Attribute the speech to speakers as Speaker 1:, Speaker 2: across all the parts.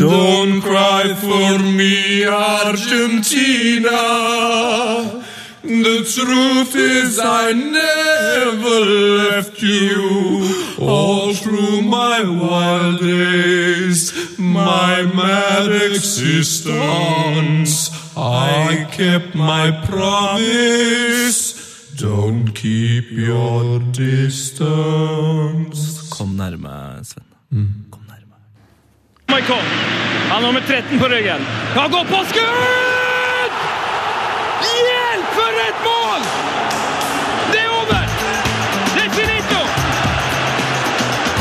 Speaker 1: Don't cry for me, Argentina. The truth is, I never left you all through my wild days, my mad existence. I kept my promise. Don't keep your distance.
Speaker 2: Kom nærme, Sven. Kom nærme.
Speaker 3: Michael. Han har nummer 13 på ryggen. Han går på skudd! Hjelp, for et mål! Det er over! Det er finito!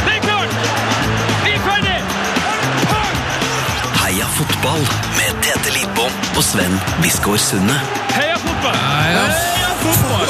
Speaker 3: Det er klart! Vi er ferdig! Pang!
Speaker 4: Heia fotball med Tete Lidbom og Sven Biskår Sunde.
Speaker 3: Heia fotball!
Speaker 2: Heia fotball!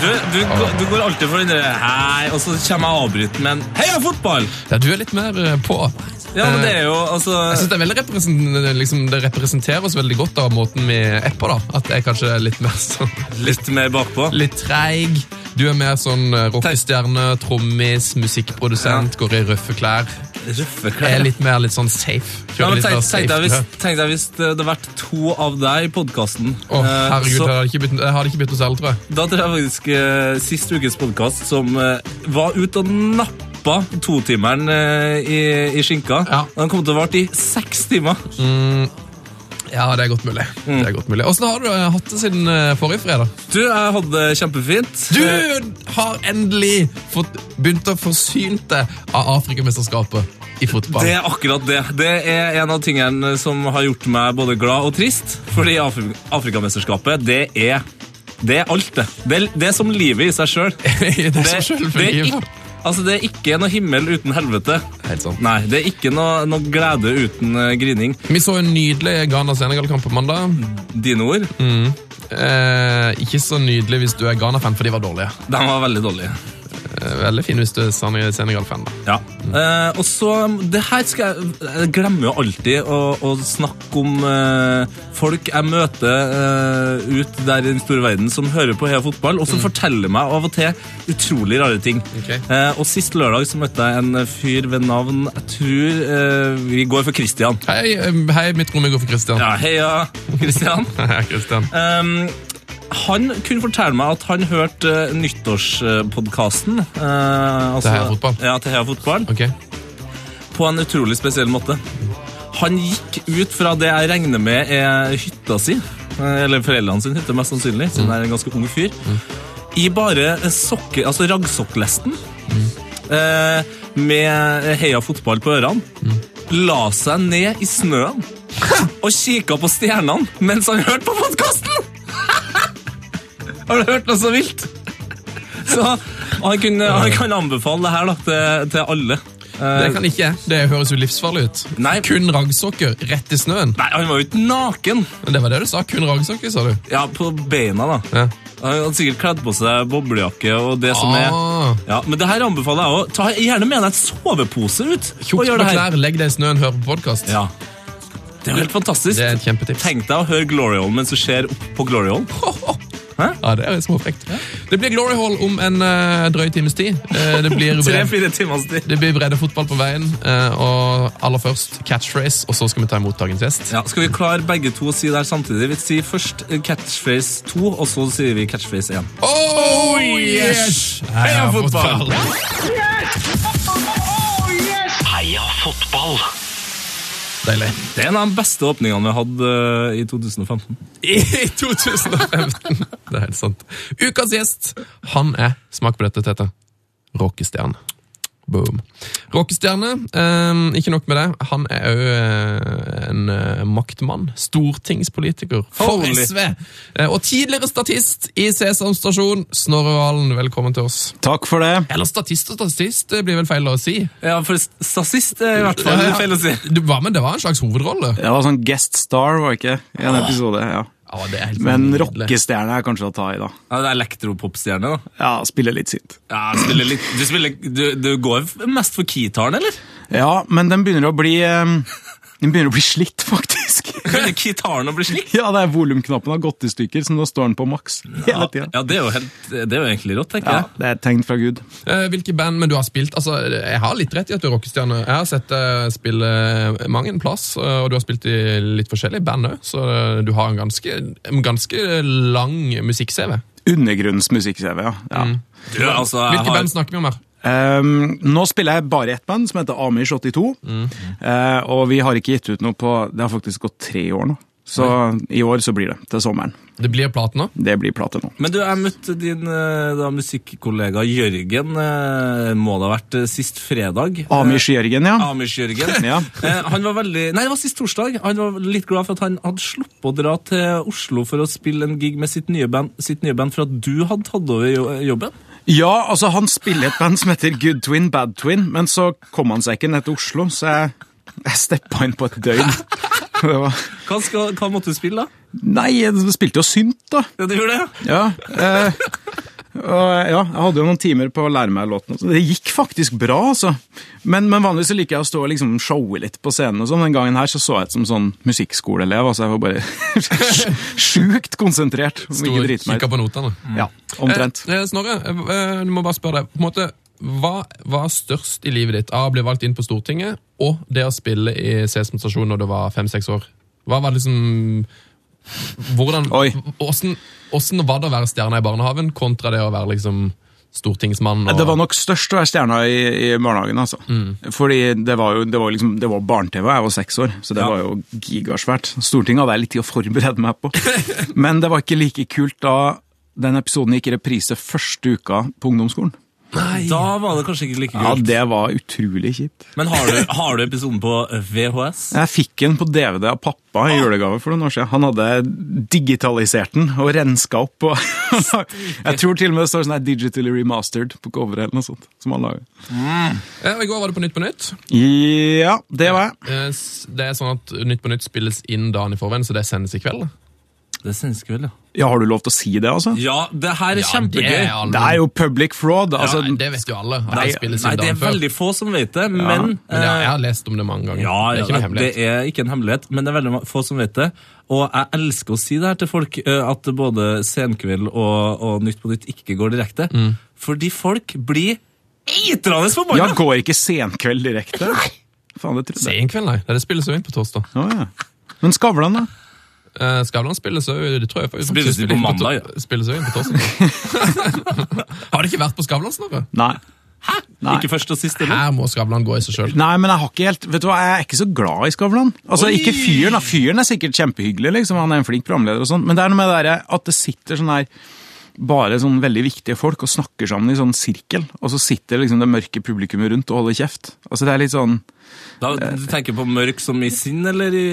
Speaker 2: Du, du,
Speaker 5: Ah.
Speaker 2: går- du går alltid for den der hei, og så kommer jeg og avbryter med en heia fotball!
Speaker 5: Ja, du er litt mer eh, på. Eh,
Speaker 2: Ja, men det er jo altså
Speaker 5: Jeg synes det, er veldig represent- liksom, det representerer oss veldig godt av måten vi er på. da. At jeg kanskje er litt mer sånn
Speaker 2: litt mer bakpå.
Speaker 5: Litt treig. Du er mer sånn eh, rockestjerne, trommis, musikkprodusent, går i røffe klær.
Speaker 2: Røffe klær.
Speaker 5: Er litt mer litt sånn safe.
Speaker 2: Ja,
Speaker 5: Kjører
Speaker 2: men
Speaker 5: litt
Speaker 2: tenk,
Speaker 5: mer
Speaker 2: tenk,
Speaker 5: safe.
Speaker 2: deg hvis,
Speaker 5: ja.
Speaker 2: tenk deg hvis det hadde vært to av deg i Eh, podkasten.
Speaker 5: Å, herregud, jeg hadde ikke bytt- jeg hadde ikke byttet oss selv, tror jeg.
Speaker 2: Da tror jeg faktisk eh, sist ukes podkast som eh, var ute og nappa totimeren eh, i, i skinka.
Speaker 5: Ja.
Speaker 2: Den kom til å vare i seks timer.
Speaker 5: Ja, det er godt mulig.
Speaker 2: Mm.
Speaker 5: Det er godt mulig. Åssen har du eh, hatt det siden eh, forrige fredag?
Speaker 2: Du, jeg hadde det kjempefint. Eh,
Speaker 5: Du har endelig fått, begynt å forsyne deg av Afrikamesterskapet i fotball.
Speaker 2: Det er akkurat det. Det er en av tingene som har gjort meg både glad og trist. Fordi Afri Afrikamesterskapet, det er det er alt, det. Det er, det er som livet i seg sjøl.
Speaker 5: det er så
Speaker 2: det, er
Speaker 5: selvforgivende.
Speaker 2: ikk- altså, det er ikke noe himmel uten helvete.
Speaker 5: Helt sant.
Speaker 2: Nei, det er ikke noe, noe glede uten eh, grining.
Speaker 5: Vi så en nydelig Ghana-Senegal-kamp på mandag.
Speaker 2: Dine ord.
Speaker 5: Eh, ikke så nydelig hvis du er Ghana-fan, for de var dårlige.
Speaker 2: De var veldig dårlige.
Speaker 5: Eh, veldig fin hvis du er Sen- Senegal-fan. da.
Speaker 2: Ja. Eh, og så det her skal jeg, jeg glemmer jo alltid å, å snakke om eh, folk jeg møter eh, ut der i den store verden som hører på Heia fotball, og som forteller meg av og til utrolig rare ting.
Speaker 5: Ok.
Speaker 2: Eh, og sist lørdag så møtte jeg en fyr ved navn Jeg tror eh, vi går for Christian.
Speaker 5: Hei, eh, hei mitt rom, jeg går for Christian.
Speaker 2: Ja, heia, Christian.
Speaker 5: Hei, Christian.
Speaker 2: Um, han kunne fortelle meg at han hørte uh, nyttårspodkasten. Uh, altså,
Speaker 5: Til Heia Fotball?
Speaker 2: Ja, til Heia Fotball.
Speaker 5: Ok.
Speaker 2: På en utrolig spesiell måte. Han gikk ut fra det jeg regner med er hytta si. uh, Eller foreldrene sin hytte, mest sannsynlig,
Speaker 5: Mm.
Speaker 2: siden jeg er en ganske ung fyr. I bare uh, sokke, altså raggsokklesten.
Speaker 5: Mm.
Speaker 2: Uh, med Heia Fotball på ørene.
Speaker 5: Mm.
Speaker 2: La seg ned i snøen og kikka på stjernene mens han hørte på podkasten! Har du hørt noe så vilt? Så han, kunne, han kan anbefale det her da, til, til alle. Eh,
Speaker 5: Det kan ikke jeg. Det høres jo livsfarlig ut.
Speaker 2: Nei.
Speaker 5: Kun raggsokker rett i snøen.
Speaker 2: Nei, han var jo ikke naken!
Speaker 5: Men Det var det du sa. Kun raggsokker, sa du.
Speaker 2: Ja, på beina, da.
Speaker 5: Ja.
Speaker 2: Han hadde sikkert kledd på seg boblejakke og det som er
Speaker 5: Ah,
Speaker 2: ja, Men det her anbefaler jeg òg. Ta gjerne med deg en sovepose ut. og
Speaker 5: Tjukt
Speaker 2: gjør
Speaker 5: på
Speaker 2: det her.
Speaker 5: klær, legg deg i snøen, hør på podkast.
Speaker 2: Ja. Det er jo helt fantastisk.
Speaker 5: Det er et kjempetips.
Speaker 2: Tenk deg å høre Glory Hall mens du ser opp på Glory Hall.
Speaker 5: Ja, det er småfrekt. Det blir Glory Hall om en eh, drøy times tid. Eh, det blir
Speaker 2: Tre-fire timers tid.
Speaker 5: det blir breddefotball på veien, eh, og aller først catchphrase, og så skal vi ta imot dagens gjest.
Speaker 2: Ja, Skal vi klare begge to å si det her samtidig? Vi sier først eh, catchphrase 2, og så sier vi catchphrase 1.
Speaker 5: Oh yes! Heia fotball! Oh,
Speaker 4: Heia fotball!
Speaker 5: Deilig.
Speaker 2: Det er en av de beste åpningene vi hadde eh, i 2015.
Speaker 5: I 2015. Det er helt sant. Ukas gjest, han er Smak på dette, Tete. Rockestjerne. Boom. Rockestjerne. eh, ikke nok med det. Han er òg en eh, maktmann. Stortingspolitiker for
Speaker 2: Holy.
Speaker 5: SV. eh, og tidligere statist i Sesam stasjon. Snorre Valen, velkommen til oss.
Speaker 6: Takk for det.
Speaker 5: Eller statist og statist, det blir vel feil å si.
Speaker 2: Ja, for statist er i hvert fall
Speaker 5: Ja, ja.
Speaker 2: feil å si.
Speaker 5: Det var, men det var en slags hovedrolle.
Speaker 6: Det var sånn guest star, var det ikke? I en episode, ja.
Speaker 5: Ja, det er helt
Speaker 6: Men
Speaker 5: nydelig.
Speaker 6: rockestjerne er kanskje å ta i, da.
Speaker 2: Ja, det er elektropopstjerne, da.
Speaker 6: Ja, spiller litt sint.
Speaker 2: Ja, spiller litt, du, spiller, du, du går f- mest for keytaren, eller?
Speaker 6: Ja, men den begynner å bli eh, Den begynner å bli slitt, faktisk.
Speaker 2: Begynner gitaren å bli slik?
Speaker 6: Ja, det er volumknappen har gått i stykker, så nå står den på maks hele tida.
Speaker 2: Ja, det er jo, helt, det er jo egentlig rått, tenker
Speaker 6: Ja,
Speaker 2: jeg.
Speaker 6: det er et tegn fra Gud.
Speaker 5: Eh, Hvilke band Men du har spilt altså, Jeg har litt rett i at du er rockestjerne. Jeg har sett deg spille mange en plass, eh, og du har spilt i litt forskjellige band òg, så eh, du har en ganske, en ganske lang musikk-CV.
Speaker 6: Undergrunnens musikk-CV, ja. Mm. ja.
Speaker 2: Du, altså, jeg
Speaker 5: Hvilke
Speaker 2: har,
Speaker 5: band snakker vi om her?
Speaker 6: Ehm, nå spiller jeg bare ett band, som heter Amish 82. Eh, og vi har ikke gitt ut noe på Det har faktisk gått tre år nå. Så i år så blir det. Til sommeren.
Speaker 5: Det blir platen nå.
Speaker 6: Det blir plate nå.
Speaker 2: men du, jeg møtte din eh, da, musikkollega Jørgen, eh, må det ha vært eh, sist fredag.
Speaker 6: Amish-Jørgen, ja.
Speaker 2: Amish-Jørgen.
Speaker 6: Ja.
Speaker 2: Eh, Han var veldig Nei, det var sist torsdag. Han var litt glad for at han hadde sluppet å dra til Oslo for å spille en gig med sitt nye band, sitt nye band for at du hadde tatt over jo- jobben.
Speaker 6: Ja, altså han spiller et band som heter Good Twin, Bad Twin, men så kom han seg ikke ned til Oslo, så jeg, jeg steppa inn på et døgn. Det var,
Speaker 2: Hva, skal, hva måtte du spille, da?
Speaker 6: nei, jeg spilte jo synt, da.
Speaker 2: Ja, Du gjorde det? ja.
Speaker 6: Ja, eh, og, ja, jeg hadde jo noen timer på å lære meg låten. og sånn. Det gikk faktisk bra, altså. Men, men vanligvis så liker jeg å stå og liksom showe litt på scenen. og sånn. Den gangen her så så jeg ut som sånn musikkskoleelev. altså Jeg var bare sjukt konsentrert. Om
Speaker 5: Du
Speaker 6: ikke drite meg
Speaker 5: kikker
Speaker 6: ut.
Speaker 5: på notene.
Speaker 6: Ja, omtrent.
Speaker 5: Eh, eh, Snorre, eh, eh, du må bare spørre deg. På en måte, hva var størst i livet ditt av å bli valgt inn på Stortinget og det å spille i Sesam stasjon når du var fem-seks år? Hva var det liksom hvordan,
Speaker 6: Oi.
Speaker 5: Hvordan, hvordan var det å være stjerne i barnehagen kontra det å være liksom stortingsmann? Og,
Speaker 6: Det var nok størst å være stjerna i, i barnehagen, altså. Fordi det var jo det var liksom, det var barne-TV, jeg var seks år, så det var jo gigasvært. Stortinget hadde jeg litt tid å forberede meg på. Men det var ikke like kult da den episoden gikk i reprise første uka på ungdomsskolen.
Speaker 2: Da var det kanskje ikke like
Speaker 6: Ja,
Speaker 2: kult.
Speaker 6: det var utrolig kjipt.
Speaker 2: Men har du, har du episoden på eh, VHS?
Speaker 6: Jeg fikk den på DVD av pappa i julegave for noen år siden. Han hadde digitalisert den og renska opp. Og jeg tror til og med det står sånn her 'digitally remastered' på coveret eller noe sånt. som han laget.
Speaker 5: Eh, og I går var det på Nytt på Nytt.
Speaker 6: Ja, det var jeg.
Speaker 5: Eh, s- Det er sånn at Nytt på Nytt spilles inn dagen i forveien, så det sendes i kveld.
Speaker 2: Det synes jeg vel, ja.
Speaker 6: Ja, Har du lov til å si det, altså?
Speaker 2: Ja, det her er kjempegøy.
Speaker 5: Det er, alle-
Speaker 6: Det er jo public fraud. Altså,
Speaker 5: ja, det vet jo alle. at
Speaker 2: Nei,
Speaker 5: det spilles
Speaker 2: nei,
Speaker 5: inn
Speaker 2: det er
Speaker 5: dagen før.
Speaker 2: veldig få som vet det, men,
Speaker 5: Men jeg,
Speaker 2: eh,
Speaker 5: jeg har lest om det mange ganger.
Speaker 2: Ja,
Speaker 5: det er ikke noe hemmelighet.
Speaker 2: Det er ikke en hemmelighet, men det er veldig få som vet det. Og jeg elsker å si det her til folk, eh, at både Senkveld og, og Nytt på Nytt ikke går direkte. Fordi folk blir eitrende
Speaker 6: ja,
Speaker 2: forbanna!
Speaker 6: går ikke senkveld direkte? Faen, det trodde jeg.
Speaker 5: Sen kveld, nei. Nei, Det spilles jo inn på torsdag.
Speaker 6: Å, ja. Men Skavlan, da?
Speaker 5: Eh, Skavlan spilles jo det tror jeg faktisk,
Speaker 2: Spilles det på
Speaker 5: inn to-
Speaker 2: mandag, ja.
Speaker 5: Spilles jo inn på torsdag. har det ikke vært på Skavlan, Snorre?
Speaker 6: Nei. Nei.
Speaker 2: Ikke først og sist, eller?
Speaker 5: Her må Skavlan gå i seg sjøl.
Speaker 6: Nei, men jeg har ikke helt Vet du hva, jeg er ikke så glad i Skavlan. Altså,
Speaker 2: Oi!
Speaker 6: ikke fyren. da. Fyren er sikkert kjempehyggelig, liksom. Han er en flink programleder og sånn. Men det er noe med det der at det sitter sånn her bare sånn veldig viktige folk og snakker sammen i sånn sirkel, og så sitter liksom det mørke publikummet rundt og holder kjeft. Altså, det er litt sånn
Speaker 2: Da, du tenker på mørk som i sinn, eller i,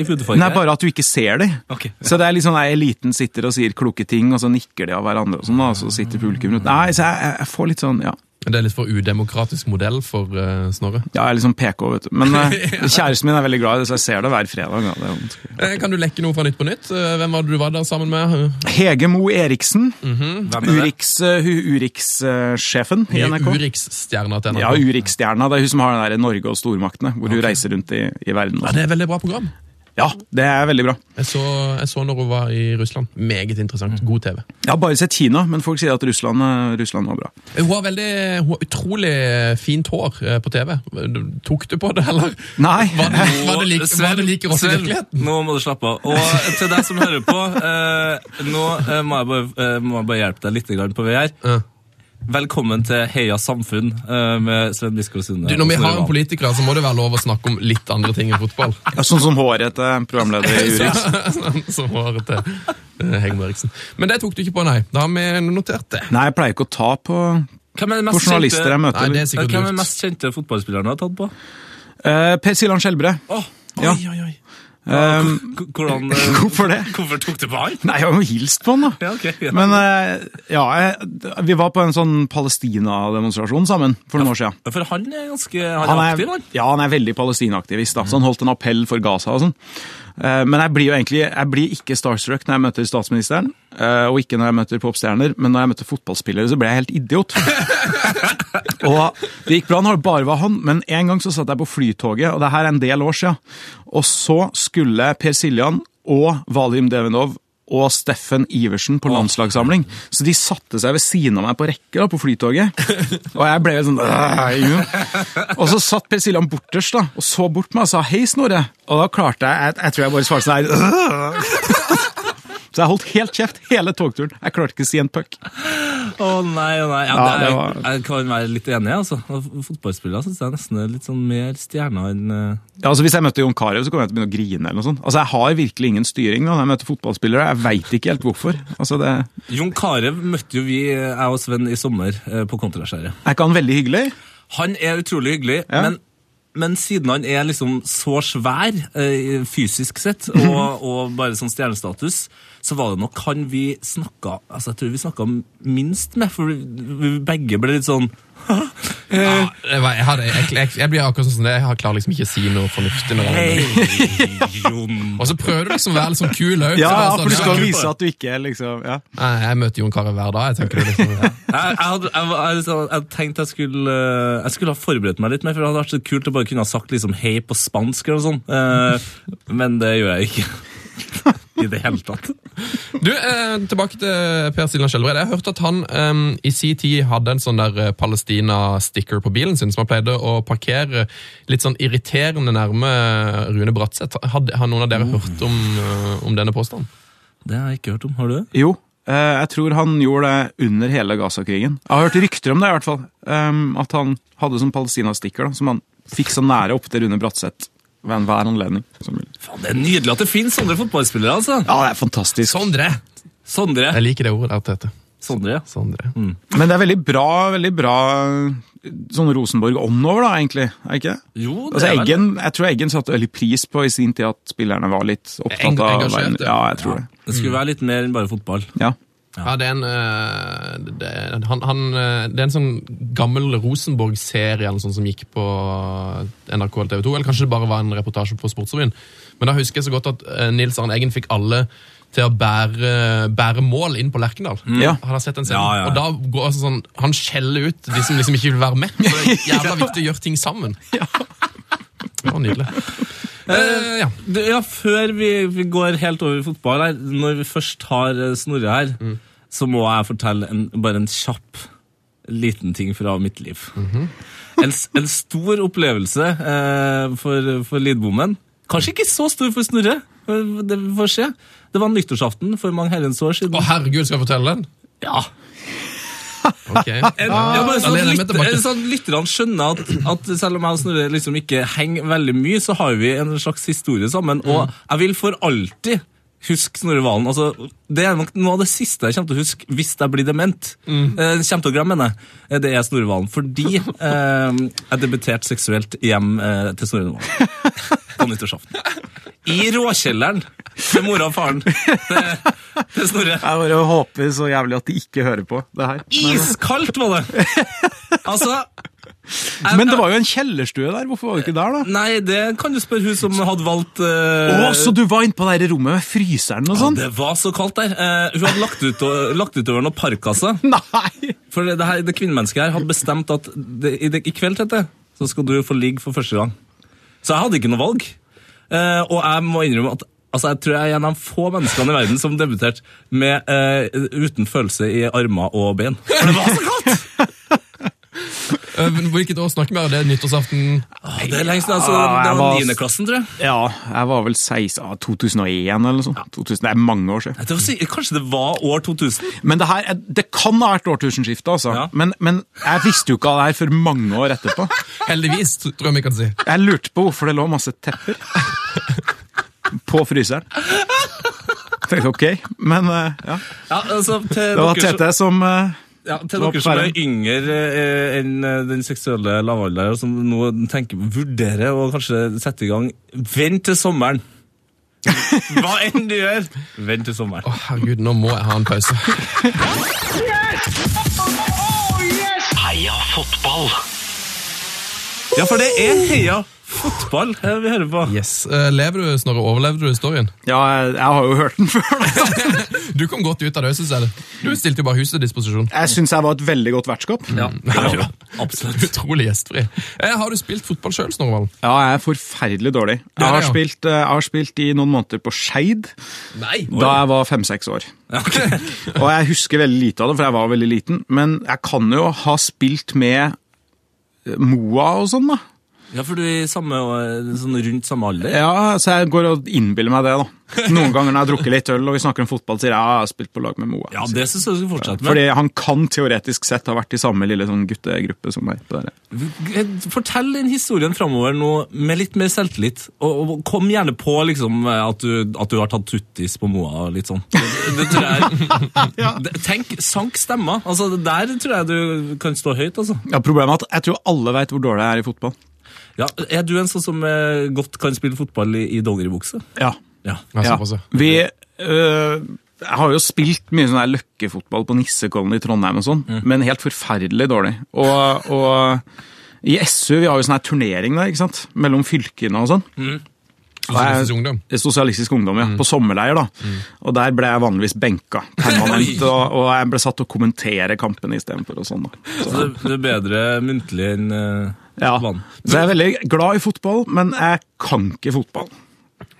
Speaker 2: i hudfarge?
Speaker 6: Nei, bare at du ikke ser dem.
Speaker 2: Ok.
Speaker 6: Så det er liksom nei, eliten sitter og sier kloke ting, og så nikker de av hverandre, og sånn da, og så sitter publikum rundt. Nei, så jeg, jeg får litt sånn, ja.
Speaker 5: Det er litt for udemokratisk modell for eh, Snorre.
Speaker 6: Ja, jeg er litt sånn PK, vet du. Men eh, kjæresten min er veldig glad i det, så jeg ser det hver fredag. Ja. Det er vanskelig.
Speaker 5: Eh, kan du lekke noe fra Nytt på Nytt? Eh, hvem var det du var der sammen med?
Speaker 6: Hege Mo Eriksen,
Speaker 2: Hvem er det?
Speaker 6: Urix, eh, hu- Urix-sjefen i NRK.
Speaker 5: Eh, Urix-stjerna til NRK.
Speaker 6: Ja, Urix-stjerna. Det er hun som har den der Norge og stormaktene, hvor hun reiser rundt i, i verden. sånn.
Speaker 5: Ja, det er et veldig bra program.
Speaker 6: Ja, det er veldig bra.
Speaker 5: Jeg så, jeg så når hun var i Russland. Meget interessant. God TV.
Speaker 6: Jeg har bare sett Kina, men folk sier at Russland, eh, Russland var bra.
Speaker 5: Eh, Hun har, veldig, hun har utrolig fint hår eh, på TV. Tok du på det, eller?
Speaker 6: Nei.
Speaker 5: Var det, var det, like, var
Speaker 2: Sven,
Speaker 5: det like rått i
Speaker 2: Sven,
Speaker 5: virkeligheten?
Speaker 2: Nå må du slappe av. Og til deg som hører på, eh, nå eh, må, jeg bare, eh, må jeg bare hjelpe deg litt grann på vei her.
Speaker 5: Ja.
Speaker 2: Velkommen til Heia samfunn eh, med Sven Biskov Sunde.
Speaker 5: Du, når vi
Speaker 2: og Snorre
Speaker 5: har en
Speaker 2: Valen.
Speaker 5: politiker, så må det være lov å snakke om litt andre ting enn fotball.
Speaker 6: Ja, sånn som håret til programleder i Urix.
Speaker 5: Som håret til eh, Hegmo Eriksen. Men det tok du ikke på, nei. Da har vi notert det.
Speaker 6: Nei, jeg pleier ikke å ta på,
Speaker 2: Hvem er den
Speaker 6: på
Speaker 2: mest
Speaker 6: journalister jeg
Speaker 2: kjente,
Speaker 6: møter.
Speaker 5: Nei, det er
Speaker 2: Eh,
Speaker 5: sikkert
Speaker 2: Hvem er den
Speaker 5: lurt.
Speaker 2: mest kjente fotballspilleren du har tatt på?
Speaker 6: Eh, per Siljan Skjelbre.
Speaker 2: Åh,
Speaker 6: Ja.
Speaker 2: Oi, oi, oi.
Speaker 6: Ehm,
Speaker 2: K- Hvordan, eh,
Speaker 6: hvorfor det?
Speaker 2: hvorfor tok du på han?
Speaker 6: Nei, jeg har jo hilst på han, da.
Speaker 2: Ja, ok, ja.
Speaker 6: Men eh, ja, jeg, vi var på en sånn Palestina-demonstrasjon sammen for noen år siden.
Speaker 2: For han er ganske han er aktiv, Mm. han.
Speaker 6: ja, han er veldig palestinaktivist. Da. Så han holdt en appell for Gaza og sånn. Eh, Men jeg blir jo egentlig jeg blir ikke starstruck når jeg møter statsministeren, eh, og ikke når jeg møter popstjerner, men når jeg møter fotballspillere, så ble jeg helt idiot. og det gikk bra når det bare var han, men en gang så satt jeg på flytoget, og det her er en del år siden, og så skulle Per Siljan og Valim Devinov og Steffen Iversen på landslagssamling. Så de satte seg ved siden av meg på rekke da, på flytoget. Og jeg ble sånn «Åh, i huet». Og så satt Per Siljan bortest da, og så bort på meg og sa 'hei, Snorre'. Og da klarte jeg Jeg, jeg tror jeg bare svarte sånn her «Åh». Så jeg holdt helt kjeft hele togturen. Jeg klarte ikke å si en puck.
Speaker 2: Å nei, å nei. Ja,
Speaker 6: Ja,
Speaker 2: det
Speaker 6: det
Speaker 2: er,
Speaker 6: var-
Speaker 2: Jeg kan være litt enig, altså. Og Fotballspillere syns jeg nesten er litt sånn mer stjerner enn eh,
Speaker 6: Ja, altså Hvis jeg møtte Jon Carew, så kom jeg til å begynne å grine. eller noe sånt. Altså Jeg har virkelig ingen styring da, når jeg møter fotballspillere. Jeg veit ikke helt hvorfor. Altså det,
Speaker 2: Jon Carew møtte jo vi, eh, jeg og Sven, i sommer eh, på Kontraskjæret.
Speaker 6: Er ikke han veldig hyggelig?
Speaker 2: Han er utrolig hyggelig,
Speaker 6: Ja.
Speaker 2: men, men siden han er liksom så svær eh, fysisk sett, og, og bare sånn stjernestatus, så var det nok han vi snakka altså Jeg tror vi snakka minst med, for vi vi begge ble litt sånn
Speaker 5: Ja, det var- jeg, hadde, jeg, jeg, jeg blir akkurat sånn som det. Jeg har- klarer liksom ikke å si noe fornuftig. når jeg-
Speaker 2: Hei, Jon.
Speaker 5: Og så prøver du liksom å være litt sånn kul òg.
Speaker 6: Ja, ja, for du skal
Speaker 2: ja.
Speaker 6: vise at du ikke liksom ja.
Speaker 5: Jeg møter Jon Carew hver dag. Jeg tenker det liksom, ja.
Speaker 2: Jeg, jeg, hadde, jeg, var- jeg, liksom- jeg tenkte jeg skulle eh, Jeg skulle ha forberedt meg litt mer, for det hadde vært så kult å bare kunne ha sagt liksom hei på spansk eller noe sånt. Eh, men det gjør jeg ikke. I det hele tatt.
Speaker 5: Du, eh, Tilbake til Per Siljan Skjelbred. Jeg har hørt at han eh, i sin tid hadde en sånn der eh, Palestina-sticker på bilen sin, som han pleide å parkere litt sånn irriterende nærme eh, Rune Bratseth. Hadde- Har noen av dere hørt om, eh, om denne påstanden?
Speaker 2: Det har jeg ikke hørt om. Har du det?
Speaker 6: Jo, eh, jeg tror han gjorde det under hele Gaza-krigen. Jeg har hørt rykter om det, i hvert fall. ehm, at han hadde sånn Palestina-sticker da, som han fikk så nære opp til Rune Bratseth ved enhver anledning. som mulig.
Speaker 2: Faen, det er nydelig at det finnes sånne fotballspillere, altså.
Speaker 6: Ja, det er fantastisk.
Speaker 5: Sondre!
Speaker 2: Sondre.
Speaker 5: Jeg liker det ordet der, Tete.
Speaker 2: Sondre, ja.
Speaker 5: Sondre.
Speaker 6: Men det er veldig bra veldig bra eh, sånn Rosenborg åndover, da, egentlig. Er det ikke det?
Speaker 2: Jo, det
Speaker 6: Altså,
Speaker 2: er vel-
Speaker 6: Eggen, jeg tror Eggen satte veldig pris på i sin tid at spillerne var litt
Speaker 5: Eng-
Speaker 6: opptatt av
Speaker 5: engasjert,
Speaker 6: verden.
Speaker 5: ja.
Speaker 6: Ja, jeg tror det.
Speaker 2: Det skulle være litt mer enn bare fotball.
Speaker 6: Ja.
Speaker 5: Ja, det er en, eh, det, er- han, han, eh, det er en sånn gammel Rosenborg-serie eller sånn som gikk på eh, NRK eller TV 2, eller kanskje det bare var en reportasje på Sportsrevyen. Men da husker jeg så godt at eh, Nils Arne Eggen fikk alle til å bære, bære mål inn på Lerkendal.
Speaker 6: Ja.
Speaker 5: Han har sett den
Speaker 2: Mm.
Speaker 5: scenen.
Speaker 2: Ja, ja, ja.
Speaker 5: Og da går altså sånn, han skjeller ut de som liksom ikke vil være med. For det er jævla viktig å gjøre ting sammen. Det var nydelig. Eh, ja.
Speaker 2: Du, ja, før vi, vi går helt over i fotball her, når vi først har eh, Snorre her, så må jeg fortelle en, bare en kjapp liten ting fra mitt liv. en, s- en stor opplevelse eh, for, for Lidbommen. Kanskje ikke så stor for Snorre, eh, det vi får se. Det var nyttårsaften for mange herrens år siden.
Speaker 5: Å, herregud, skal jeg fortelle den?
Speaker 2: Ja,
Speaker 5: Ok.
Speaker 2: En, ja, bare sånn,
Speaker 5: Alene
Speaker 2: at
Speaker 5: med
Speaker 2: lytter,
Speaker 5: tilbake.
Speaker 2: sånn at lytterne skjønner at, at selv om jeg og Snorre liksom ikke henger veldig mye, så har vi en slags historie sammen. Og jeg vil for alltid huske Snorre Valen. Altså, det er nok noe av det siste jeg kommer til å huske hvis jeg blir dement. Eh, kommer til å glemme henne. Eh, Det er Snorre Valen. Fordi eh, jeg debuterte seksuelt hjem eh, til Snorre Valen på nyttårsaften. I råkjelleren til mora og faren til, til Snorre.
Speaker 6: Jeg bare håper så jævlig at de ikke hører på det her.
Speaker 2: Iskaldt var det! Altså jeg-
Speaker 6: Men det var jo en kjellerstue der. Hvorfor var du ikke der, da?
Speaker 2: Nei, det kan du spørre hun som hadde valgt eh,
Speaker 6: Å, så du var inne på det her rommet med fryseren og sånn?
Speaker 2: Det var så kaldt der. Eh, hun hadde lagt, ut, lagt utover noen parkasser.
Speaker 6: Nei!
Speaker 2: For det, her, det kvinnemennesket her hadde bestemt at det, i, det, i kveld, Tete, så skal du få ligge for første gang. Så jeg hadde ikke noe valg. Eh, og jeg må innrømme at altså, jeg tror jeg er en av de få menneskene i verden som debuterte med eh, uten følelse i armer og bein. For det var så kaldt!
Speaker 5: Eh, Hvilket år snakker vi om? Det er nyttårsaften.
Speaker 2: Å, det er lengst, altså,
Speaker 6: Ah,
Speaker 2: det
Speaker 6: jeg
Speaker 2: var
Speaker 6: var-
Speaker 2: niendeklassen, tror jeg.
Speaker 6: Ja, jeg var vel 16, ah, 2001 eller noe sånt. 2000, det er mange år siden.
Speaker 2: Det var, sikkert- kanskje det var år 2000?
Speaker 6: Men det her, er- det kan ha vært årtusenskiftet, altså.
Speaker 2: Ja.
Speaker 6: Men, men jeg visste jo ikke av det her før mange år etterpå.
Speaker 5: Heldigvis, tror jeg vi kan si.
Speaker 6: Jeg lurte på hvorfor det lå masse tepper på fryseren. Tenkte ok, men eh, ja.
Speaker 2: Ja, altså, til
Speaker 6: Det var
Speaker 2: dere som-
Speaker 6: Tete som eh,
Speaker 2: Ja, til
Speaker 6: Det var
Speaker 2: dere som er
Speaker 6: bare-
Speaker 2: yngre eh, enn eh, den seksuelle lavalder, og som nå tenker, vurderer å kanskje sette i gang, vent til sommeren. Hva enn du gjør, vent til sommeren.
Speaker 5: Å, herregud, nå må jeg ha en pause.
Speaker 4: Heia fotball!
Speaker 2: Ja, for det er heia fotball eh, vi hører på.
Speaker 5: Yes. Eh, lever du, Snorre? Overlevde du historien?
Speaker 6: Ja, jeg, jeg har jo hørt den før. da.
Speaker 5: Du kom godt ut av det, synes jeg. Du stilte jo bare huset til disposisjon.
Speaker 6: Jeg syns jeg var et veldig godt vertskap.
Speaker 2: Ja,
Speaker 5: Ja, ja.
Speaker 2: absolutt.
Speaker 5: Utrolig gjestfri. Eh, har du spilt fotball sjøl, Snorvald?
Speaker 6: Ja, jeg er forferdelig dårlig. Jeg har
Speaker 5: ja.
Speaker 6: spilt, eh, jeg har spilt i noen måneder på Skeid
Speaker 5: Nei.
Speaker 6: da jeg var fem-seks år.
Speaker 2: Ja, ok.
Speaker 6: Og jeg husker veldig lite av det, for jeg var veldig liten. Men jeg kan jo ha spilt med Moa og sånn, da.
Speaker 2: ja for du er i samme, eh, sånn rundt samme alder.
Speaker 6: Ja, Så jeg går og innbiller meg det, da. Noen ganger når jeg har drukket litt øl og vi snakker om fotball, sier jeg ja, jeg har spilt på lag med Moa.
Speaker 2: Ja, det syns jeg du skal fortsette med.
Speaker 6: Fordi han kan teoretisk sett ha vært i samme lille sånn guttegruppe som meg. på det der.
Speaker 2: Eh, Fortell den historien framover nå med litt mer selvtillit. Og, og kom gjerne på liksom, eh, at, du, at du har tatt tuttis på Moa og litt sånn. Det, det tror jeg Det- Tenk, sank stemma. Altså, det der tror jeg du kan stå høyt, altså.
Speaker 6: Ja, Problemet er at jeg tror alle vet hvor dårlig jeg er i fotball.
Speaker 2: Ja, er du en sånn som eh, godt kan spille fotball i, i dongeribukse?
Speaker 6: Ja,
Speaker 2: Ja.
Speaker 6: ja.
Speaker 5: såpass, ja.
Speaker 6: Vi øh, jeg har jo spilt mye sånn der løkkefotball på Nissekollen i Trondheim, og sånn,
Speaker 5: Mm.
Speaker 6: men helt forferdelig dårlig. Og, og i SU vi har jo sånn her turnering der, ikke sant? mellom fylkene og sånn.
Speaker 5: Mm. Sosialistisk ungdom. Mm.
Speaker 6: Sosialistisk ungdom, ja. På sommerleir, da. Og der ble jeg vanligvis benka permanent. og, og jeg ble satt til å kommentere kampen istedenfor og sånn. da. Så-
Speaker 2: Så det, det er bedre muntlig enn eh,
Speaker 6: Ja.
Speaker 2: vann.
Speaker 6: Så jeg er veldig glad i fotball, men jeg kan ikke fotball.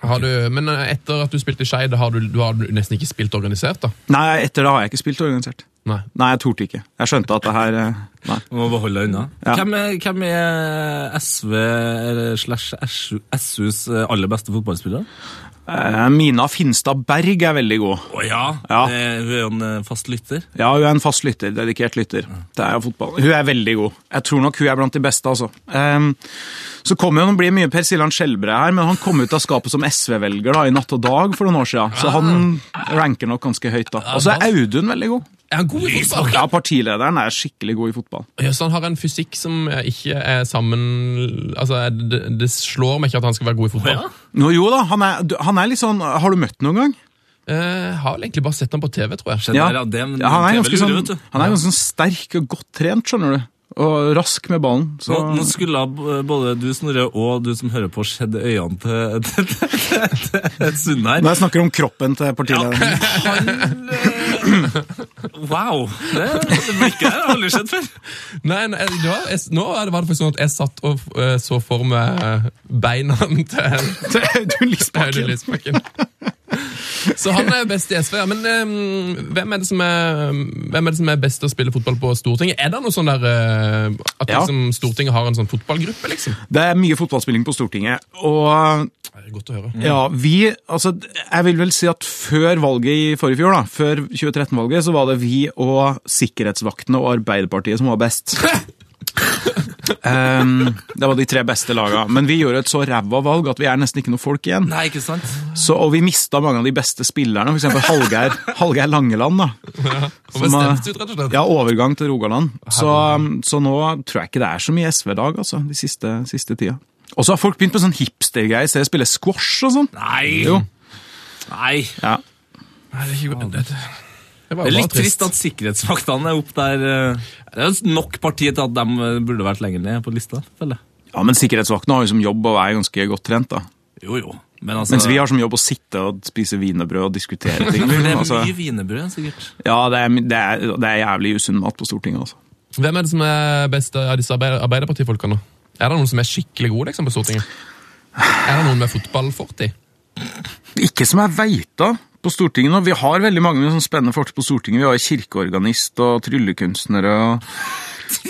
Speaker 5: Har du, men eh, etter at du spilte i Skeid, har du, du har nesten ikke spilt organisert, da?
Speaker 6: Nei, etter det har jeg ikke spilt organisert.
Speaker 5: Nei.
Speaker 6: Nei, jeg torde ikke. Jeg skjønte at det her eh, Nei.
Speaker 2: Du må bare holde deg unna.
Speaker 6: Ja.
Speaker 2: Hvem, er, hvem er SV eller slash SU SUs eh, aller beste fotballspiller?
Speaker 6: Eh, Mina Finstad Berg er veldig god.
Speaker 2: Å ja,
Speaker 6: Ja.
Speaker 2: det er- hun er jo en eh, fast lytter.
Speaker 6: Ja, hun er en fast lytter. Dedikert lytter. Det er jo fotball. Hun er veldig god. Jeg tror nok hun er blant de beste, altså. Ehm, så kommer jo, Nå blir det mye Per Siljan Skjelbre her, men han kom ut av skapet som SV-velger da, i Natt og Dag for noen år siden. Så han ranker nok ganske høyt, da. Og så er Audun veldig god.
Speaker 5: Er han god i fotball?
Speaker 6: Ja, Partilederen er skikkelig god i fotball.
Speaker 5: Ja, så han har en fysikk som eh, ikke er sammen Altså, eh, det, det slår meg ikke at han skal være god i fotball.
Speaker 6: Nå, jo da, han er, du- han er litt sånn Har du møtt ham noen gang?
Speaker 5: Eh, har vel egentlig bare sett han på TV, tror jeg.
Speaker 2: Den der, ja, det,
Speaker 6: Ja, han er
Speaker 2: det
Speaker 6: ganske
Speaker 2: veldig
Speaker 6: sånn,
Speaker 2: lurt, vet du.
Speaker 6: han er ganske sånn sterk og godt trent, skjønner du. Og rask med ballen. Så,
Speaker 2: Nå, nå skulle b- både du, Snorre, og du som hører på, sett øynene til, til, til, til, til Sundheim.
Speaker 6: når jeg snakker om kroppen til partilederen
Speaker 2: Wow! Det, det blikket her har jeg aldri sett før.
Speaker 5: Nei, nei det var, jeg, Nå var det var det faktisk sånn at jeg satt og eh, så for meg eh, beina til
Speaker 6: til Audun
Speaker 5: Audun
Speaker 6: Lysbakken
Speaker 5: Lysbakken. Så han er jo best i SV. ja. Men eh, hvem, er det som er, hvem er det som er best til å spille fotball på Stortinget? Er det noe sånn der eh, At
Speaker 6: Ja.
Speaker 5: liksom, Stortinget har en sånn fotballgruppe, liksom?
Speaker 6: Det er mye fotballspilling på Stortinget. Og
Speaker 5: Det er godt å høre.
Speaker 6: ja, vi Altså, jeg vil vel si at før valget i forrige fjor, da, før 2013-valget, så var det vi og sikkerhetsvaktene og Arbeiderpartiet som var best. Ehm, det var de tre beste laga. Men vi gjorde et så ræva valg at vi er nesten ikke noe folk igjen.
Speaker 2: Nei, ikke sant?
Speaker 6: Så, og vi mista mange av de beste spillerne, f.eks. Hallgeir, Hallgeir Langeland. da.
Speaker 5: Han ble
Speaker 6: Som, eh,
Speaker 5: stemt ut, rett og slett.
Speaker 6: Ja, Overgang til Rogaland. Så, um, så nå tror jeg ikke det er så mye SV-lag altså, de siste, siste tida. Og så har folk begynt på sånn hipstergreier, i stedet for å spille squash og sånn.
Speaker 2: Nei!
Speaker 6: Jo.
Speaker 2: Nei.
Speaker 6: Ja.
Speaker 5: Nei, det er ikke godt. Det, det var
Speaker 2: Det
Speaker 5: jo
Speaker 2: er
Speaker 5: bare
Speaker 2: litt trist at sikkerhetsvaktene er opp der. eh, Det er jo nok partier til at de eh, burde vært lenger ned på lista, føler jeg.
Speaker 6: ja, Men sikkerhetsvaktene har jo som jobb å være ganske godt trent, da.
Speaker 2: Jo, jo. Men altså,
Speaker 6: Mens vi har som jobb å sitte og spise wienerbrød og diskutere ting.
Speaker 2: For det er
Speaker 6: altså,
Speaker 2: mye wienerbrød, sikkert.
Speaker 6: ja, det er, det, er, det er jævlig usunn mat på Stortinget, altså.
Speaker 5: Hvem er det som er best av disse arbeider Arbeiderpartifolkene? Er det noen som er skikkelig gode liksom, på Stortinget? Er det noen med fotballfortid?
Speaker 6: Ikke som jeg veit av på Stortinget nå. Vi har veldig mange med sånne spennende folk på Stortinget. Vi har kirkeorganist og tryllekunstnere og,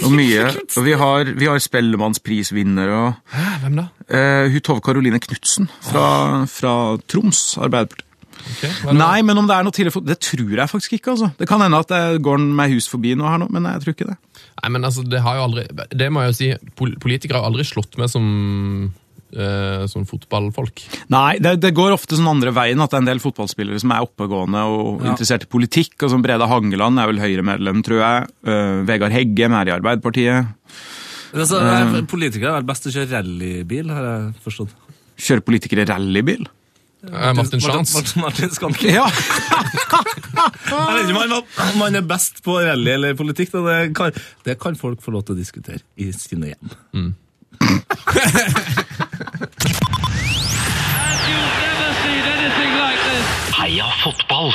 Speaker 6: og mye. Og vi har, vi har Spellemannsprisvinner og
Speaker 5: Hæ, Hvem da?
Speaker 6: eh, hun Tove Karoline Knutsen fra, fra Troms Arbeiderparti.
Speaker 5: Ok, hva er det?
Speaker 6: Nei, men om det er noe tidlig for... Det tror jeg faktisk ikke, altså. Det kan hende at det går meg hus forbi nå her nå, men jeg tror ikke det.
Speaker 5: Nei, men altså, det har jo aldri Det må jeg jo si, pol- politikere har aldri slått meg som eh, sånn fotballfolk.
Speaker 6: Nei, det, det går ofte sånn andre veien at det er en del fotballspillere som er oppegående og interessert i politikk. og sånn Brede Hangeland er vel Høyre-medlem, tror jeg. Eh, Vegard Heggem er i Arbeiderpartiet.
Speaker 2: Men Altså, eh, Politikere er vel best til å kjøre rallybil, har jeg forstått.
Speaker 6: Kjører politikere rallybil?
Speaker 5: Eh, Martin Schans.
Speaker 2: Martin, Martin Skanke.
Speaker 6: Ja!
Speaker 2: Jeg vet ikke om han- om han er best på rally eller politikk. Da. Det, kan, det kan folk få lov til å diskutere i sine hjem.
Speaker 3: You've never seen anything like this.
Speaker 4: Heia fotball!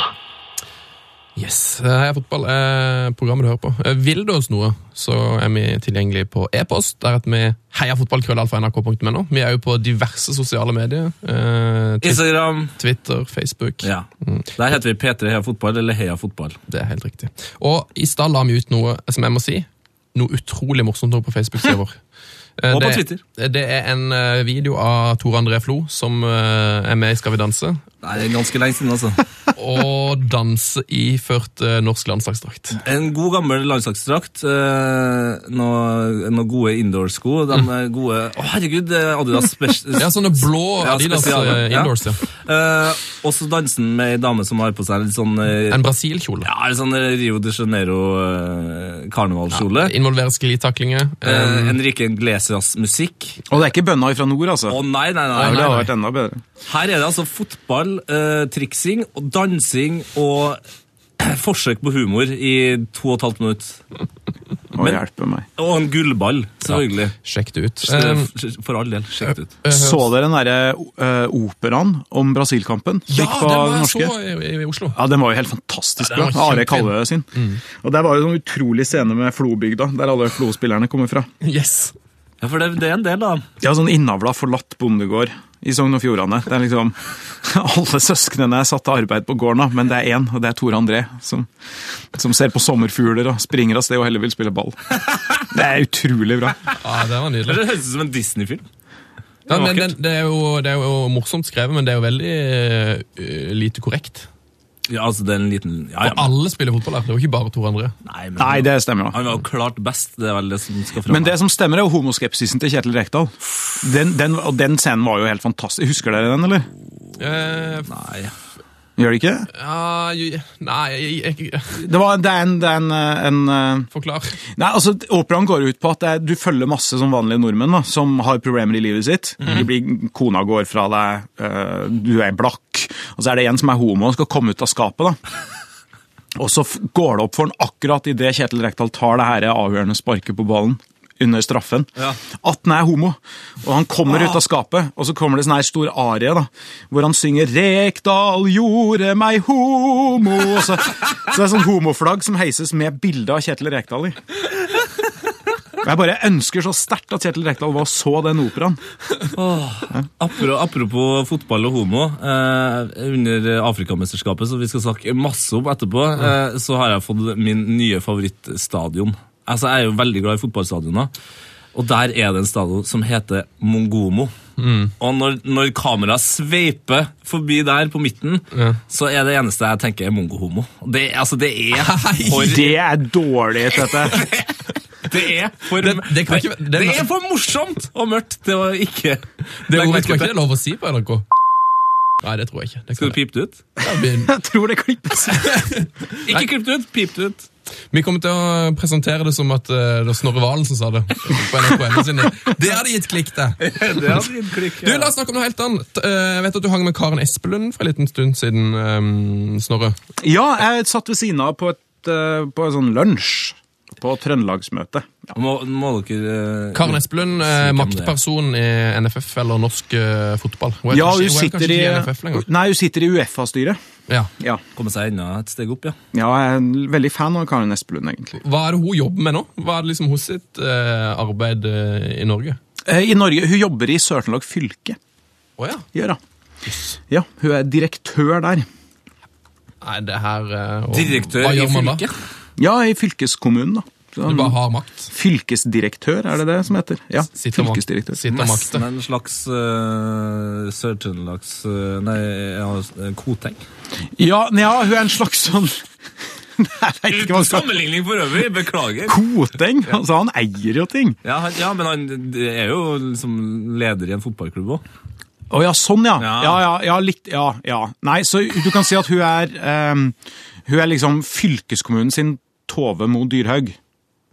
Speaker 5: Yes. eh, Heia fotball er programmet du hører på. Eh, Vil du oss noe, så er vi tilgjengelig på e-post. Der heter vi heiafotballkrøllalfa.nrk.no. Vi er jo på diverse sosiale medier. eh, Twi-
Speaker 2: Instagram.
Speaker 5: Twitter, Facebook.
Speaker 2: Ja. Der heter vi P3 Heia Fotball eller Heia Fotball.
Speaker 5: Det er helt riktig. Og i stad la vi ut noe som jeg må si, noe utrolig morsomt over på Facebook-sida vår. Eh,
Speaker 2: Og på
Speaker 5: det-
Speaker 2: Twitter.
Speaker 5: Det er en eh, video av Tor André Flo som eh, er med i Skal vi danse,
Speaker 2: Nei, det er ganske lenge siden, altså.
Speaker 5: og danser iført eh, norsk landslagsdrakt.
Speaker 2: En god gammel landslagsdrakt. eh, Noen noe gode indoor-sko. De er gode Å, herregud, det er Adidas Special.
Speaker 5: Ja, sånne blå
Speaker 2: Ja,
Speaker 5: Adidas
Speaker 2: spesial,
Speaker 5: eh,
Speaker 2: ja.
Speaker 5: indoors, ja.
Speaker 2: Eh, og så dansen med ei dame som har på seg litt sånn eh,
Speaker 5: En Brasil-kjole.
Speaker 2: ja, litt sånn Rio de Janeiro-karnevalskjole.
Speaker 5: Involverer sklitaklinger.
Speaker 2: Eh,
Speaker 5: eh,
Speaker 2: Enrique Iglesias-musikk.
Speaker 6: Og det er ikke bønner fra nord, altså.
Speaker 2: Å nei, nei, nei,
Speaker 6: det
Speaker 2: nei.
Speaker 6: hadde
Speaker 5: nei.
Speaker 6: vært enda bedre.
Speaker 2: Her er det altså fotball, eh, triksing, og dansing og forsøk på humor i to og et halvt minutt.
Speaker 6: Å hjelpe meg.
Speaker 2: Og en gullball, selvfølgelig.
Speaker 5: Sjekk det ut.
Speaker 2: Eh,
Speaker 6: Um,
Speaker 5: Eh,
Speaker 2: For all del, sjekk det ut.
Speaker 6: Så dere den derre eh, operaen om Brasil-kampen? som
Speaker 5: ja,
Speaker 6: gikk
Speaker 5: den
Speaker 6: på
Speaker 5: var jeg
Speaker 6: norske?
Speaker 5: så i, i, i Oslo.
Speaker 6: Ja, den var jo helt fantastisk
Speaker 5: Ja,
Speaker 6: bra.
Speaker 5: den var
Speaker 6: Are
Speaker 5: kjempefin. Mm.
Speaker 6: Kalvø sin. Og der var jo sånn utrolig scene med Flobygda, der alle Flo-spillerne kommer fra.
Speaker 5: Yes.
Speaker 6: eh.
Speaker 2: Ja, for det, det er en del, da.
Speaker 6: Ja, sånn innavla, forlatt bondegård i Sogn og Fjordane. Det er liksom Alle søsknene er satt til arbeid på gården, da, men det er én, og det er Tore André, som, som ser på sommerfugler og springer av sted og heller vil spille ball. Det er utrolig bra.
Speaker 5: Ja, det var nydelig.
Speaker 2: Det høres ut som en Disney-film.
Speaker 5: Ja, men
Speaker 2: Vakkert.
Speaker 5: den, det, er jo, det er jo morsomt skrevet, men det er jo veldig eh, lite korrekt.
Speaker 2: Ja, altså, det er en liten ja, ja,
Speaker 5: Og alle spiller fotball her, det er jo ikke bare Tor André.
Speaker 2: Nei, men,
Speaker 6: Nei, det stemmer. da.
Speaker 2: Han var jo klart best, det er vel det som skal fram.
Speaker 6: Men det som stemmer, er jo homoskepsisen til Kjetil Rekdal. Den, den, og den scenen var jo helt fantastisk. Husker dere den, eller?
Speaker 5: Eh, f-
Speaker 2: Nei.
Speaker 6: Gjør det ikke?
Speaker 5: ja, jo- nei, jeg, jeg,
Speaker 6: Det, var, det er en, det er en, eh, en eh,
Speaker 5: forklar.
Speaker 6: Nei, altså, Operaen går ut på at det er, du følger masse som vanlige nordmenn da, som har problemer i livet sitt. De blir, kona går fra deg, øh, du er blakk, og så er det en som er homo og skal komme ut av skapet. da. Og så f- går det opp for han akkurat idet Kjetil Rekdal tar det her avgjørende sparket på ballen under straffen, at han er homo. Og han kommer ut av skapet, og så kommer det sånn her stor arie, da, hvor han synger 'Rekdal gjorde meg homo'. Og så, så det er sånn homoflagg som heises med bilde av Kjetil Rekdal i. Jeg bare ønsker så sterkt at Kjetil Rekdal var og så den operaen.
Speaker 2: Apro- Apropos fotball og homo. Eh, under Afrikamesterskapet, som vi skal snakke masse om etterpå, eh, så har jeg fått min nye favorittstadion. Altså, Jeg er jo veldig glad i fotballstadioner. Og der er det en stadion som heter Mongomo.
Speaker 5: Mm.
Speaker 2: Og når, når kameraet sveiper forbi der på midten, så er det eneste jeg tenker, er mongohomo. Det, altså, det er for
Speaker 6: Det er dårlig, Tete.
Speaker 2: Det er for,
Speaker 5: Det- det kan ikke være- det er
Speaker 2: det er
Speaker 5: nesten-
Speaker 2: for morsomt og mørkt til å ikke
Speaker 5: Det
Speaker 2: legge
Speaker 5: ordet
Speaker 2: merke
Speaker 5: tror jeg ikke
Speaker 2: til.
Speaker 5: det er lov å si på NRK. Nei, det tror jeg ikke. Det
Speaker 2: Skal
Speaker 5: kan
Speaker 2: du pipe det ut?
Speaker 5: jeg. Vi,
Speaker 6: Jeg tror det klippes.
Speaker 2: Ikke klipp det ut, pip det ut.
Speaker 5: vi kommer til å presentere det som at eh, det var Snorre Valen som sa det. På NRK sine. Det hadde gitt klikk, det.
Speaker 2: Det hadde gitt klikk.
Speaker 5: Du, La oss snakke om noe helt annet. Eh, Jeg vet at du hang med Karen Espelund for en liten stund siden, eh, Snorre.
Speaker 6: Ja, jeg satt ved siden av på et, eh, på en sånn lunsj på Trøndelagsmøte. Ja.
Speaker 2: Må, må dere eh,
Speaker 5: Karen Espelund,
Speaker 2: hvem
Speaker 5: eh,
Speaker 2: det er.
Speaker 5: maktperson i NFF eller norsk eh, fotball. Hun er
Speaker 6: Ja,
Speaker 5: kanskje- hun
Speaker 6: hun
Speaker 5: er kanskje
Speaker 6: sitter i,
Speaker 5: ikke NFF lenger.
Speaker 6: nei, hun sitter i Uefa-styret.
Speaker 5: Ja.
Speaker 6: Ja.
Speaker 2: komme seg enda et steg opp, ja.
Speaker 6: ja, jeg er veldig fan av Karin Espelund, egentlig.
Speaker 5: Hva er det hun jobber med nå? Hva er det liksom hos sitt eh, arbeid eh, i Norge?
Speaker 6: Eh, I Norge, Hun jobber i Sør-Trøndelag fylke,
Speaker 5: Å ja.
Speaker 6: gjør hun. Ja, hun er direktør der.
Speaker 5: Nei, det her eh, og-
Speaker 2: Direktør
Speaker 5: Hva
Speaker 2: i
Speaker 5: gjør man da?
Speaker 2: fylket.
Speaker 6: Ja, i fylkeskommunen, da. Så
Speaker 5: Du
Speaker 6: han-
Speaker 5: bare har makt.
Speaker 6: Fylkesdirektør, er det det som heter? Ja,
Speaker 5: Sitter og mak-
Speaker 6: fylkesdirektør.
Speaker 5: Sitter og
Speaker 2: Nesten
Speaker 5: makter.
Speaker 2: en slags uh, Sør-Trøndelags eh, Nei, ja, eh, Koteng.
Speaker 6: Ja, nei, ja, hun er en slags sånn Jeg vet ikke
Speaker 2: Uten
Speaker 6: hva hun skal
Speaker 2: sammenligning for øvrig, beklager.
Speaker 6: Koteng! Altså, han eier jo ting.
Speaker 2: Ja, han, ja, men han er jo liksom leder i en fotballklubb òg.
Speaker 6: Å ja, sånn ja.
Speaker 2: Ja.
Speaker 6: Ja, ja, ja, litt, ja, ja. Nei, så du kan si at hun er ehm, Hun er liksom fylkeskommunen sin Tove Mo Dyrhaug.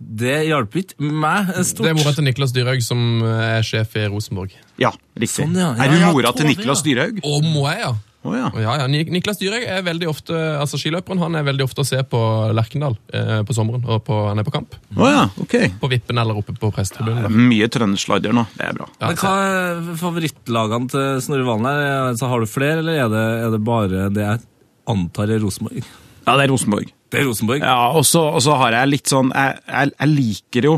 Speaker 2: Det hjalp ikke meg stort.
Speaker 5: Det er mora til Niklas Dyrhaug som eh, er sjef i Rosenborg.
Speaker 6: Ja, riktig.
Speaker 2: Sånn, ja.
Speaker 6: Er hun
Speaker 2: Ja, ja,
Speaker 6: mora til
Speaker 2: Tove,
Speaker 6: Niklas
Speaker 2: ja.
Speaker 6: Dyrhaug?
Speaker 5: Og må jeg, ja.
Speaker 6: Å ja.
Speaker 5: Ja, ja. Nik- Niklas Dyrhaug er veldig ofte altså skiløperen han er veldig ofte å se på Lerkendal eh, på sommeren. og på, Han er på kamp.
Speaker 6: Å ja, ok.
Speaker 5: På Vippen eller oppe på prestetribunen. da.
Speaker 6: Mye trøndersladder nå. Det er bra.
Speaker 5: Ja,
Speaker 2: Men hva er favorittlagene til Snorre Valen her? Altså, har du flere, eller er det, er det bare det jeg antar er Rosenborg?
Speaker 6: Ja, det er Rosenborg.
Speaker 2: Det er Rosenborg.
Speaker 6: Ja, og så og så har jeg litt sånn Jeg, jeg, jeg liker jo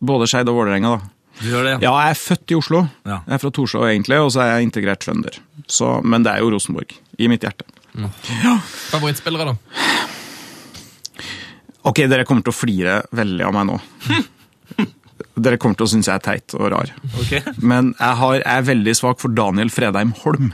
Speaker 6: både Skeid og Vålerenga, da.
Speaker 2: Du gjør det?
Speaker 6: Ja, jeg er født i Oslo.
Speaker 2: Ja.
Speaker 6: Jeg er fra Torshov egentlig, og så er jeg integrert trønder. Så, men det er jo Rosenborg i mitt hjerte.
Speaker 5: Favorittspillere, da?
Speaker 6: Ok, dere kommer til å flire veldig av meg nå. dere kommer til å synes jeg er teit og rar.
Speaker 2: Ok.
Speaker 6: Men jeg, har, jeg er veldig svak for Daniel Fredheim Holm.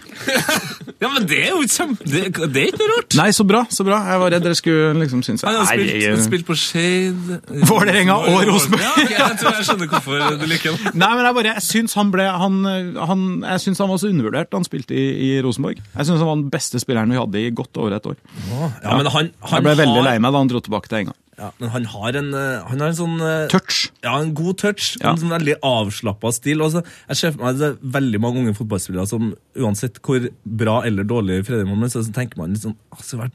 Speaker 2: Ja, men det er jo kjempe... Det, det er ikke noe rart.
Speaker 6: Nei, så bra, så bra. Jeg var redd dere skulle liksom synes jeg
Speaker 2: Han har spilt,
Speaker 6: Nei, jeg-
Speaker 2: spilt på Shade
Speaker 6: Vålerenga og Rosenborg.
Speaker 2: Ja, ok, jeg tror jeg skjønner hvorfor du liker den.
Speaker 6: Nei, men jeg bare, jeg syns han ble han, han, Jeg syns han var så undervurdert da han spilte i, i Rosenborg. Jeg syns han var den beste spilleren vi hadde i godt over et år.
Speaker 2: Ja, men han,
Speaker 6: Jeg
Speaker 2: han,
Speaker 6: ble veldig
Speaker 2: har,
Speaker 6: lei meg da han dro tilbake til Enga.
Speaker 2: Ja, men han har en, eh, han har en sånn eh,
Speaker 6: Touch.
Speaker 2: Ja, en god touch.
Speaker 6: Ja.
Speaker 2: En sånn veldig avslappa stil. Og så- jeg ser for meg at det er veldig mange unge fotballspillere som uansett hvor bra eller dårlig Fredrik Moen er, så så tenker man litt sånn altså, vær-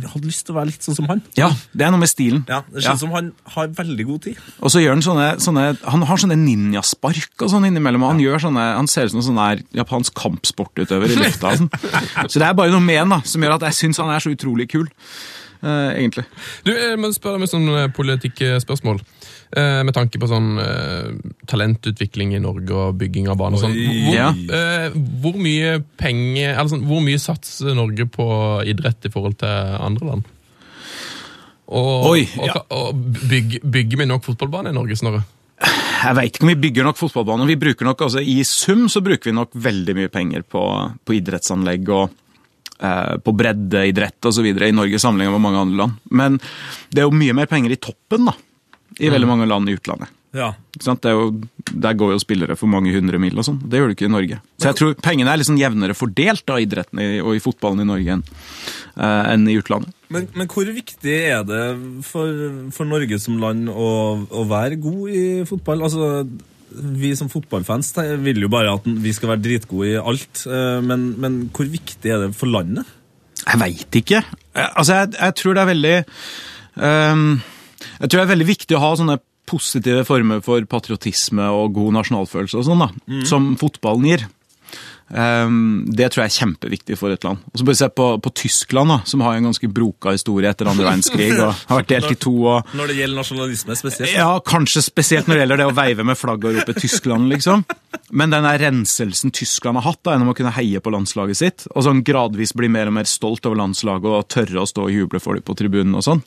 Speaker 2: Jeg hadde lyst til å være litt sånn som han.
Speaker 6: Ja, det er noe med stilen.
Speaker 2: Ja, Det
Speaker 6: Ja.
Speaker 2: skjer som han har veldig god tid.
Speaker 6: Og så gjør han sånne, sånne Han har sånne ninjaspark og sånn innimellom. og Han, gjør sånne, han ser ut som en sånn der japansk kampsportutøver i lufta. og Sånn. Så det er bare noe med han da, som gjør at jeg syns han er så utrolig kul. eh, egentlig.
Speaker 5: Du, jeg må spørre deg med sånn eh, politikkspørsmål. Eh, med tanke på sånn eh, talentutvikling i Norge og bygging av baner og sånn. Hvor,
Speaker 6: Ja.
Speaker 5: eh, hvor mye penger Eller sånn, hvor mye satser Norge på idrett i forhold til andre land? Og,
Speaker 6: Oi,
Speaker 5: og,
Speaker 6: ja.
Speaker 5: og bygg, bygger vi nok fotballbane i Norge, Snorre?
Speaker 6: Jeg veit ikke om vi bygger nok fotballbaner. Vi bruker nok, altså I sum så bruker vi nok veldig mye penger på, på idrettsanlegg og eh, på breddeidrett osv. i Norge sammenlignet med mange andre land. Men det er jo mye mer penger i toppen da, i veldig mange land i utlandet.
Speaker 2: Ja.
Speaker 6: Ikke sant? Det er jo, der går jo spillere for mange hundre mil og sånn. Det gjør du ikke i Norge. Så jeg tror pengene er litt sånn jevnere fordelt da, i idretten i- og i fotballen i Norge enn eh, enn i utlandet.
Speaker 2: Men, men hvor viktig er det for, for Norge som land å, å være god i fotball? Altså, vi som fotballfans te- vil jo bare at vi skal være dritgode i alt, eh, men, men hvor viktig er det for landet?
Speaker 6: Jeg veit ikke. Jeg, altså, jeg, jeg tror det er veldig ehm, Jeg tror det er veldig viktig å ha sånne positive former for patriotisme og god nasjonalfølelse og sånn, da. Som fotballen gir. Ehm, det tror jeg er kjempeviktig for et land. Og så bare se på, på Tyskland, da, som har en ganske broka historie etter andre verdenskrig og har vært delt i to og
Speaker 2: Når det gjelder nasjonalisme spesielt.
Speaker 6: ja, kanskje spesielt når det gjelder det å veive med flagget og rope Tyskland, liksom. Men den der renselsen Tyskland har hatt da, gjennom å kunne heie på landslaget sitt, og sånn gradvis bli mer og mer stolt over landslaget og tørre å stå og juble for dem på tribunen og sånn.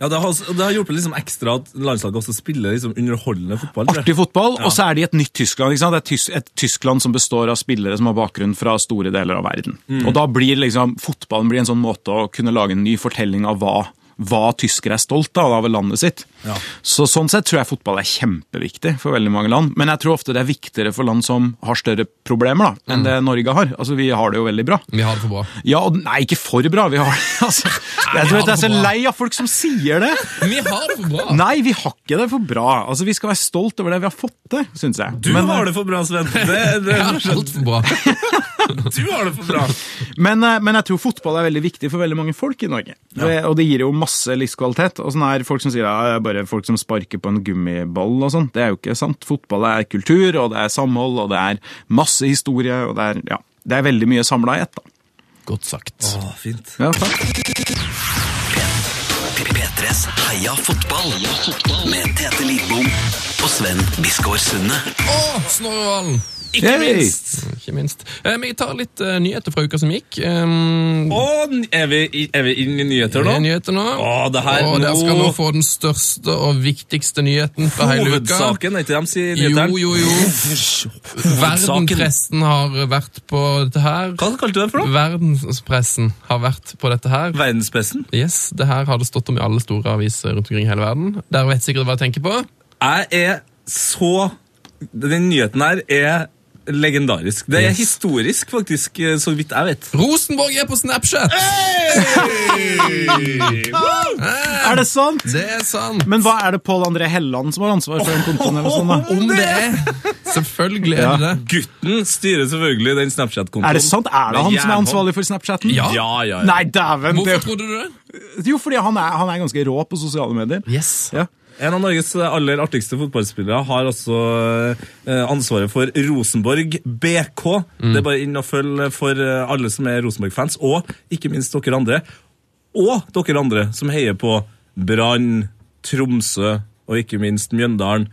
Speaker 2: Ja, det, har, det har hjulpet liksom ekstra at landslaget også spiller liksom underholdende fotball. tror jeg.
Speaker 6: Artig fotball, og så er de et nytt Tyskland. ikke sant? Det er tys et Tyskland som består av spillere som har bakgrunn fra store deler av verden. Og da blir liksom, fotballen blir en sånn måte å kunne lage en ny fortelling av hva, hva tyskere er stolt av av landet sitt.
Speaker 2: Ja.
Speaker 6: Så sånn sett tror jeg fotball er kjempeviktig for veldig mange land. Men jeg tror ofte det er viktigere for land som har større problemer da, enn det Norge har. Altså, Vi har det jo veldig bra.
Speaker 5: Vi har det for bra.
Speaker 6: Ja, og Nei, ikke for bra. Vi har det, altså. Jeg tror at jeg er så lei av folk som sier det.
Speaker 5: Vi har det for bra!
Speaker 6: Nei, vi har ikke det for bra. Altså, Vi skal være stolt over det vi har fått til, syns jeg.
Speaker 2: Du
Speaker 6: men,
Speaker 2: har det for bra, Sven. Det, det,
Speaker 5: Vi har alt for bra.
Speaker 2: du har det for bra.
Speaker 6: men, eh, men jeg tror fotball er veldig viktig for veldig mange folk i Norge. Det- Og det gir jo masse livskvalitet. Og sånn her, Folk som sier ja, det er bare folk som sparker på en gummiball og sånn, det er jo ikke sant. Fotball er kultur, og det er samhold, og det er masse historie, og det er, ja, det er veldig mye samla i ett. da.
Speaker 5: Godt sagt.
Speaker 2: Å, fint.
Speaker 6: Ja, takk.
Speaker 4: P3s Heia fotball med Tete Lidbom og Sven Biskår Sunde.
Speaker 5: Å, Snorre Valen!
Speaker 2: Ikke
Speaker 6: Yay!
Speaker 2: minst.
Speaker 5: Ikke minst. Eh, vi tar litt eh, nyheter fra uka som gikk. Um,
Speaker 2: Og er vi, i- er vi inne i nyheter nå?
Speaker 5: Nyheter nå.
Speaker 2: Å, det her
Speaker 5: og
Speaker 2: nå-
Speaker 5: dere skal nå få den største og viktigste nyheten fra hele uka.
Speaker 2: Hovedsaken, er ikke det de sier i
Speaker 5: Jo,
Speaker 2: nyhetene?
Speaker 5: jo, jo. Verdenspressen har vært på dette her.
Speaker 2: Hva kalte du det for noe?
Speaker 5: Verdenspressen har vært på dette her.
Speaker 2: Verdenspressen?
Speaker 5: Yes, Det her har det stått om i alle store aviser rundt omkring i hele verden. Dere vet sikkert hva jeg tenker på.
Speaker 2: Jeg er så Den nyheten her er legendarisk. Det er
Speaker 5: Yes.
Speaker 2: historisk, faktisk, eh, så vidt jeg vet.
Speaker 5: Rosenborg er på Snapchat!
Speaker 2: Eh!
Speaker 6: Er det sant?
Speaker 5: Det er sant!
Speaker 6: Men hva er det Pål André Helland som har ansvar for den kontoen? eller sånn da?
Speaker 5: Om det er! Selvfølgelig er det det.
Speaker 2: Gutten styrer selvfølgelig den Snapchat-kontoen.
Speaker 6: Er det sant? Er det han som er ansvarlig for Snapchaten?
Speaker 5: Ja.
Speaker 2: Ja, ja, ja.
Speaker 6: Nei, dæven!
Speaker 5: Hvorfor
Speaker 6: Det,
Speaker 5: trodde du det?
Speaker 6: jo, fordi han er, han er ganske rå på sosiale medier.
Speaker 5: Yes.
Speaker 6: Ja.
Speaker 2: En av Norges aller artigste fotballspillere har altså eh, ansvaret for Rosenborg BK. Det er bare inn og følg for eh, alle som er Rosenborg-fans, og ikke minst dere andre. Og dere andre som heier på Brann, Tromsø og ikke minst Mjøndalen.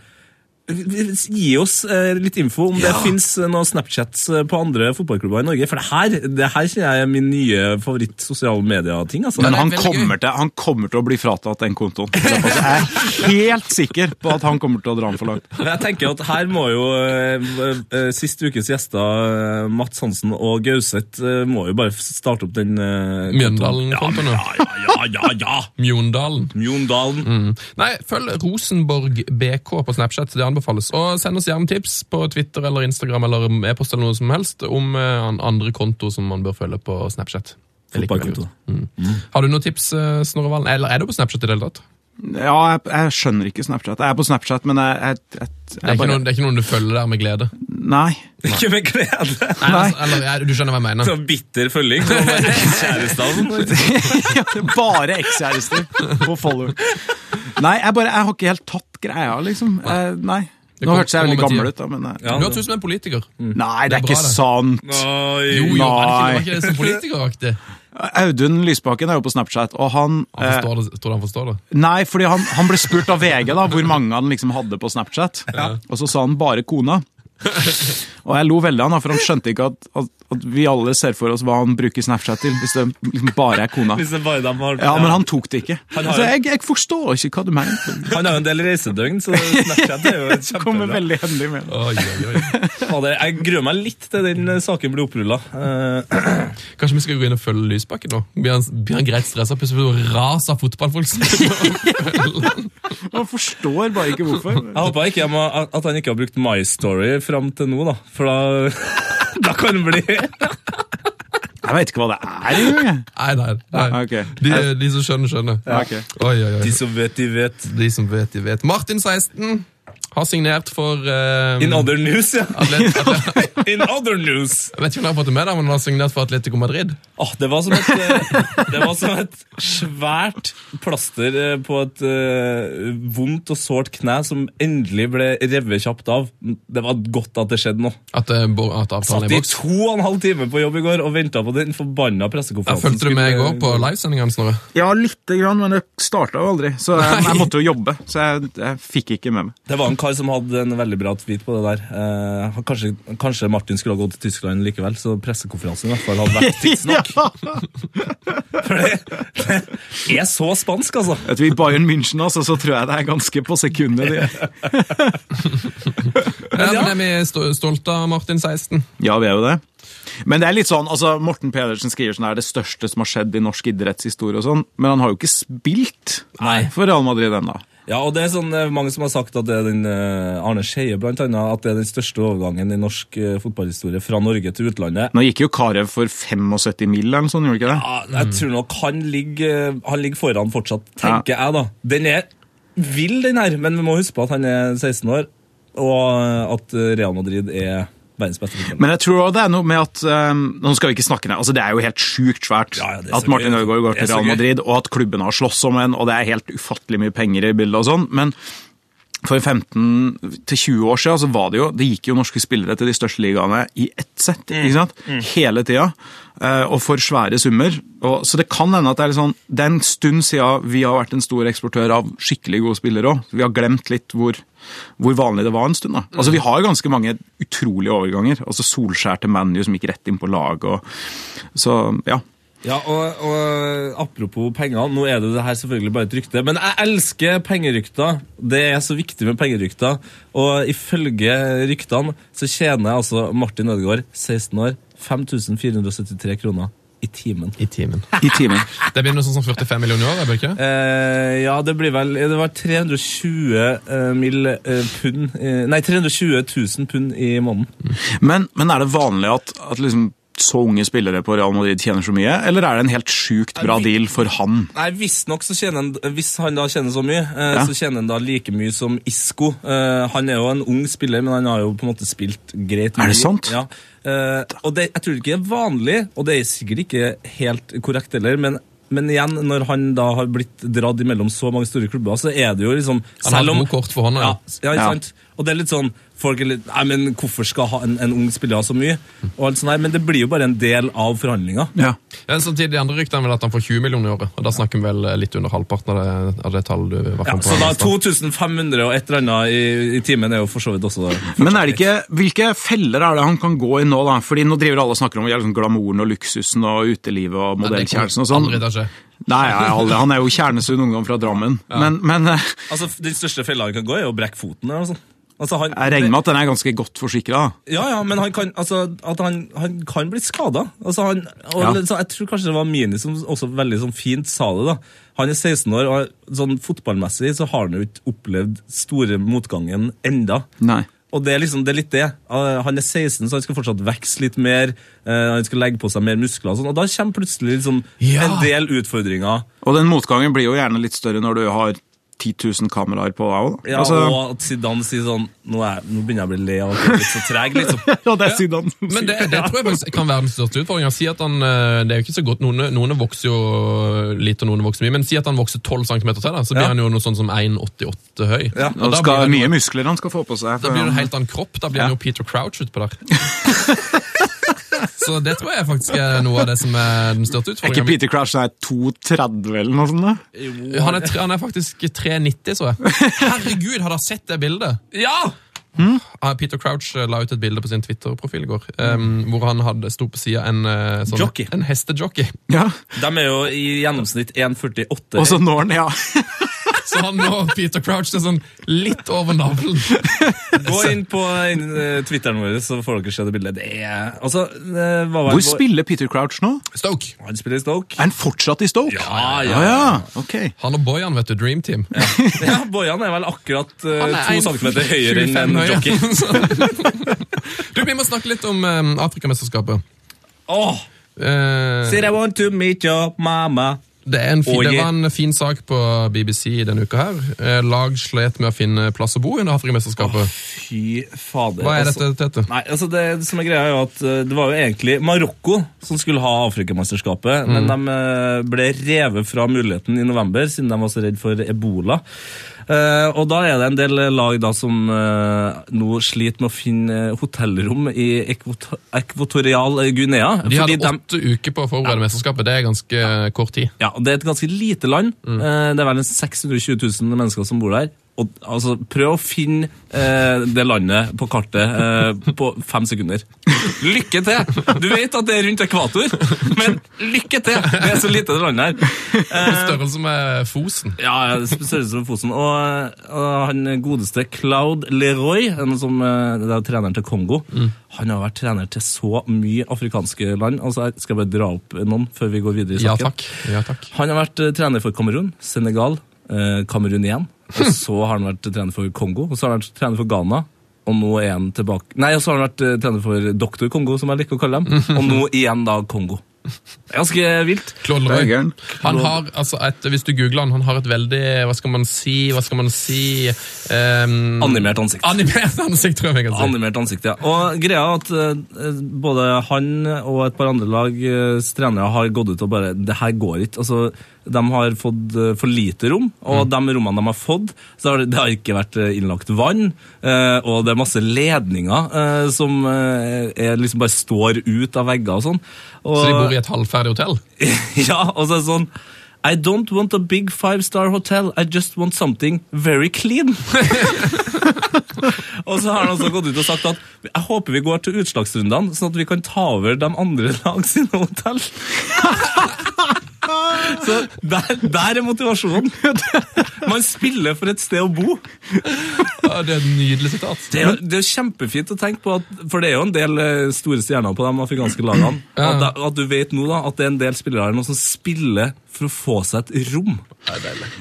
Speaker 2: Gi oss eh, litt info om det fins noen Snapchats eh, på andre fotballklubber i Norge. For det her, det her kjenner jeg er min nye favoritt-sosiale medier-ting. Altså.
Speaker 5: det
Speaker 6: Men
Speaker 5: er
Speaker 6: han
Speaker 5: veldig gøy.
Speaker 6: kommer, til, han kommer til å bli fratatt den kontoen. Altså, jeg er helt sikker på at han kommer til å dra den for langt.
Speaker 2: Men Jeg tenker at her må jo eh, eh, sist ukes gjester, eh, Mats Hansen og Gauseth, eh, må jo bare starte opp den eh,
Speaker 5: Mjøndalen-kontoen.
Speaker 2: Ja, Mm. ja, ja, ja, ja!
Speaker 5: Mjøndalen.
Speaker 2: Mjondalen.
Speaker 5: Nei, følg Rosenborg BK på Snapchat, det anbefales. Og send oss gjerne tips på Twitter eller Instagram eller e-post eller noe som helst om eh, an- andre konto som man bør følge på Snapchat. Jeg liker veldig
Speaker 2: Fotballkonto.
Speaker 5: godt. Mm. Har du noen tips, eh, Snorre Valen? Eller er du på Snapchat i det hele tatt?
Speaker 6: Ja, jeg, jeg skjønner ikke Snapchat. Jeg er på Snapchat, men jeg, jeg, jeg, jeg,
Speaker 5: Det er, ikke
Speaker 6: bare
Speaker 5: noen, det er ikke noen du følger der med glede? Nei,
Speaker 6: Nei.
Speaker 2: Ikke med glede!
Speaker 5: altså, eller, ja, du skjønner hva jeg mener.
Speaker 2: Så sånn bitter følging. Det var bare kjæresten.
Speaker 6: Ja, det er bare ekskjærester på follow. Nei, jeg bare Jeg har ikke helt tatt greia, liksom. Eh, nei.
Speaker 5: kom-
Speaker 6: Nå hørtes jeg
Speaker 5: det
Speaker 6: veldig
Speaker 5: kommer med
Speaker 6: gammel ut, da, men eh,
Speaker 2: Ja,
Speaker 5: Du høres ut som en politiker.
Speaker 6: Nei, det
Speaker 5: er
Speaker 6: er
Speaker 5: bra,
Speaker 6: ikke
Speaker 5: det.
Speaker 6: sant.
Speaker 5: Jo,
Speaker 2: Oi.
Speaker 5: jo, var det
Speaker 6: Nei.
Speaker 5: ikke, det var ikke så politikeraktig.
Speaker 6: Audun Lysbakken er jo på Snapchat, og han
Speaker 5: Han
Speaker 6: eh,
Speaker 5: forstår det, tror du han forstår det?
Speaker 6: Nei, fordi han, han ble spurt av VG da, hvor mange han liksom hadde på Snapchat. Og så sa han bare kona. Og jeg lo veldig av han, da, for han skjønte ikke at, at, at vi alle ser for oss hva han bruker Snapchat til, hvis det liksom bare er kona.
Speaker 2: Hvis det bare dem har
Speaker 6: Ja, men han tok det ikke.
Speaker 2: har-
Speaker 6: Så jeg, jeg forstår ikke hva du mener.
Speaker 2: Han har jo en del reisedøgn, så Snapchat er jo
Speaker 6: Det kommer
Speaker 2: kjempebra.
Speaker 6: veldig hendelig med.
Speaker 5: Oi, oi, oi.
Speaker 2: Fader, Jeg gruer meg litt til den eh, saken blir Eh, opprulla.
Speaker 5: Kanskje vi skal gå inn og følge Lysbakken nå? Blir han, blir han greit stressa? Plutselig blir det ras av fotballfolk. som-
Speaker 6: Man forstår bare ikke hvorfor.
Speaker 2: Jeg håper ikke jeg må, at han ikke har brukt My Story fram til nå, da. For da, da kan det bli
Speaker 6: Jeg vet ikke hva det er engang. jeg.
Speaker 5: Nei, nei. nei.
Speaker 6: Ah, ok.
Speaker 5: De, de som skjønner, skjønner.
Speaker 6: Ja, ok.
Speaker 5: Oi, oi, oi.
Speaker 2: De som vet, de vet.
Speaker 5: De som vet, de vet. Martin 16 har signert for eh,
Speaker 2: In other news, ja.
Speaker 5: Atlet- Atlet-
Speaker 2: In other news!
Speaker 5: Jeg vet ikke om han har fått det med, da, men han har signert for Atletico Madrid.
Speaker 2: Åh, Ah, det, var som et, eh, det var som et svært plaster eh, på et eh, vondt og sårt kne som endelig ble revet kjapt av. Det var godt at det skjedde nå.
Speaker 5: At, eh, bo- at avtalen
Speaker 2: Satt
Speaker 5: er
Speaker 2: i
Speaker 5: i boks.
Speaker 2: to og en halv time på jobb i går og venta på den forbanna
Speaker 5: Jeg
Speaker 2: pressekonferansen.
Speaker 5: fulgte du med i går på livesendingene, Snorre?
Speaker 6: Ja, lite grann, men det starta jo aldri. Så jeg, jeg måtte jo jobbe, så jeg, jeg fikk ikke med meg.
Speaker 2: Det var en kar som hadde en veldig bra tweet på det der. Eh, han- kanskje, kanskje Martin skulle ha gått til Tyskland likevel, så pressekonferansen i hvert fall hadde vært tidsnok. For det, det er så spansk, altså.
Speaker 6: Vet du, I Bayern München altså, så tror jeg det er ganske på sekundet. de-
Speaker 5: Ja, men er vi sto- stolte av Martin 16?
Speaker 6: Ja, vi er jo det. Men det er litt sånn, altså, Morten Pedersen skriver sånn, det er det største som har skjedd i norsk idrettshistorie, og sånn, men han har jo ikke spilt
Speaker 2: Nei.
Speaker 6: for Real Madrid ennå.
Speaker 2: Ja, og det er sånn eh, mange som har sagt at det er den eh, Arne Skeie, blant annet, at det er den største overgangen i norsk eh, fotballhistorie fra Norge til utlandet.
Speaker 6: Nå gikk jo Karev for 75 mil, eller noe sånt, gjorde han ikke det?
Speaker 2: Ja, jeg tror nok han ligger, eh, han ligger foran fortsatt, tenker jeg da. Den er vill, den her, men vi må huske på at han er 16 år, og at eh, Real Madrid er verdens beste fotball.
Speaker 6: Men jeg tror også det er noe med at um, Nå skal vi ikke snakke ned. altså Det er jo helt sjukt svært
Speaker 2: Ja, ja, det er så
Speaker 6: at Martin
Speaker 2: gøy.
Speaker 6: Ødegaard går
Speaker 2: Det er
Speaker 6: til
Speaker 2: så
Speaker 6: Real
Speaker 2: gøy.
Speaker 6: Madrid, og at klubben har slåss om en, og det er helt ufattelig mye penger i bildet og sånn. men for 15 til 20 år siden så var det jo, det gikk jo norske spillere til de største ligaene i ett sett,
Speaker 2: Mm.
Speaker 6: ikke sant? hele tida, eh, og for svære summer. Og, så det kan hende at det er litt sånn, det er en stund siden vi har vært en stor eksportør av skikkelig gode spillere òg. Vi har glemt litt hvor, hvor vanlig det var en stund. da.
Speaker 2: Mm.
Speaker 6: Altså Vi har ganske mange utrolige overganger. altså Solskjær til ManU som gikk rett inn på lag. og så ja.
Speaker 2: Ja, og, og apropos penger, nå er det det her selvfølgelig bare et rykte, men jeg elsker pengerykter. Det er så viktig med pengerykter, og ifølge ryktene så tjener altså Martin Ødegaard, 16 år, 5473 kroner i timen.
Speaker 5: I timen.
Speaker 6: I timen.
Speaker 5: Det begynner sånn som 45 millioner i år, er det ikke?
Speaker 2: Eh, ja, det blir vel Det var 320 eh, mill. Eh, pund eh, Nei, 320 000 pund i måneden.
Speaker 6: Men, men er det vanlig at, at liksom så unge spillere på Real Madrid tjener så mye, eller er det en helt sjukt bra deal for han?
Speaker 2: Nei, visstnok så tjener han Hvis han da tjener så mye, eh,
Speaker 6: Ja.
Speaker 2: så tjener han da like mye som Isco. Eh, han er jo en ung spiller, men han har jo på en måte spilt greit.
Speaker 6: Er det
Speaker 2: mye.
Speaker 6: sant?
Speaker 2: Ja. Eh, og det, jeg tror ikke det er vanlig, og det er sikkert ikke helt korrekt heller, men men igjen, når han da har blitt dratt imellom så mange store klubber, så er det jo liksom
Speaker 5: Han har noe kort for hånda.
Speaker 2: Ja,
Speaker 5: Ja.
Speaker 2: s- ja, ikke
Speaker 6: Ja.
Speaker 2: sant? Og det er litt sånn Folk er litt Nei, men hvorfor skal ha en, en ung spiller ha så mye? Og alt sånt der, Men det blir jo bare en del av forhandlinga.
Speaker 6: Ja.
Speaker 5: Men samtidig, sånn de andre ryktene er vel at han får 20 millioner i året, og da snakker vi vel eh, litt under halvparten av det, av det tallet du
Speaker 2: Ja,
Speaker 5: var frem på.
Speaker 2: så da
Speaker 5: her i stad.
Speaker 2: 2500 og et eller annet i, i timen er jo for så vidt også
Speaker 6: Men er det ikke, hvilke feller er det han kan gå i nå, da? Fordi nå driver alle og snakker om ja, liksom, glamouren og luksusen og utelivet
Speaker 5: Nei,
Speaker 6: og
Speaker 5: det kommer
Speaker 6: modellkjæresten og sånn.
Speaker 5: aldri til å skje.
Speaker 6: Nei, ja, alle, han er jo kjernesund ungdom fra Drammen. Men, men eh,
Speaker 2: Altså, Den største fella han kan gå, er å brekke foten. eller noe sånt. Altså, han,
Speaker 6: jeg regner med at den er ganske godt forsikra.
Speaker 2: Ja, ja, men han kan, altså, at han, han kan bli skada. Altså, han- og
Speaker 6: Ja.
Speaker 2: litt sånn- jeg tror kanskje det var Mini som også veldig sånn fint sa det. da. Han er 16 år, og sånn fotballmessig så har han jo ikke opplevd store motgangen enda.
Speaker 6: Nei.
Speaker 2: Og det er liksom, det er litt det. Eh, Han er 16, så han skal fortsatt vokse litt mer. eh, Han skal legge på seg mer muskler og sånn. Og da kommer plutselig liksom
Speaker 5: Ja.
Speaker 2: en del utfordringer.
Speaker 6: Og den motgangen blir jo gjerne litt større når du har 10 000 kameraer på deg Altså, òg.
Speaker 2: Ja, og at Zidane sier sånn nå, er, nå begynner jeg å bli lei av at jeg er litt så treg, liksom.
Speaker 6: ja, det er Zidane som
Speaker 5: Men det,
Speaker 6: sier
Speaker 5: det tror jeg faktisk kan være den største utfordringen. Si at han, eh, det er jo ikke så godt, noen, noen vokser jo litt og noen vokser mye, men si at han vokser 12 cm til, da, så blir
Speaker 2: Ja.
Speaker 5: han jo noe sånn som 1,88 høy.
Speaker 2: Ja,
Speaker 5: Og
Speaker 6: Og
Speaker 5: da
Speaker 6: skal,
Speaker 5: blir
Speaker 6: mye
Speaker 5: han,
Speaker 6: muskler han skal få på
Speaker 5: da
Speaker 6: seg. for
Speaker 5: blir det
Speaker 6: han-
Speaker 5: en helt annen kropp, da blir han jo Peter Crouch utpå der. Så det tror jeg faktisk er noe av det som er den største
Speaker 6: Er ikke
Speaker 5: utfordringen.
Speaker 6: Peter Crash er 2,30 eller noe sånt? da?
Speaker 5: Han er, tre- han er faktisk 3,90, så jeg. Herregud, har dere sett det bildet?
Speaker 2: Ja!
Speaker 5: Ah, Peter Crouch eh, la ut et bilde på sin Twitter-profil i går, em, hvor han hadde, sto på sida en, eh, sånn,
Speaker 2: Jockey.
Speaker 5: en hestejockey.
Speaker 6: Ja.
Speaker 2: De er jo i gjennomsnitt 1,48.
Speaker 6: Og så når han, ja.
Speaker 5: Så han og Peter Crouch er sånn litt over navlen.
Speaker 2: Gå inn på inn, eh, Twitteren vår, så får dere se det bildet. Det er, altså, eh, hva var
Speaker 6: Hvor
Speaker 2: det-
Speaker 6: spiller Peter Crouch nå?
Speaker 5: Stoke.
Speaker 2: Han spiller i Stoke.
Speaker 6: Er han fortsatt i Stoke?
Speaker 2: Ja, ja.
Speaker 6: ja. ja. Ok.
Speaker 5: Han og Bojan, vet du. Dream Team.
Speaker 2: ja Bojan er vel akkurat eh,
Speaker 5: Han er
Speaker 2: to
Speaker 5: en-
Speaker 2: centimeter høyere enn en
Speaker 5: 25 høy.
Speaker 2: jockey.
Speaker 5: Så- du, Vi må snakke litt om um, Afrikamesterskapet.
Speaker 2: Åh,
Speaker 5: Eh,
Speaker 2: said I want to meet your mama.
Speaker 5: det, er en fin,
Speaker 2: Oh,
Speaker 5: det
Speaker 2: yeah.
Speaker 5: var en fin sak på BBC denne uka. her. Eh, lag slet med å finne plass å bo under Afrikamesterskapet.
Speaker 2: Fy fader.
Speaker 5: Hva er
Speaker 2: altså.
Speaker 5: dette, Tete?
Speaker 2: Nei, altså det som er greia er jo at eh, Det var jo egentlig Marokko som skulle ha Afrikamesterskapet,
Speaker 5: Mm.
Speaker 2: men de eh, ble revet fra muligheten i november siden de var så redd for ebola. Eh, og da er det en del eh, lag da som eh, nå sliter med å finne eh, hotellrom i Ekvota- Ekvatorial eh, Guinea.
Speaker 5: De
Speaker 2: fordi
Speaker 5: hadde åtte uker på å forberede mesterskapet. Det er ganske eh, kort tid.
Speaker 2: ja, og Det er et ganske lite land.
Speaker 5: Mm.
Speaker 2: Eh, Det er vel en 620 000 mennesker som bor der. Og, altså, prøv å finne eh, det landet på kartet eh, på fem sekunder. Lykke til! Du vet at det er rundt ekvator, men lykke til! Det er så lite det landet her. Eh,
Speaker 5: Størrelse med Fosen.
Speaker 2: ja, ja, det størrelse på Fosen. Og, og han godeste Cloud Leroy, en som, eh, det er treneren til Kongo,
Speaker 5: Mm.
Speaker 2: han har vært trener til så mye afrikanske land. Altså, jeg skal bare dra opp noen før vi går videre i
Speaker 5: Ja
Speaker 2: saken.
Speaker 5: takk. Ja, takk.
Speaker 2: Han har vært eh, trener for Kamerun, Senegal, eh, Kamerun igjen. Og så har han vært eh, trener for Kongo, og så har han vært trener for Ghana. Og nå er han tilbake Nei, og så har han vært eh, trener for Doktor Kongo, som jeg liker å kalle dem. Og nå igjen da Kongo. Det er Ganske vilt.
Speaker 5: Claude
Speaker 6: Det er
Speaker 5: Leroy.
Speaker 6: gøren.
Speaker 5: Han har, altså et, Hvis du googler han, han har et veldig Hva skal man si? hva skal man si ehm,
Speaker 2: Animert ansikt.
Speaker 5: Animert ansikt, tror jeg vi kan si.
Speaker 2: Animert ansikt, ja. Og greia er at eh, både han og et par andre lags trenere har gått ut og bare Det her går ikke. Altså, de har fått eh, for lite rom, og
Speaker 5: Mm.
Speaker 2: de rommene de har fått, så har det, det har ikke vært eh, innlagt vann, eh, og det er masse ledninger eh, som eh, er, liksom bare står ut av vegger og sånn. Og,
Speaker 5: Så de bor i et halvferdig hotell?
Speaker 2: ja, og så er det sånn I don't want a big five-star hotel. I just want something very clean. og så har han også gått ut og sagt at jeg håper vi går til utslagsrundene, sånn at vi kan ta over de andre lag sine hotell. Så der, der er motivasjonen. Man spiller for et sted å bo.
Speaker 5: Ja, det er et nydelig sitat.
Speaker 2: Det er, jo- det er kjempefint å tenke på, at, for det er jo en del eh, store stjerner på de afrikanske lagene. At, da- at du vet nå da, at det er en del spillere her nå som spiller for å få seg et rom.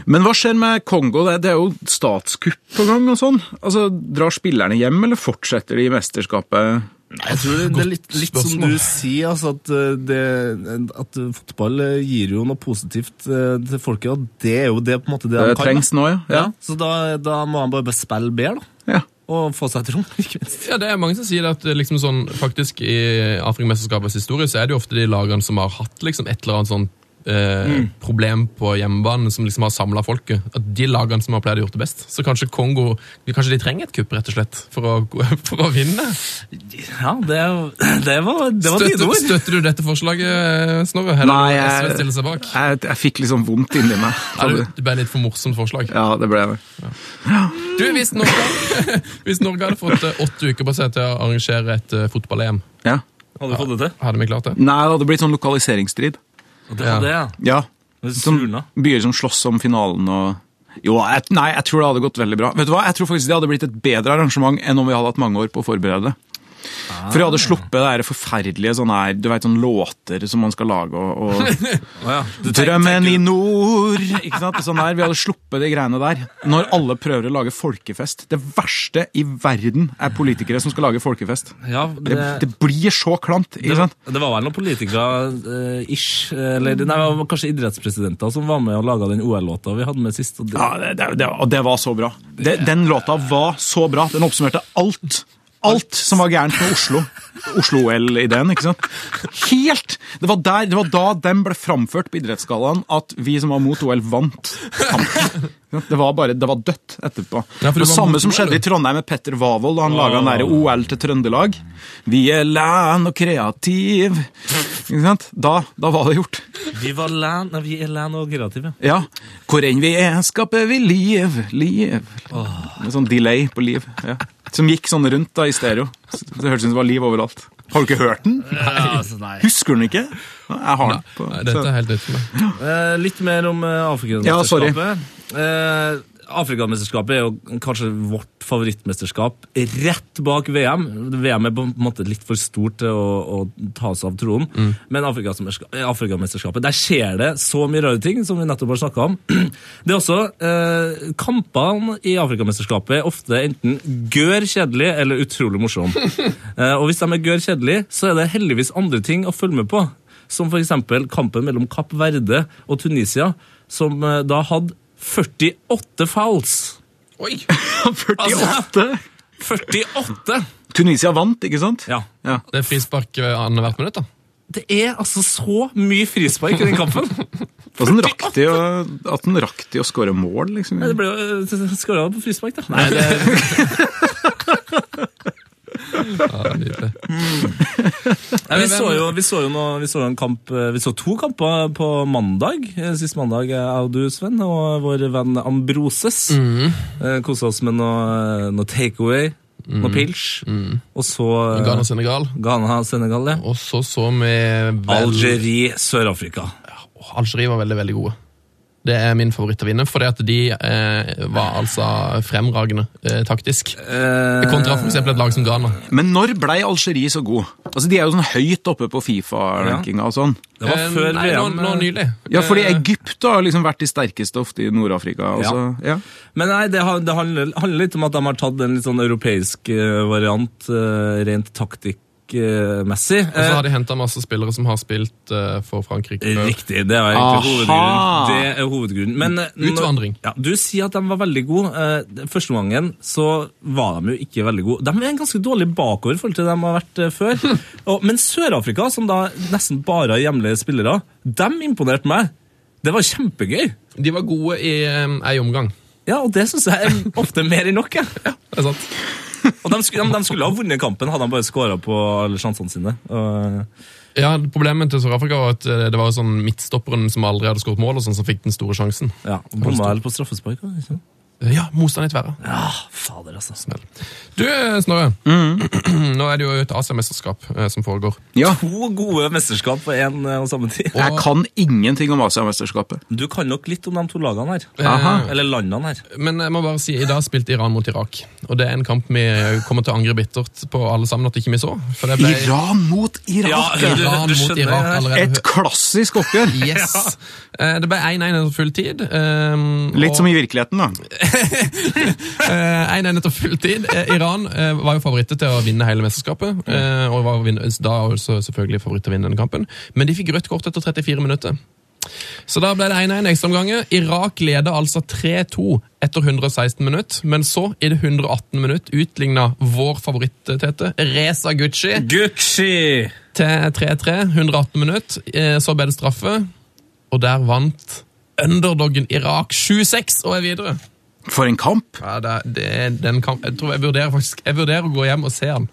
Speaker 6: Men hva skjer med Kongo? Det det er jo statskupp på gang og sånn. Altså, Drar spillerne hjem, eller fortsetter de i mesterskapet?
Speaker 7: Jeg tror det, det er litt, litt som
Speaker 5: spørsmål.
Speaker 7: du sier, altså at, eh, det, at fotball eh, gir jo noe positivt eh, til folket, og det er jo det på en måte det,
Speaker 6: Det
Speaker 7: de kan.
Speaker 6: trengs nå, ja.
Speaker 7: da.
Speaker 6: ja.
Speaker 7: Ja, så da, da må han bare spille bedre, da.
Speaker 6: ja.
Speaker 7: Og få seg et rom, ikke minst.
Speaker 5: Ja, det er Mange som sier at eh, liksom sånn, faktisk i Afrikamesterskapets historie så er det jo ofte de lagene som har hatt liksom, et eller annet sånn eh, problem på hjemmebane, som liksom har samla folket. At de lagene som har pleid å gjort det best. Så kanskje Kongo kanskje de trenger et kupp, rett og slett, for å, for å vinne.
Speaker 2: Ja, det, det var, det var dine
Speaker 5: Støtter,
Speaker 2: ord.
Speaker 5: støtter du dette forslaget, eh, Snorre? Eller
Speaker 6: Nei,
Speaker 5: SV
Speaker 6: jeg,
Speaker 5: stiller seg bak?
Speaker 6: jeg, jeg fikk litt sånn vondt inni meg.
Speaker 5: Nei, du- det ble litt for morsomt forslag.
Speaker 6: Ja, det ble det.
Speaker 5: Du, hvis Norge, hvis Norge hadde fått eh, åtte uker på seg til å arrangere et eh, fotball-EM,
Speaker 6: Ja.
Speaker 2: Hadde du fått det til?
Speaker 5: hadde vi klart det?
Speaker 6: Nei, det hadde blitt sånn lokaliseringsstrid.
Speaker 2: Og Det var det, ja.
Speaker 6: Ja.
Speaker 2: Det surna.
Speaker 6: Sånn byer som slåss om finalen og Jo, jeg, nei, jeg tror det hadde gått veldig bra. Vet du hva? Jeg tror faktisk det hadde blitt et bedre arrangement enn om vi hadde hatt mange år på å forberede det. For
Speaker 2: Ah.
Speaker 6: jeg hadde sluppet det her forferdelige sånne her, du vet, sånne låter som man skal lage og, og
Speaker 2: Å ja. Du tenk-
Speaker 6: Drømmen
Speaker 2: tenker-
Speaker 6: i nord! Ikke sant? Sånn der. Vi hadde sluppet de greiene der. Når alle prøver å lage folkefest. Det verste i verden er politikere som skal lage folkefest.
Speaker 2: Ja,
Speaker 6: Det, det blir så klamt.
Speaker 2: Det
Speaker 6: ikke
Speaker 2: var,
Speaker 6: sant?
Speaker 2: det var vel noen politikere eh, ish, eller nei, det var kanskje idrettspresidenter som var med og laga den OL-låta vi hadde med sist. Og det,
Speaker 6: Ja, det, det, det, og det var så bra. Det, den låta var så bra. Den oppsummerte alt. Alt som var gærent med Oslo. Oslo-OL-ideen, ikke sant? Helt! Det var, der, det var da den ble framført på idrettsgallaen at vi som var mot OL, vant. kampen. Det var bare, det var dødt etterpå.
Speaker 5: Ja, for du
Speaker 6: det
Speaker 5: var
Speaker 6: samme
Speaker 5: mot
Speaker 6: som
Speaker 5: OL,
Speaker 6: skjedde i Trondheim med Petter Wavold da han laga den derre OL til Trøndelag. Vi er land og kreativ. Ikke sant? Da, da var det gjort.
Speaker 2: vi, var land, nei, vi er land og kreative.
Speaker 6: Ja. Hvor enn vi er, skaper vi liv, liv. Med sånn delay på liv. Ja. Som gikk sånn rundt da i stereo. Så Det hørtes ut som det var liv overalt. Har du ikke hørt den?
Speaker 7: Ja, altså, nei.
Speaker 6: Husker du den ikke? Jeg har den. På,
Speaker 5: Nei, dette
Speaker 6: så-
Speaker 5: er helt nytt for meg.
Speaker 2: Eh, litt mer om eh,
Speaker 6: Ja, sorry.
Speaker 2: Afrikamesterskapet. Eh, Afrikamesterskapet er jo kanskje vårt favorittmesterskap rett bak VM. VM er på en måte litt for stort til å, å ta seg av tronen.
Speaker 6: Mm.
Speaker 2: Men Afrikamesterska- eh, Afrikamesterskapet, der skjer det så mye rare ting, som vi nettopp har snakka om. Det er også eh, Kampene i Afrikamesterskapet er ofte enten gørr kjedelig eller utrolig morsomme. Eh, og hvis de er gørr kjedelige, så er det heldigvis andre ting å følge med på. Som f.eks. kampen mellom Kapp Verde og Tunisia, som eh, da hadde 48 fouls.
Speaker 5: Oi!
Speaker 6: 48!
Speaker 2: 48!
Speaker 6: Tunisia vant, ikke sant?
Speaker 2: Ja.
Speaker 6: Ja.
Speaker 5: Det er frispark eh, annethvert minutt, da.
Speaker 2: Det er altså så mye frispark i den kampen.
Speaker 6: Og sånn rakk de å, at den rakk de å skåre mål, liksom.
Speaker 2: Det ble jo eh, skåra på frispark, da. Nei, det
Speaker 5: Ja, nydelig.
Speaker 2: Nei, vi, så jo, vi, så jo noe, vi så jo en kamp eh, Vi så to kamper på mandag. eh, Sist mandag, eh, jeg og du, Sven, og vår venn Ambroses. Mm. Kosa oss med noe, noe takeaway, noe pils. Mhm. Og så eh,
Speaker 5: Ghana og Senegal.
Speaker 2: Ghana Senegal, ja.
Speaker 5: Og så så vi vel...
Speaker 2: Algerie, Sør-Afrika.
Speaker 5: Åh, Algerie var veldig, veldig gode. Det er min favoritt å vinne, fordi at de eh, var altså fremragende eh, taktisk. Kontra for eksempel et lag som Ghana.
Speaker 6: Men når blei Algerie så god? Altså, De er jo sånn høyt oppe på Fifa-rankinga og sånn.
Speaker 2: Det var
Speaker 5: Eh,
Speaker 2: før
Speaker 5: Nei, nå,
Speaker 2: VM.
Speaker 5: nå
Speaker 2: eh,
Speaker 5: nylig.
Speaker 6: Ja, fordi
Speaker 5: Eh,
Speaker 6: Egypt har liksom vært de sterkeste ofte i Nord-Afrika. Altså. Ja.
Speaker 2: Men nei, det, han- det handler, handler litt om at de har tatt en litt sånn europeisk eh, variant, eh, rent taktikkmessig.
Speaker 5: Og så har de henta masse spillere som har spilt eh, for Frankrike før.
Speaker 2: Riktig. Eh, Det er egentlig
Speaker 6: Aha!
Speaker 2: hovedgrunnen. Det er hovedgrunnen. Men, eh, når-
Speaker 5: Utvandring.
Speaker 2: Ja, du sier at de var veldig gode. Eh, den Første gangen så var de jo ikke veldig gode. De er ganske dårlig bakover i forhold til de har vært eh, før. Og, men Sør-Afrika, som da nesten bare har hjemlige spillere, dem imponerte meg. Det var kjempegøy.
Speaker 5: De var gode i um, ei omgang.
Speaker 2: Ja, og det syns jeg er ofte mer enn nok. jeg.
Speaker 5: Det er sant.
Speaker 2: Og de skulle, de, de skulle ha vunnet kampen, hadde de bare skåra på alle sjansene sine. Og,
Speaker 5: Ja, Problemet til Sør-Afrika var at eh, det var jo sånn midtstopperen som aldri hadde skåret mål, og sånn som fikk den store sjansen.
Speaker 2: ja, Bomma vel på straffespark. da, ikke sant?
Speaker 5: Ja, motstand i tverra.
Speaker 7: Ja, fader, altså.
Speaker 5: Du, eh, Snorre. Nå er det jo et Asiamesterskap eh, som foregår.
Speaker 6: Ja.
Speaker 2: To gode mesterskap på én og samme tid.
Speaker 6: Jeg kan ingenting om Asiamesterskapet.
Speaker 2: Du kan nok litt om de to lagene her. Eh,
Speaker 6: Aha.
Speaker 2: Eller landene her.
Speaker 5: Men jeg må bare si, i dag spilte Iran mot Irak. Og det er en kamp vi eh, kommer til å angre bittert på alle sammen at ikke vi så. For det ble
Speaker 6: Iran mot Irak!
Speaker 2: Ja,
Speaker 6: Ja,
Speaker 2: du-
Speaker 5: Iran
Speaker 2: du
Speaker 5: mot
Speaker 2: skjønner,
Speaker 5: Irak
Speaker 2: ja.
Speaker 5: allerede.
Speaker 6: Et klassisk oppgjør!
Speaker 5: Yes! Eh, Det ble 1-1 etter full tid. ehm,
Speaker 6: Litt
Speaker 5: og-
Speaker 6: som i virkeligheten, da.
Speaker 5: Eh, 1-1 etter full tid. Eh, Iran eh, var jo favoritter til å vinne hele mesterskapet. eh, Og var vin- da også selvfølgelig favoritt til å vinne den kampen. Men de fikk rødt kort etter 34 minutter. Så da ble det 1-1 ekstraomganger. Irak leda altså 3-2 etter 116 minutter. Men så, i det 118 minutt, utligna vår favoritt, Tete, Reza Gucci,
Speaker 2: Gucci!
Speaker 5: til 3-3. 118 minutter. Eh, Så ble det straffe, og der vant underdoggen Irak 7-6 og er videre.
Speaker 6: For en kamp!
Speaker 5: Ja, det, det, den kan, jeg tror jeg vurderer faktisk Jeg vurderer å gå hjem og se den.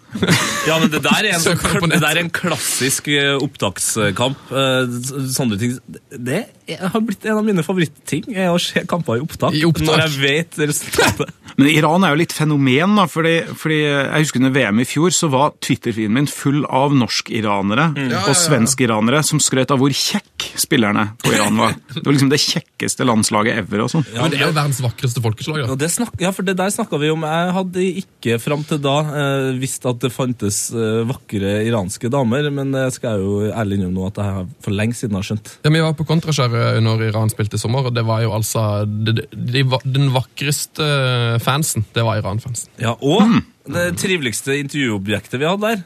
Speaker 2: Ja, men det der er en, sånn,
Speaker 5: Søker på
Speaker 2: det
Speaker 5: nett.
Speaker 2: der er en klassisk eh, opptakskamp. eh, s- Sånne ting. Det er- har blitt en av mine favorittting, er å se kamper i opptak.
Speaker 5: I opptak.
Speaker 2: Når jeg vet resultatet.
Speaker 6: Men Iran er jo litt fenomen, da. Fordi, fordi jeg husker under VM i fjor så var Twitter-feeden min full av norsk-iranere og svensk-iranere som skrøt av hvor kjekk spillerne på Iran var. Det var liksom det kjekkeste landslaget ever og sånn.
Speaker 5: Men det er jo verdens vakreste folkeslag.
Speaker 2: Ja,
Speaker 5: da.
Speaker 2: det snakk, ja, for det der snakka vi om. Jeg hadde ikke fram til da eh, visst at det fantes eh, vakre iranske damer, men det skal jeg jo ærlig innrømme nå at jeg har for lenge siden har skjønt.
Speaker 5: Ja, vi var på Kontraskjæret eh, når Iran spilte i sommer, og det var jo altså det, det, de, va- Den vakreste eh, fansen, det var Iran-fansen.
Speaker 2: Ja, Og det triveligste intervjuobjektet vi hadde der,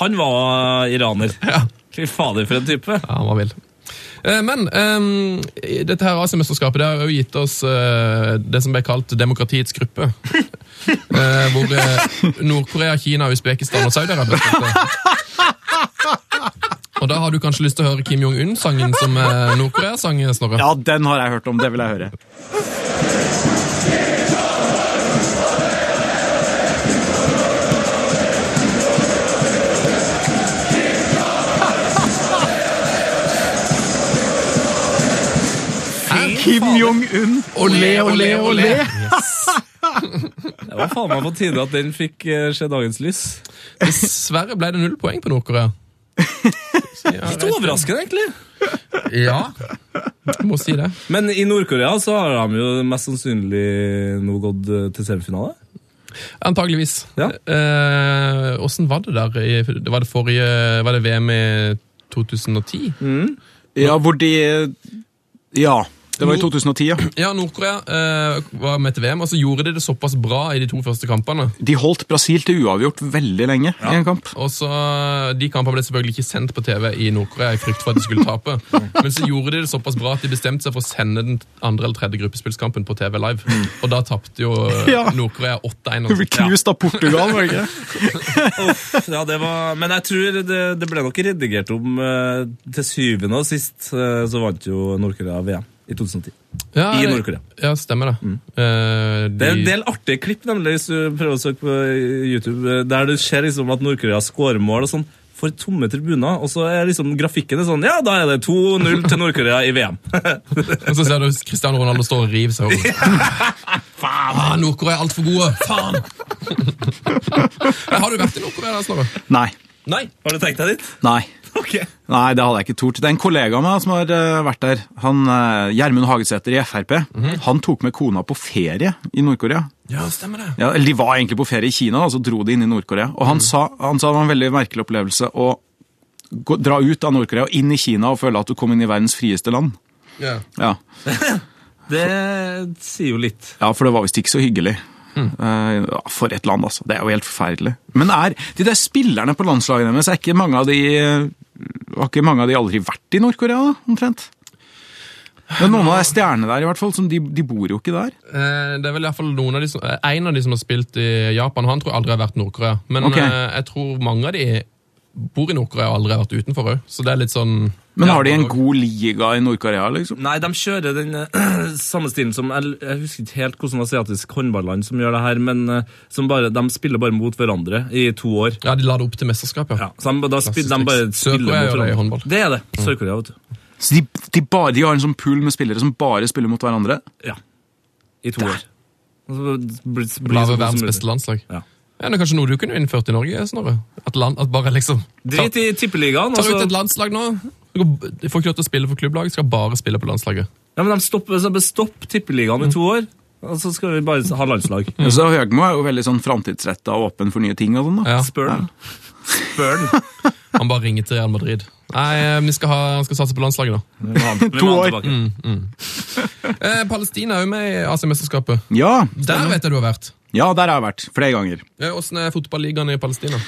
Speaker 2: han var iraner.
Speaker 5: Ja.
Speaker 2: Fy fader, for en type.
Speaker 5: Ja, han var vill. Eh, Men ehm, i dette her Asiamesterskapet det har jo gitt oss eh, det som ble kalt demokratiets gruppe. Eh, hvor eh, Nord-Korea, Kina, Usbekistan og Saudi-Arabia spilte. Og da har du kanskje lyst til å høre Kim Jong-un-sangen som eh, Nord-Korea sang, Snorre?
Speaker 6: Ja, den har jeg hørt om. Det vil jeg høre. Kim Jong-un.
Speaker 5: Olé, olé, olé!
Speaker 2: Det var faen meg på tide at den fikk eh, se dagens lys.
Speaker 5: Dessverre ble det null poeng på Nord-Korea.
Speaker 2: Litt overraskende, egentlig.
Speaker 5: Ja, jeg må si det.
Speaker 2: Men i Nord-Korea så har de jo mest sannsynlig nå gått eh, til semifinale.
Speaker 5: Antageligvis.
Speaker 2: Ja.
Speaker 5: Eh, Åssen var det der? i- det Var det, forrige, var det VM i 2010?
Speaker 2: Mm.
Speaker 6: Ja, hvor de Ja. Det var i 2010, ja.
Speaker 5: Ja, Nord-Korea eh, var med til VM, og så gjorde de det såpass bra i de to første kampene.
Speaker 6: De holdt Brasil til uavgjort veldig lenge i en kamp.
Speaker 5: Og så, De kampene ble selvfølgelig ikke sendt på TV i Nord-Korea i frykt for at de skulle tape. Men så gjorde de det såpass bra at de bestemte seg for å sende den andre eller tredje gruppespillskampen på TV live.
Speaker 2: Mm.
Speaker 5: Og da tapte jo eh,
Speaker 6: Ja.
Speaker 5: Nord-Korea 8-1.
Speaker 6: Du ble
Speaker 5: altså.
Speaker 6: knust av Portugal, var det ikke det?
Speaker 2: Ja, det var, men jeg tror det, det ble nok redigert om eh, til syvende og sist eh, så vant jo Nord-Korea VM i 2010.
Speaker 5: Ja,
Speaker 2: I
Speaker 5: det-
Speaker 2: Nord-Korea. Mm.
Speaker 5: Ja, stemmer det. Eh,
Speaker 2: Det er en
Speaker 5: de-
Speaker 2: del artige klipp nemlig hvis du prøver å søke på YouTube, eh, der du ser liksom at Nord-Korea skårer mål og sånn for tomme tribuner, og så er liksom grafikken er sånn Ja, da er det 2-0 til Nord-Korea i VM.
Speaker 5: Og så ser du Cristiano Ronaldo står og river seg over. Ah, Nord-Korea er altfor gode! Faen! Har du vært i Nord-Korea, Snorre?
Speaker 6: Nei.
Speaker 2: Nei, har du tenkt deg dit?
Speaker 6: Nei.
Speaker 2: Ok.
Speaker 6: Nei, det hadde jeg ikke tort. Det er en kollega av meg som har eh, vært der. Han, eh, Gjermund Hagesæter i Frp. Han tok med kona på ferie i Nord-Korea.
Speaker 5: Ja, stemmer det.
Speaker 6: Ja, eller de var egentlig på ferie i Kina, da, så dro de inn i Nord-Korea. Og han, sa, han sa det var en veldig merkelig opplevelse å gå, dra ut av Nord-Korea og inn i Kina og føle at du kom inn i verdens frieste land.
Speaker 5: Ja.
Speaker 6: Ja,
Speaker 2: Det sier jo litt.
Speaker 6: ja for det var visst ikke så hyggelig. Eh, ja, for et land, altså. Det er jo helt forferdelig. Men er, de der spillerne på landslaget deres, er ikke mange av de Har ikke mange av de aldri vært i Nord-Korea, da, omtrent? Det er noen av de stjernene der, i hvert fall. Som de, de bor jo ikke der.
Speaker 5: Eh, Det er vel i hvert fall noen av de som, eh, En av de som har spilt i Japan, han tror jeg aldri har vært i Nord-Korea. Men
Speaker 6: Ok.
Speaker 5: eh, jeg tror mange av de bor i Nord-Korea og aldri har vært utenfor òg. Så det er litt sånn
Speaker 6: Men har de
Speaker 5: Ja,
Speaker 6: en god liga i Nord-Korea, liksom?
Speaker 2: Nei, de kjører den eh, samme stilen som Jeg, jeg husker ikke helt hvordan asiatisk håndballand som gjør det her, men eh, som bare, de spiller bare mot hverandre i to år.
Speaker 5: Ja, de la det opp til mesterskap, ja.
Speaker 2: Ja, så de, da
Speaker 5: Klassisk
Speaker 2: spiller, de bare
Speaker 5: triks.
Speaker 2: spiller
Speaker 5: Sør-Korea
Speaker 2: mot
Speaker 5: gjør det i håndball. Mm.
Speaker 2: hverandre. Det er det. Sør-Korea, vet du.
Speaker 6: Så de, de, bare, de har en sånn pool med spillere som bare spiller mot hverandre?
Speaker 2: Ja. I to år.
Speaker 7: Altså, bli- bli
Speaker 5: Lage
Speaker 7: så god
Speaker 5: verdens
Speaker 7: som
Speaker 5: beste
Speaker 7: mulig.
Speaker 5: landslag.
Speaker 2: Ja.
Speaker 5: Ja, det er kanskje noe du kunne innført i Norge, Snorre? At, land, at bare liksom ta,
Speaker 2: Drit i tippeligaen.
Speaker 5: ta ut
Speaker 2: Altså,
Speaker 5: et landslag nå. De får ikke lov til å spille for klubblaget, skal bare spille på landslaget.
Speaker 2: ja, men de stopper, så bare stopp tippeligaen i to år, og så skal vi bare ha landslag.
Speaker 5: Mm.
Speaker 6: Så Høgmo er jo veldig sånn framtidsretta og åpen for nye ting og sånn. da.
Speaker 5: Ja,
Speaker 2: Spør den. Spør den.
Speaker 5: Han bare ringer til Real Madrid. Nei, eh, vi skal ha, han skal satse på landslaget nå.
Speaker 2: Vi må ha den- vi
Speaker 6: To
Speaker 2: må ha
Speaker 6: år.
Speaker 2: den
Speaker 5: Mm.
Speaker 2: tilbake.
Speaker 5: Eh, Palestina er jo med i AC-mesterskapet.
Speaker 6: Ja,
Speaker 5: Der vet jeg du har vært. Eh,
Speaker 6: ja, der har jeg vært flere ganger.
Speaker 5: Åssen er fotballigaen i Palestina?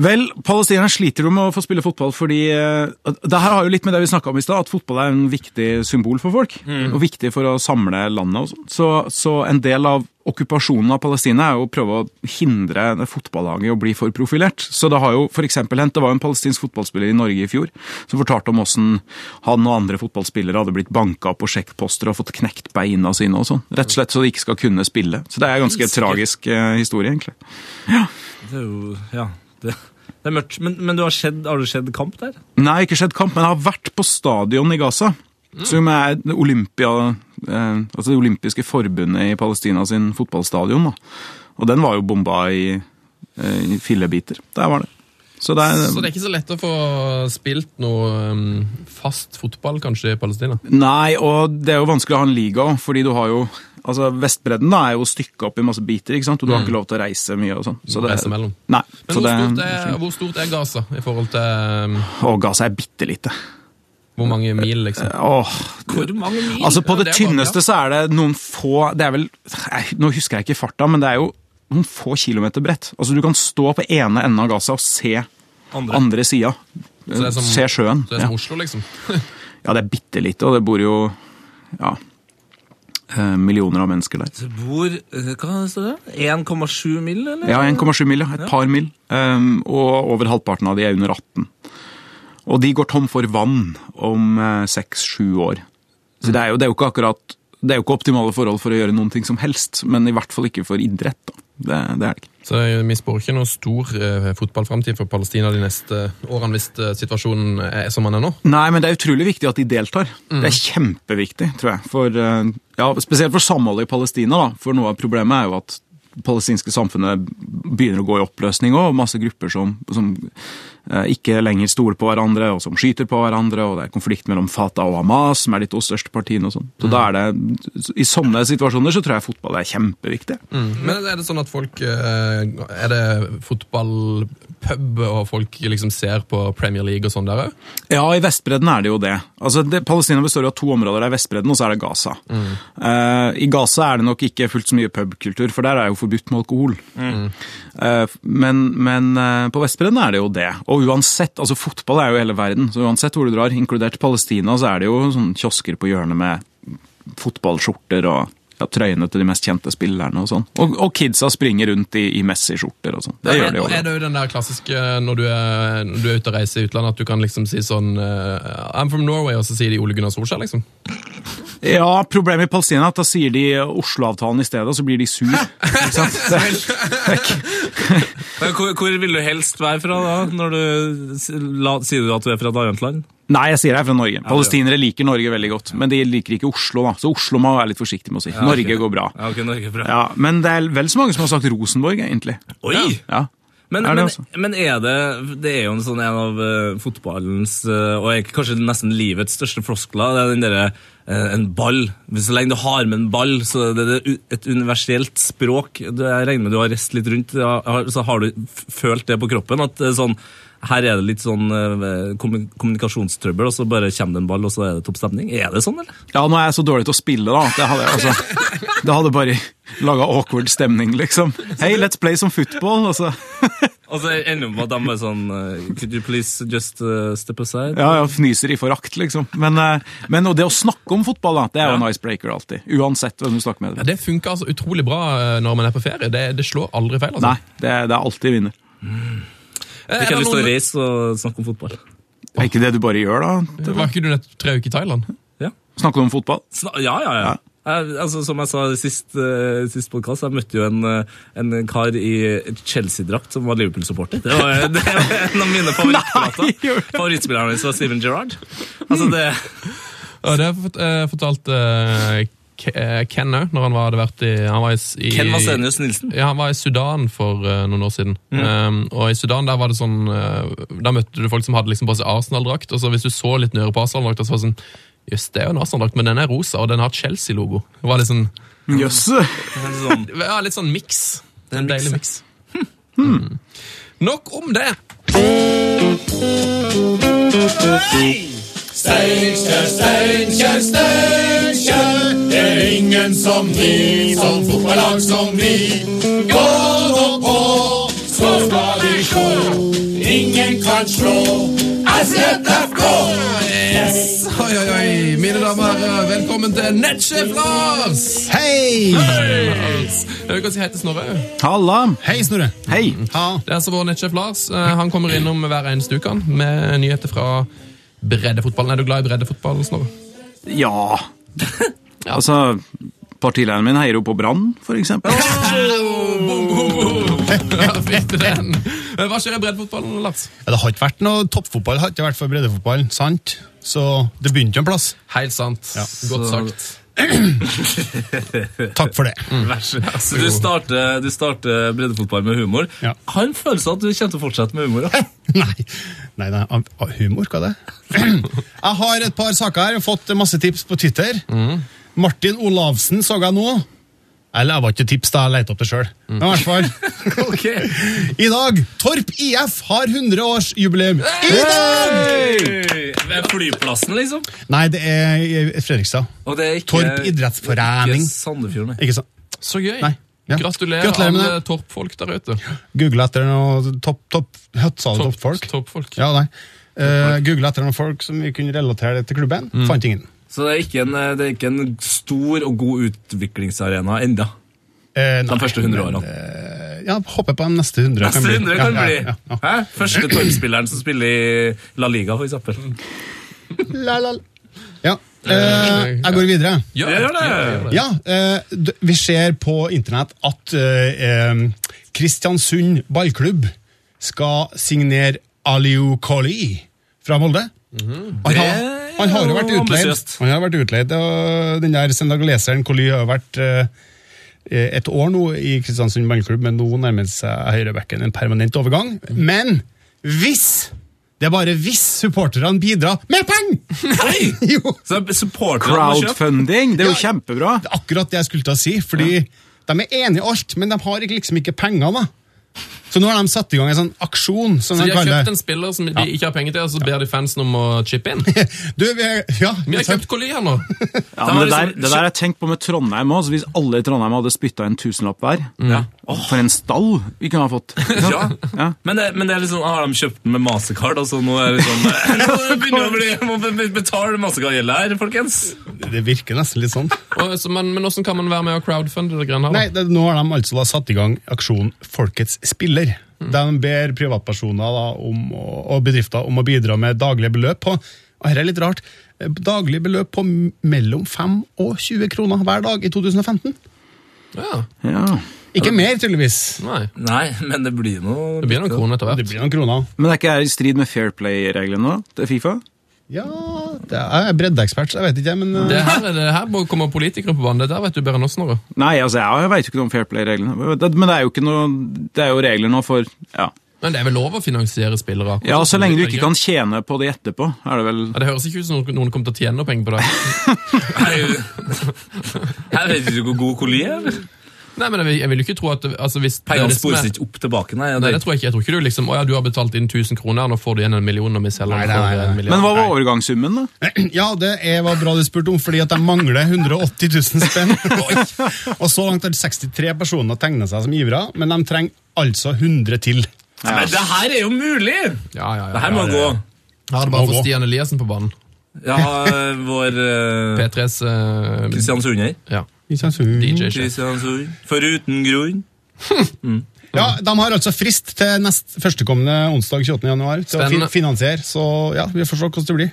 Speaker 6: Vel, palestinerne sliter jo med å få spille fotball fordi eh, Det her har jo litt med det vi snakka om i stad, at fotball er en viktig symbol for folk. Og viktig for å samle landet og sånn. Så, så en del av okkupasjonen av Palestina er jo å prøve å hindre det fotballaget i å bli for profilert. Så det har jo for eksempel hendt Det var jo en palestinsk fotballspiller i Norge i fjor som fortalte om åssen han og andre fotballspillere hadde blitt banka på sjekkposter og fått knekt beina sine og sånn. Rett og slett så de ikke skal kunne spille. Så det er en ganske tragisk eh, historie, egentlig.
Speaker 2: Det er jo Ja. Det, det er mørkt. Men, men du har, skjedd, har det skjedd kamp der?
Speaker 6: Nei, ikke skjedd kamp, men jeg har vært på stadion i Gaza. Som er det Olympia, eh, altså det olympiske forbundet i Palestina sin fotballstadion. Da. Og den var jo bomba i, eh, i fillebiter. Der var det. Så det er,
Speaker 5: Så det er ikke så lett å få eh, spilt noe um, fast fotball, kanskje, i Palestina?
Speaker 6: Nei, og det er jo vanskelig å ha en liga òg, fordi du har jo Altså, Vestbredden da er jo stykka opp i masse biter, ikke sant? og du har ikke lov til å reise mye og sånn. Så
Speaker 5: må
Speaker 6: det-
Speaker 5: Mm. reise mellom.
Speaker 6: Nei,
Speaker 5: Men
Speaker 6: så
Speaker 5: hvor,
Speaker 6: det,
Speaker 5: stort er, hvor stort er Gaza i forhold til um,
Speaker 6: Og Gaza er bitte lite.
Speaker 5: hvor mange mil, liksom?
Speaker 6: Åh,
Speaker 2: Hvor mange mil?
Speaker 6: Altså På
Speaker 5: Ja,
Speaker 6: det,
Speaker 5: det er bare-
Speaker 6: tynneste så er det noen få Det er vel nei, Nå husker jeg ikke farta, men det er jo noen få kilometer bredt. Altså Du kan stå på ene enden av Gaza og se
Speaker 2: Andre.
Speaker 6: andre sida.
Speaker 5: det er som-
Speaker 6: Se sjøen.
Speaker 5: Så det er som Oslo, liksom?
Speaker 6: ja. ja, det er bitte lite, og det bor jo ja, eh, millioner av mennesker der.
Speaker 2: Det bor eh, Hva står det? 1,7 mil, eller?
Speaker 6: Ja, 1,7 mil, ja. Et par mil. Ehm, og over halvparten av de er under 18. Og de går tom for vann om seks-sju år. Så det er, jo, det er jo ikke akkurat Det er jo ikke optimale forhold for å gjøre noen ting som helst, men i hvert fall ikke for idrett. da. Det, det er det ikke.
Speaker 5: Så vi spår ikke noe stor uh, fotballframtid for Palestina de neste årene hvis eh, situasjonen er som den er nå.
Speaker 6: Nei, men det er utrolig viktig at de deltar. Det er kjempeviktig, tror jeg. For, eh, ja, spesielt for samholdet i Palestina, da. For noe av problemet er jo at det palestinske samfunnet begynner å gå i oppløsning òg. Masse grupper som, som eh, ikke lenger stoler på hverandre, og som skyter på hverandre. Og det er konflikt mellom Fatah og Hamas, som er de to største partiene og sånn. Så da er det, I sånne situasjoner så tror jeg fotball er kjempeviktig.
Speaker 5: Men er det sånn at folk eh, Er det fotballpub, og folk liksom ser på Premier League og sånn der òg?
Speaker 6: Ja, i Vestbredden er det jo det. Altså, det Palestina består jo av to områder. Det er Vestbredden, og så er det Gaza. Eh, I Gaza er det nok ikke fullt så mye pubkultur, for der er jo forbudt med alkohol. Eh, men men eh, på Vestbredden er det jo det. Og uansett, altså fotball er jo hele verden, så uansett hvor du drar, inkludert Palestina, så er det jo sånne kiosker på hjørnet med fotballskjorter og ja, trøyene til de mest kjente spillerne og sånn. Og, og kidsa springer rundt i, i Messi-skjorter og sånn. Det gjør de jo.
Speaker 5: Og er det jo den der klassiske når du er, når du er ute og reiser i utlandet, at du kan liksom si sånn eh, I'm from Norway, og så sier de Ole Gunnar Solskjær, liksom?
Speaker 6: Ja, problemet i Palestina er at da sier de Oslo-avtalen i stedet, og så blir de sur. Ikke sant? Det,
Speaker 2: Men Hvor, hvor vil du helst være fra da? Når du, s- la, sier du at du er fra et annet land?
Speaker 6: nei, jeg sier jeg er fra Norge. Palestinere liker Norge veldig godt, men de liker ikke Oslo, da. Så Oslo må jeg være litt forsiktig med å si. Norge går bra.
Speaker 2: Ja, ok, Norge er fra.
Speaker 6: Ja, men det er vel så mange som har sagt Rosenborg, egentlig.
Speaker 2: Oi!
Speaker 6: Ja.
Speaker 2: Men,
Speaker 6: Er det
Speaker 2: men,
Speaker 6: også?
Speaker 2: men er det Det er jo en sånn en av eh, fotballens eh, og egentlig kanskje nesten livets største floskler. Det er den derre eh, en ball. Så lenge du har med en ball, så er det det u- et universelt språk. Du- Jeg regner med du har reist litt rundt, ja, har- så har du f- følt det på kroppen? At det er sånn her er det litt sånn eh, kommu- kommunikasjonstrøbbel, og så bare kommer det en ball, og så er det topp stemning. Er det sånn, eller?
Speaker 6: ja, nå er jeg så dårlig til å spille, da. at Det hadde, altså, det hadde bare laga awkward stemning, liksom. Hey, let's play some football. Altså.
Speaker 2: Og så ender det med at de bare sånn eh, Could you please just eh, step aside?
Speaker 6: Ja, ja, fnyser i forakt, liksom. Men, eh, men og det å snakke om fotball, da, det er jo en icebreaker alltid. Uansett hvem du snakker med.
Speaker 5: Ja, Det funker altså utrolig bra eh, når man er på ferie. Det, det slår aldri feil. altså.
Speaker 6: Nei, det er, det er alltid vinner.
Speaker 5: Eh, er
Speaker 2: Fikk jeg
Speaker 5: det
Speaker 2: lyst til å
Speaker 5: noen-
Speaker 2: reise og snakke om fotball?
Speaker 6: Er ikke det du bare gjør, da?
Speaker 5: Var ikke du nettopp tre uker i Thailand?
Speaker 2: Ja.
Speaker 6: Snakker du om fotball?
Speaker 2: Sna ja, ja, ja. Jeg, altså, som jeg sa i sist, uh, sist podkast, jeg møtte jo en, eh, en kar i Chelsea-drakt som var Liverpool-supporter. Det, var- det var en av mine
Speaker 6: Nei,
Speaker 2: favorittplater.
Speaker 6: gjør
Speaker 2: Favorittspilleren min var Steven Gerrard. Altså, det,
Speaker 5: Ja, det har jeg fort- eh, fortalt eh, Ke- eh, Ken òg, når han var, hadde vært i, han var i, s- i
Speaker 2: Ken Vasenius Nilsen.
Speaker 5: Ja, han var i Sudan for eh, noen år siden. Um, og i Sudan der var det sånn eh, Der møtte du folk som hadde liksom på seg Arsenal-drakt. Og så hvis du så litt nøyere på Arsenal-drakta, så var det sånn Jøss, det er jo en Arsenal-drakt, men den er rosa, og den har Chelsea-logo. Det var litt sånn,
Speaker 6: Jøss!
Speaker 2: Sånn.
Speaker 5: ja, litt sånn miks. En deilig miks. Mm. Nok om det.
Speaker 1: Steinkjer, Steinkjer, Steinkjer. Det er ingen som vi, som fotballag som vi. Gå nå på, så skal vi sjå. Ingen kan slå SFFK.
Speaker 5: Yes! Oi, oi, oi. Mine damer og herrer, velkommen til Nettsjef Lars!
Speaker 8: Hei!
Speaker 5: Jeg vet ikke hva som heter Snorre.
Speaker 6: Halla!
Speaker 8: Hei, Snorre.
Speaker 6: Hei!
Speaker 8: Ha.
Speaker 5: Det er altså vår nettsjef Lars. Eh, Han kommer innom hver eneste uke han, med nyheter fra breddefotballen. Er du glad i breddefotball, Snorre?
Speaker 6: Ja. Altså, partilederen min heier jo på Brann, for eksempel.
Speaker 5: Ja, fikk du den. Eh, Hva skjer i breddefotballen, Lars?
Speaker 8: Ja, det har ikke vært noe toppfotball, det har ikke vært for breddefotballen, sant? Så det begynte jo en plass.
Speaker 5: Helt sant. Godt sagt.
Speaker 8: Takk for det.
Speaker 5: Mm.
Speaker 2: Så du starter, du starter breddefotball med humor.
Speaker 8: Ja.
Speaker 2: Har en følelse av at du kommer til å fortsette med humor. da.
Speaker 8: Nei, nei, nei, av- av humor, hva er det? Jeg har et par saker her, jeg har fått masse tips på Twitter.
Speaker 5: Mm.
Speaker 8: Martin Olavsen så jeg nå. Eller jeg var ikke tips da, jeg lette opp det sjøl.
Speaker 5: Mm.
Speaker 8: Men i hvert fall. I dag, Torp IF har 100-årsjubileum. I dag!
Speaker 2: Ved flyplassen, liksom.
Speaker 8: Nei, det er i Fredrikstad.
Speaker 2: Og det er ikke,
Speaker 8: Torp idrettsforening.
Speaker 2: Ikke Sandefjord, nei.
Speaker 8: Ikke sant?
Speaker 5: Så gøy.
Speaker 8: Nei. Ja.
Speaker 5: Gratulerer,
Speaker 8: Gratulerer med
Speaker 5: alle
Speaker 8: det.
Speaker 5: Torp-folk der ute.
Speaker 8: Google etter noe topp, topp, høttsa det toppfolk?
Speaker 5: Toppfolk.
Speaker 8: Ja, nei. Uh, Google etter noen folk som vi kunne relatere det til klubben.
Speaker 2: Mm.
Speaker 8: Fant ingen.
Speaker 2: Så det er, ikke en, eh, det er ikke en stor og god utviklingsarena enda.
Speaker 8: Eh, nei,
Speaker 2: De første 100
Speaker 8: men,
Speaker 2: årene.
Speaker 8: eh, ja, håper på de neste 100.
Speaker 2: Neste 100 kan
Speaker 8: Ja,
Speaker 2: bli
Speaker 8: ja, ja,
Speaker 2: Hæ? Første Torp-spilleren som spiller i La Liga, for eksempel.
Speaker 8: ja. La, la, la. ja. eh, jeg går videre.
Speaker 5: Ja,
Speaker 2: Gjør det.
Speaker 8: Ja, eh, d- vi ser på internett at eh, em, Kristiansund ballklubb skal signere Aliu Koli fra Molde. han, har, han har jo vært
Speaker 2: Mhm. jo
Speaker 8: utleid.
Speaker 2: ambisiøst.
Speaker 8: Han har vært utleid, og den der sendagaleseren Koli har jo vært eh, et år nå i Kristiansund ballklubb, men nå nærmer det seg høyrebekken en permanent overgang. Men hvis det er bare hvis supporterne bidrar med penger! Jo!
Speaker 2: Så supporterne må kjøpe.
Speaker 6: Crowdfunding, det er jo
Speaker 8: Ja.
Speaker 6: kjempebra.
Speaker 8: Det er akkurat det jeg skulle til å si, fordi de er enige i alt, men de har ikke- liksom ikke penger, da. Så nå har de satt i gang en sånn aksjon, som
Speaker 5: Så
Speaker 8: de
Speaker 5: de har
Speaker 8: kaller
Speaker 5: kjøpt
Speaker 8: det.
Speaker 5: en spiller som de ikke har penger til, og så ber de fansen om å chippe inn? Vi
Speaker 8: Du, vi er, ja,
Speaker 5: har kjøpt Collier nå.
Speaker 6: Ja, men det, der, det der har jeg tenkt på med Trondheim òg. Hvis alle i Trondheim hadde spytta en tusenlapp hver
Speaker 2: Ja.
Speaker 6: For en stall vi kunne ha fått!
Speaker 2: Ja.
Speaker 6: Ikke sant? Ja.
Speaker 2: Men, det, men det er liksom, har de kjøpt den med Mastercard? Altså, nå er det sånn, nå begynner det å bli, må be- betale Mastercard-gjelda her, folkens.
Speaker 8: det virker nesten litt sånn.
Speaker 5: Og, så, men, men hvordan kan man være med og crowdfunde det greiene her? da?
Speaker 8: Nei, det, nå har de altså da satt i gang aksjonen Folkets spiller.
Speaker 5: Mm.
Speaker 8: De ber privatpersoner da, om, å- og bedrifter om å bidra med daglige beløp på og her er litt rart, eh, daglige beløp på m- mellom 5 og 20 kroner hver dag i 2015.
Speaker 5: Ja.
Speaker 6: Ja.
Speaker 8: Ikke mer, tydeligvis.
Speaker 5: Nei.
Speaker 2: Nei, men det blir noe...
Speaker 5: Det blir noen kroner etter
Speaker 8: Det
Speaker 5: hvert.
Speaker 8: blir noen kroner.
Speaker 6: Men det er ikke jeg i strid med fair play-reglene da, til Fifa?
Speaker 8: Ja, det er, jeg er breddeekspert, så jeg vet ikke, men eh,
Speaker 5: Det her, er det her må- kommer politikere på banen. Det der vet du bedre enn oss, Snorre.
Speaker 6: Nei, altså jeg, jeg veit jo ikke noe om fair play-reglene. Det- Men det er jo, ikke noe, det er jo regler nå for ja.
Speaker 5: Men det er vel lov å finansiere spillere? akkurat
Speaker 6: ja, så
Speaker 5: som
Speaker 6: lenge du
Speaker 5: det-
Speaker 6: ikke kan tjene på det etterpå, er det vel
Speaker 5: Ja, det høres ikke ut som noen- noen kommer til å tjene noe penger på det.
Speaker 2: Jeg vet ikke hvor god kolli er. eller?
Speaker 5: Nei, men jeg vil, jeg vil jo ikke tro at altså, hvis det er
Speaker 2: Pengene
Speaker 5: det som er-
Speaker 2: spores ikke opp tilbake, nei.
Speaker 5: Nei,
Speaker 2: Det,
Speaker 5: det tror jeg ikke. Jeg tror ikke du liksom Å ja, du har betalt inn 1000 kroner, nå får du igjen en million når vi selger
Speaker 8: Nei,
Speaker 5: den
Speaker 8: eh, nei,
Speaker 5: for
Speaker 8: nei,
Speaker 5: eh,
Speaker 8: nei.
Speaker 5: en milliard.
Speaker 6: Men hva var overgangssummen, da?
Speaker 8: Ja, det er, var bra du spurte om, fordi at de mangler 180 000 spenn. Oi. og så langt har 63 personer tegna seg som givere, men de trenger altså 100 til.
Speaker 2: men det her er jo mulig!
Speaker 5: Ja, ja, ja.
Speaker 2: Det her må
Speaker 5: ja,
Speaker 2: gå.
Speaker 5: Jeg hadde bare
Speaker 8: Må
Speaker 5: fått
Speaker 8: gå.
Speaker 5: Stian Eliassen på banen.
Speaker 2: Ja, vår eh,
Speaker 5: P3s eh,
Speaker 2: Kristiansund her.
Speaker 5: ja,
Speaker 8: Ja,
Speaker 2: Mm.
Speaker 5: DJ. -sjef.
Speaker 2: Kristiansund. Foruten grunn.
Speaker 8: De har altså frist til nest, førstekommende onsdag 28. januar til å
Speaker 5: Spennende.
Speaker 8: fi- finansiere, så ja, vi får se hvordan det blir.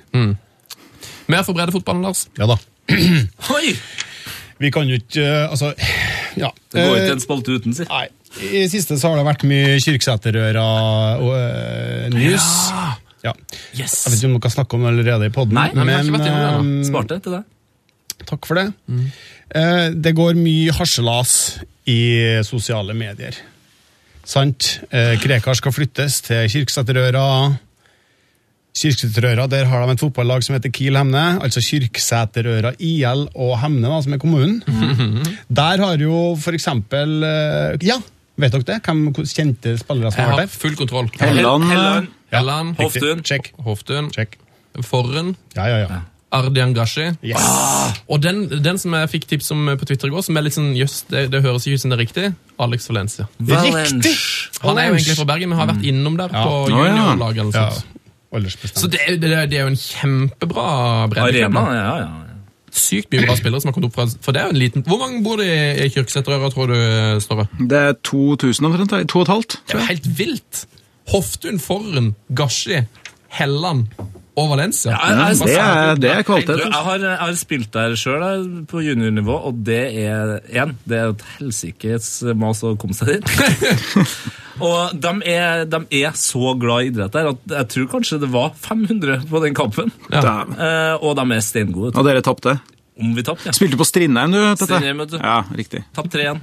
Speaker 5: Mer for breddefotballen, Lars.
Speaker 8: Ja da.
Speaker 2: Oi!
Speaker 8: Vi kan jo ikke eh, Altså, ja.
Speaker 2: Det går
Speaker 8: Eh,
Speaker 2: ikke en spalte uten, si.
Speaker 8: Nei. I det siste så har det vært mye eh, Kyrksæterøra-news. Ja. Jeg vet ikke om dere har snakket om det allerede i podden,
Speaker 2: Nei,
Speaker 5: vi har ikke vært innom det
Speaker 8: men
Speaker 5: ennå.
Speaker 8: eh,
Speaker 2: Sparte til deg.
Speaker 8: Takk for det. Eh, det går mye harselas i sosiale medier. Sant? Eh, Krekar skal flyttes til Kirksæterøra. Kirksæterøra, der har de et fotballag som heter Kiel Hemne. Altså Kirksæterøra IL og Hemne, da, som er kommunen.
Speaker 5: Mm.
Speaker 8: Der har jo for eksempel eh, Ja, vet dere det? Hvem kjente spillere som
Speaker 5: Jeg
Speaker 8: har vært
Speaker 5: har
Speaker 8: der?
Speaker 5: full kontroll.
Speaker 6: Helland, eh,
Speaker 2: Helland,
Speaker 8: Ja,
Speaker 5: Helland,
Speaker 8: riktig.
Speaker 2: Hoftun.
Speaker 8: Check.
Speaker 5: Hoftun,
Speaker 8: Check.
Speaker 5: Forren,
Speaker 8: Ja, ja, ja.
Speaker 5: Ardian Gashi.
Speaker 8: Yes.
Speaker 5: Og den, den som jeg fikk tips om på Twitter i går, som er litt sånn jøss, det, det høres ikke ut som det er riktig, Alex Valencia.
Speaker 8: Riktig!
Speaker 5: Han er jo egentlig fra Bergen, men har vært innom der på
Speaker 6: Å, ja.
Speaker 5: juniorlaget. eller
Speaker 8: Ja.
Speaker 5: sånt.
Speaker 8: Aldersbestemt.
Speaker 5: Så det, er- det, er- det er jo en kjempebra breddeklubb.
Speaker 2: Arena, ja, ja. ja.
Speaker 5: Sykt mye bra spillere som har kommet opp fra For det er jo en liten Hvor mange bor det i- i Kyrksæterøra, tror du, Snorre?
Speaker 6: Det er 2000 omtrent, da. to og et halvt.
Speaker 5: Det er jo helt vilt! Hoftun, Forren, Gashi, Helland og Valencia.
Speaker 2: jeg- jeg-
Speaker 5: Hva sa
Speaker 6: Mm, Det er,
Speaker 5: du?
Speaker 6: det er
Speaker 2: Du,
Speaker 6: kvalitet.
Speaker 2: jeg, har, jeg har spilt der sjøl på juniornivå, og det er én. Det er et helsikes mas å komme seg dit. og de er, de er så glad i idrett der at jeg tror kanskje det var 500 på den kampen.
Speaker 6: Dæven.
Speaker 2: Eh, og de er steingode.
Speaker 6: Og dere tapte.
Speaker 2: Om vi tapte, ja.
Speaker 6: Spilte på Strindheim, du. vet dette.
Speaker 2: Strindheim, vet du.
Speaker 6: Ja, riktig.
Speaker 2: Tapt 3-1.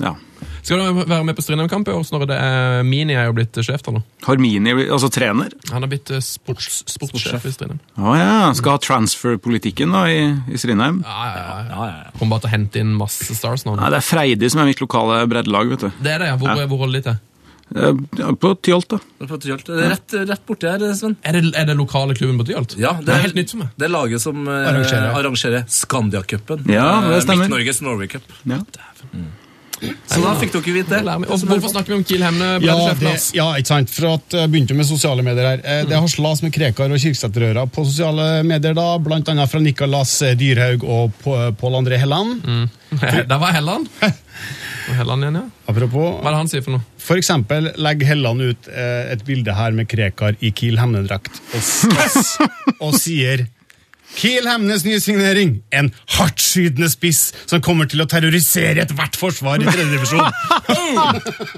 Speaker 6: Ja.
Speaker 5: Skal du være med på Strindheim-kamp i år, Snorre? Det er Mini er jo blitt sjef der nå.
Speaker 6: Harmini, altså trener.
Speaker 5: Han har blitt eh, sports, sportssjef i Strindheim.
Speaker 6: Å ja, skal ha transfer-politikken da i, i Strindheim.
Speaker 5: Ja, ja, ja.
Speaker 2: Ja, ja, ja.
Speaker 5: Kommer bare til å hente inn masse stars nå.
Speaker 6: Nei, det er Freidi som er mitt lokale breddelag, vet du.
Speaker 5: Det er det, ja. Hvor,
Speaker 6: Ja.
Speaker 5: hvor holder de til?
Speaker 6: Eh, ja, På Tyholt, da.
Speaker 2: Det er på Tyholt. Det er Rett, rett borti her, Sven.
Speaker 5: Er det, er det lokale klubben på Tyholt?
Speaker 2: Ja,
Speaker 5: det er helt nytt for meg.
Speaker 2: Det er laget som eh,
Speaker 8: Arrangerer.
Speaker 2: arrangerer Scandia-cupen.
Speaker 6: Ja, det
Speaker 2: Eh,
Speaker 6: stemmer.
Speaker 2: Midt-Norges Norway Cup.
Speaker 6: Ja.
Speaker 2: Så da fikk dere vite
Speaker 5: Det lærer
Speaker 2: det.
Speaker 5: vi. Og hvorfor snakker vi om Kiel Hemne?
Speaker 8: Ja,
Speaker 5: breddesjefen,
Speaker 8: det,
Speaker 5: Lars?
Speaker 8: ja, ikke sant. For at jeg begynte med sosiale medier her. Eh, Det har slas med Krekar og Kirksæterøra på sosiale medier, da, blant annet fra Nicolas eh, Dyrhaug og På- Pål André Helland.
Speaker 5: Der var Helland. Og Helland igjen, ja. Hva
Speaker 8: Apropos,
Speaker 5: er det han sier for noe?
Speaker 8: for eksempel legger Helland ut eh, et bilde her med Krekar i Kiel Hemne-drakt og, s- og sier Kiel Hemnes nye signering. En hardtskytende spiss som kommer til å terrorisere ethvert forsvar i tredje divisjon.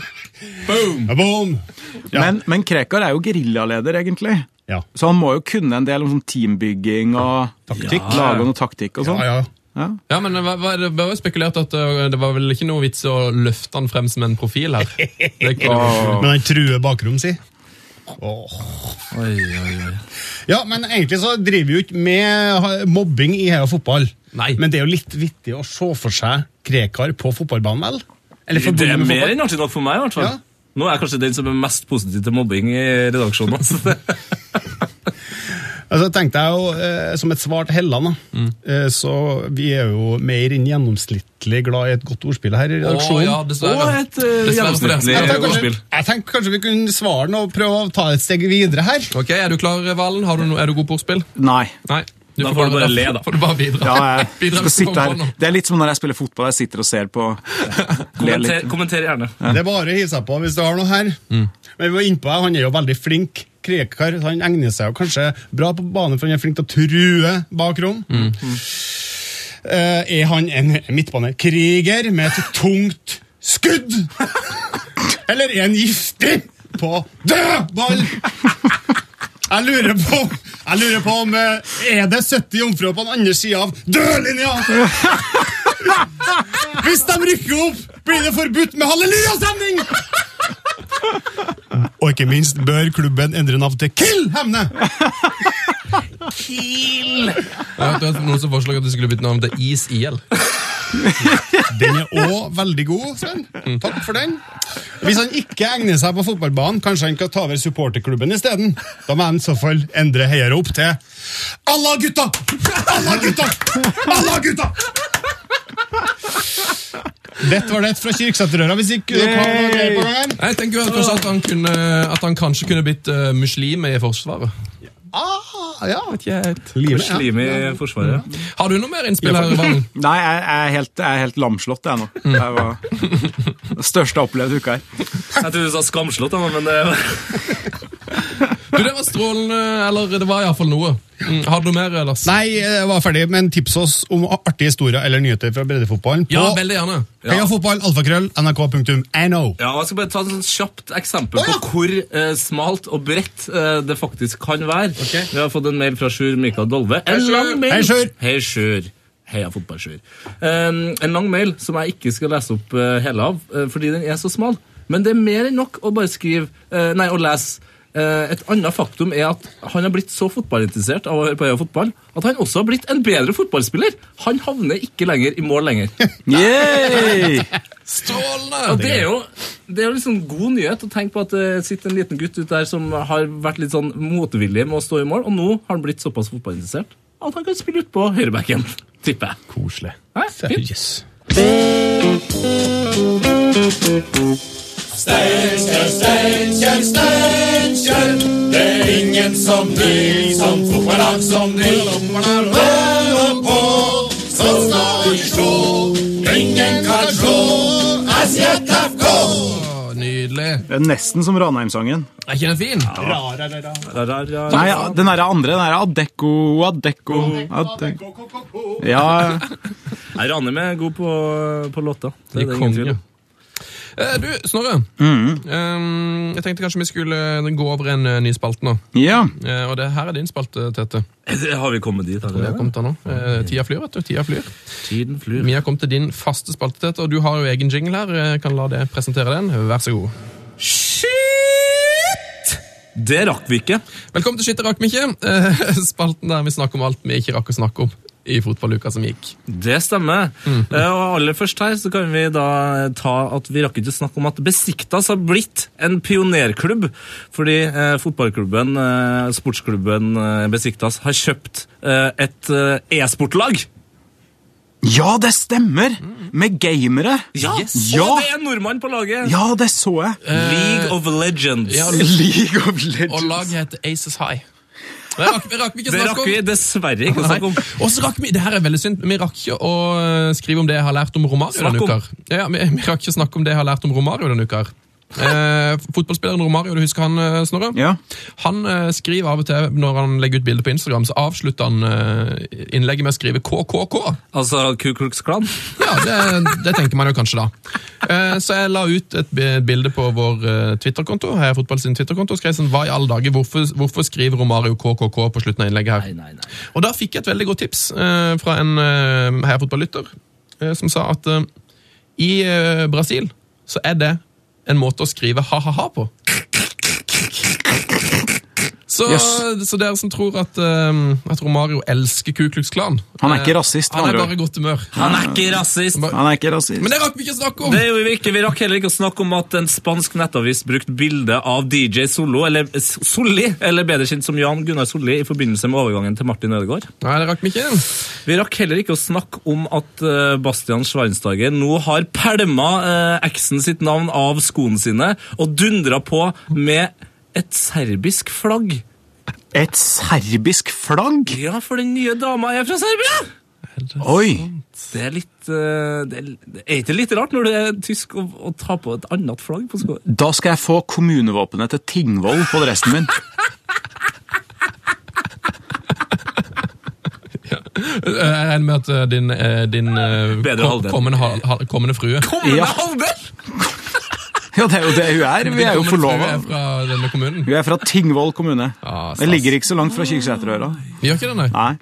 Speaker 8: Boom! Boom! Ja.
Speaker 6: Men, men Krekar er jo geriljaleder, egentlig.
Speaker 8: Ja.
Speaker 6: Så han må jo kunne en del om sånn teambygging og
Speaker 8: Taktikk.
Speaker 6: lage noe taktikk og sånn.
Speaker 8: Ja, ja.
Speaker 5: Ja, men eh, hva, hva, Det var jo spekulert at øh, det var vel ikke noe vits å løfte han frem som en profil her. Det kunne,
Speaker 6: Og-
Speaker 8: Men han truer bakrom, si.
Speaker 2: Oi, oi, oi.
Speaker 8: Ja, men egentlig så driver vi jo ikke med ha- mobbing i hele fotball.
Speaker 5: Nei.
Speaker 8: Men det er jo litt vittig å se for seg Krekar på fotballbanen, vel? Eller
Speaker 2: Det
Speaker 8: forbundet
Speaker 2: er
Speaker 8: med
Speaker 2: mer
Speaker 8: fotball.
Speaker 2: enn artig nok for meg, i hvert fall.
Speaker 8: Ja.
Speaker 2: Nå er jeg kanskje den som er mest positiv til mobbing i redaksjonen. Altså.
Speaker 8: Altså, tenkte jeg jo, eh, som et svar til Helland, da.
Speaker 2: Mm.
Speaker 8: Eh, så vi er jo mer enn gjennomsnittlig glad i et godt ordspill her i redaksjonen.
Speaker 5: Å, ja, dessverre.
Speaker 2: Og et, øh,
Speaker 5: Dessverre for det.
Speaker 2: gjennomsnittlig-
Speaker 8: jeg, tenker kanskje,
Speaker 2: ordspill.
Speaker 8: jeg tenker kanskje vi kunne svare den og prøve å ta et steg videre her.
Speaker 5: Ok, Er du klar, eh, Valen? Har du no, er du god på ordspill?
Speaker 6: Nei.
Speaker 5: Nei. Du
Speaker 2: Da får du bare le,
Speaker 5: får-
Speaker 2: da.
Speaker 5: Får du bare bidra.
Speaker 6: Ja, jeg
Speaker 5: Bidra
Speaker 6: skal
Speaker 5: hvis du
Speaker 6: sitte
Speaker 5: kommer på
Speaker 6: her.
Speaker 5: noe.
Speaker 6: Det er litt som når jeg spiller fotball, jeg sitter og ser på. Ler
Speaker 2: Kommenter,
Speaker 6: litt.
Speaker 2: kommenter gjerne.
Speaker 8: Det er bare å hive seg på hvis du har noe her. Men vi var innpå her, han er jo veldig flink. Krekar så han egner seg jo kanskje bra på banen, for han er flink til å true bakrom. Eh, er han en midtbanekriger med et tungt skudd? Eller er han giftig på dødball? Jeg lurer på, jeg lurer på om eh, Er det 70 jomfruer på den andre sida av dørlinja? Hvis de rykker opp, blir det forbudt med hallelujastemning! Og ikke minst bør klubben endre navn til Kill Hemne!
Speaker 5: Ja, det var noen som foreslår at du skulle bytte navn til Is IL.
Speaker 8: Den er òg veldig god, Sven. Takk for den. Hvis han ikke egner seg på fotballbanen, kanskje han kan ta over supporterklubben isteden. Da må han i så fall endre heiarop til Alla gutta! Alla gutta! Alla gutta! Dette var det fra Kirksæterøra, hvis ikke dere har noe greier på gang her.
Speaker 5: Jeg tenker jo at kanskje at han, kunne, at han kanskje kunne blitt øh, muslim i Forsvaret.
Speaker 8: Ah, ja.
Speaker 2: Med
Speaker 8: Livet, ja.
Speaker 2: Slim i Forsvaret.
Speaker 5: Har du noe mer innspill her, Valen?
Speaker 6: Nei, jeg, jeg, er helt, jeg er helt lamslått, jeg nå. Det var den største opplevde uka her.
Speaker 2: Jeg trodde du sa skamslått, da, men det
Speaker 5: Du, Det var strålende, eller det var iallfall noe. Mm, Har du noe mer, Lars?
Speaker 8: Nei, eh, jeg var ferdig, men tips oss om artige historier eller nyheter fra breddefotballen på
Speaker 5: Ja, veldig gjerne.
Speaker 8: heiafotballalfakrøll.nrk.no.
Speaker 2: Ja, og Jeg skal bare ta et sånt kjapt eksempel
Speaker 8: Å, ja.
Speaker 2: på hvor eh, smalt og bredt eh, det faktisk kan være. Vi har fått en mail fra Sjur Mikael Dolve. En
Speaker 5: Sjur.
Speaker 2: lang mail.
Speaker 8: Hei, Sjur.
Speaker 2: Hei, Sjur. Heia fotballsjuer. Um, en lang mail som jeg ikke skal lese opp eh, hele av, eh, fordi den er så smal. Men det er mer enn nok å bare skrive eh, Nei, å lese. Eh, et annet faktum er at han har blitt så fotballinteressert av å høre på Heia fotball at han også har blitt en bedre fotballspiller. Han havner ikke lenger i mål lenger.
Speaker 6: Yay!
Speaker 5: Strålende!
Speaker 2: Og det er jo, det er jo liksom god nyhet å tenke på at eh, det sitter en liten gutt ut der som har vært litt sånn motvillig med å stå i mål, og nå har han blitt såpass fotballinteressert at han kan spille ut på høyrebacken, tipper jeg.
Speaker 8: Koselig.
Speaker 2: Hæ? Fint.
Speaker 8: Yes.
Speaker 1: Steinkjer, Steinkjer, Steinkjer. Det er ingen som de, som fotballag som de. Holder på, så skal vi slå. Ingen kan slå SJFK.
Speaker 5: Å, Nydelig.
Speaker 6: Det er nesten som Ranheim-sangen.
Speaker 5: Er ikke den fin?
Speaker 2: Ra, ra, ra, ra.
Speaker 6: Nei, ja, den derre andre, den derre Adecco, Adecco, Adecco. Ja,
Speaker 2: Nei, Ranheim er god på, på låta. Det
Speaker 5: De
Speaker 2: er det ingen tvil
Speaker 5: konge.
Speaker 2: om. Mm.
Speaker 5: Eh, Du, Snorre. Eh, jeg tenkte kanskje vi skulle gå over en eh, ny spalte nå.
Speaker 6: ja.
Speaker 5: Eh, og det her er din spalte, Tete.
Speaker 2: Har vi kommet dit
Speaker 5: Vi har
Speaker 2: allerede?
Speaker 5: kommet her nå. Eh, tida flyr, vet du. Tida flyr.
Speaker 2: Tiden flyr.
Speaker 5: Vi har kommet til din faste spalte, Tete, og du har jo egen jingle her. Jeg kan la deg presentere den. Vær så god.
Speaker 2: Shit! Det rakk vi ikke.
Speaker 5: Velkommen til Skitt og rakk vi ikke. Eh, spalten der vi snakker om alt vi ikke rakk å snakke om i fotballuka som gikk.
Speaker 2: Det stemmer. Eh, Og aller først her så kan vi da ta at vi rakk ikke snakke om at Besiktas har blitt en pionerklubb. Fordi eh, fotballklubben, eh, sportsklubben eh, Besiktas, har kjøpt eh, et eh, e-sportlag.
Speaker 6: Ja, det stemmer! Med gamere.
Speaker 2: Ja!
Speaker 6: Ja.
Speaker 2: Og det er en nordmann på laget!
Speaker 6: Ja, det så jeg.
Speaker 2: League of Legends.
Speaker 5: Ja,
Speaker 6: League of
Speaker 5: og
Speaker 6: Legends.
Speaker 5: laget heter Aces High. Det rakk, det rakk vi ikke å
Speaker 2: det
Speaker 5: snakke
Speaker 2: rakk
Speaker 5: om.
Speaker 2: vi dessverre ikke å snakke om.
Speaker 5: Nei. Og så rakk vi det her er veldig synd, vi rakk ikke å eh, skrive om det jeg har lært om Romario
Speaker 2: Snakk
Speaker 5: denne
Speaker 2: om.
Speaker 5: uka. her. Ja, ja, vi, vi rakk ikke å snakke om det jeg har lært om Romario denne uka. her. Eh, fotballspilleren Romario, du husker han, eh, Snorre?
Speaker 6: Ja.
Speaker 5: Han eh, skriver av og til, når han legger ut bilder på Instagram, så avslutter han eh, innlegget med å skrive KKK.
Speaker 2: Altså Ku Klux Klan.
Speaker 5: Ja, det, det tenker man jo kanskje da. Eh, Så jeg la ut et bi- bilde på vår eh, Twitter-konto, Heia Fotball sin Twitter-konto, og skrev sånn, hva i alle dager, hvorfor, hvorfor skriver Romario KKK på slutten av innlegget her?
Speaker 2: nei, nei.
Speaker 5: Og da fikk jeg et veldig godt tips eh, fra en eh, Heia Fotball-lytter, eh, som sa at eh, i eh, Brasil så er det en måte å skrive ha-ha-ha på. Så,
Speaker 6: Yes.
Speaker 5: så dere som tror at, eh, at Romario elsker Ku Klux Klan
Speaker 6: Han er ikke
Speaker 5: eh,
Speaker 6: rasist, med
Speaker 5: Han er
Speaker 6: andre ord.
Speaker 5: bare i godt humør.
Speaker 2: Han er ikke rasist!
Speaker 5: Bare-
Speaker 6: Han er ikke rasist.
Speaker 5: men det rakk vi ikke å snakke om!
Speaker 2: Det gjorde vi ikke. Vi rakk heller ikke å snakke om at en spansk nettavis brukte bilde av DJ Solo, eller S- Solli, eller bedre kjent som Jan Gunnar Solli, i forbindelse med overgangen til Martin Ødegaard.
Speaker 5: Nei, det rakk vi ikke.
Speaker 2: Vi rakk heller ikke å snakke om at eh, Bastian Schweinsteiger nå har pælma eh, eksen sitt navn av skoene sine og dundra på med et serbisk flagg.
Speaker 6: Et serbisk flagg?
Speaker 2: Ja, for den nye dama er fra Serbia!
Speaker 6: Oi!
Speaker 2: Det er litt eh, det er, det er ikke litt rart når det er tysk å, å ta på et annet flagg på skoene?
Speaker 6: Da skal jeg få kommunevåpenet til Tingvoll på dressen min.
Speaker 5: Jeg regner med at eh, din, eh, din eh,
Speaker 2: Bedre
Speaker 5: kom-
Speaker 2: halvdel.
Speaker 5: kommende, hal- hal- kommende frue
Speaker 6: Ja. Ja, det er jo det hun er. Vi er jo
Speaker 5: Din kommende frue
Speaker 6: forlova.
Speaker 5: er fra denne kommunen.
Speaker 6: Hun er fra Tingvoll kommune.
Speaker 5: Ja, stas.
Speaker 6: Det ligger ikke så langt fra Kirksæterøra.
Speaker 5: Vi gjør ikke det, nei.
Speaker 6: Nei.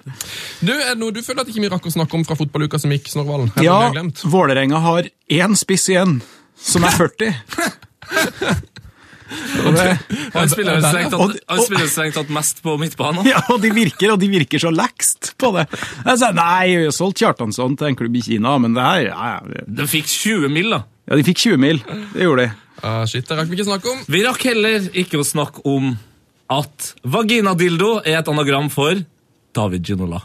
Speaker 5: Du, er det noe du føler at ikke vi rakk å snakke om fra fotballuka som gikk, Snorvalen? Er det noe
Speaker 6: Ja,
Speaker 5: vi har glemt?
Speaker 6: Vålerenga har én spiss igjen, som er 40. Og det,
Speaker 2: Han spiller jo strengt
Speaker 6: Og-
Speaker 2: tatt- han spiller jo strengt tatt mest på midtbanen.
Speaker 6: ja, og de virker, og de virker så lækst på det. Jeg sa nei, vi har solgt Kjartansson til en klubb i Kina, men det her ja, ja.
Speaker 2: De fikk 20 mil, da.
Speaker 6: ja, de fikk 20 mil. Det gjorde de.
Speaker 5: Ah, shit, det rakk vi ikke snakke om.
Speaker 2: Vi rakk heller ikke å snakke om at vaginadildo er et anagram for David Ginola.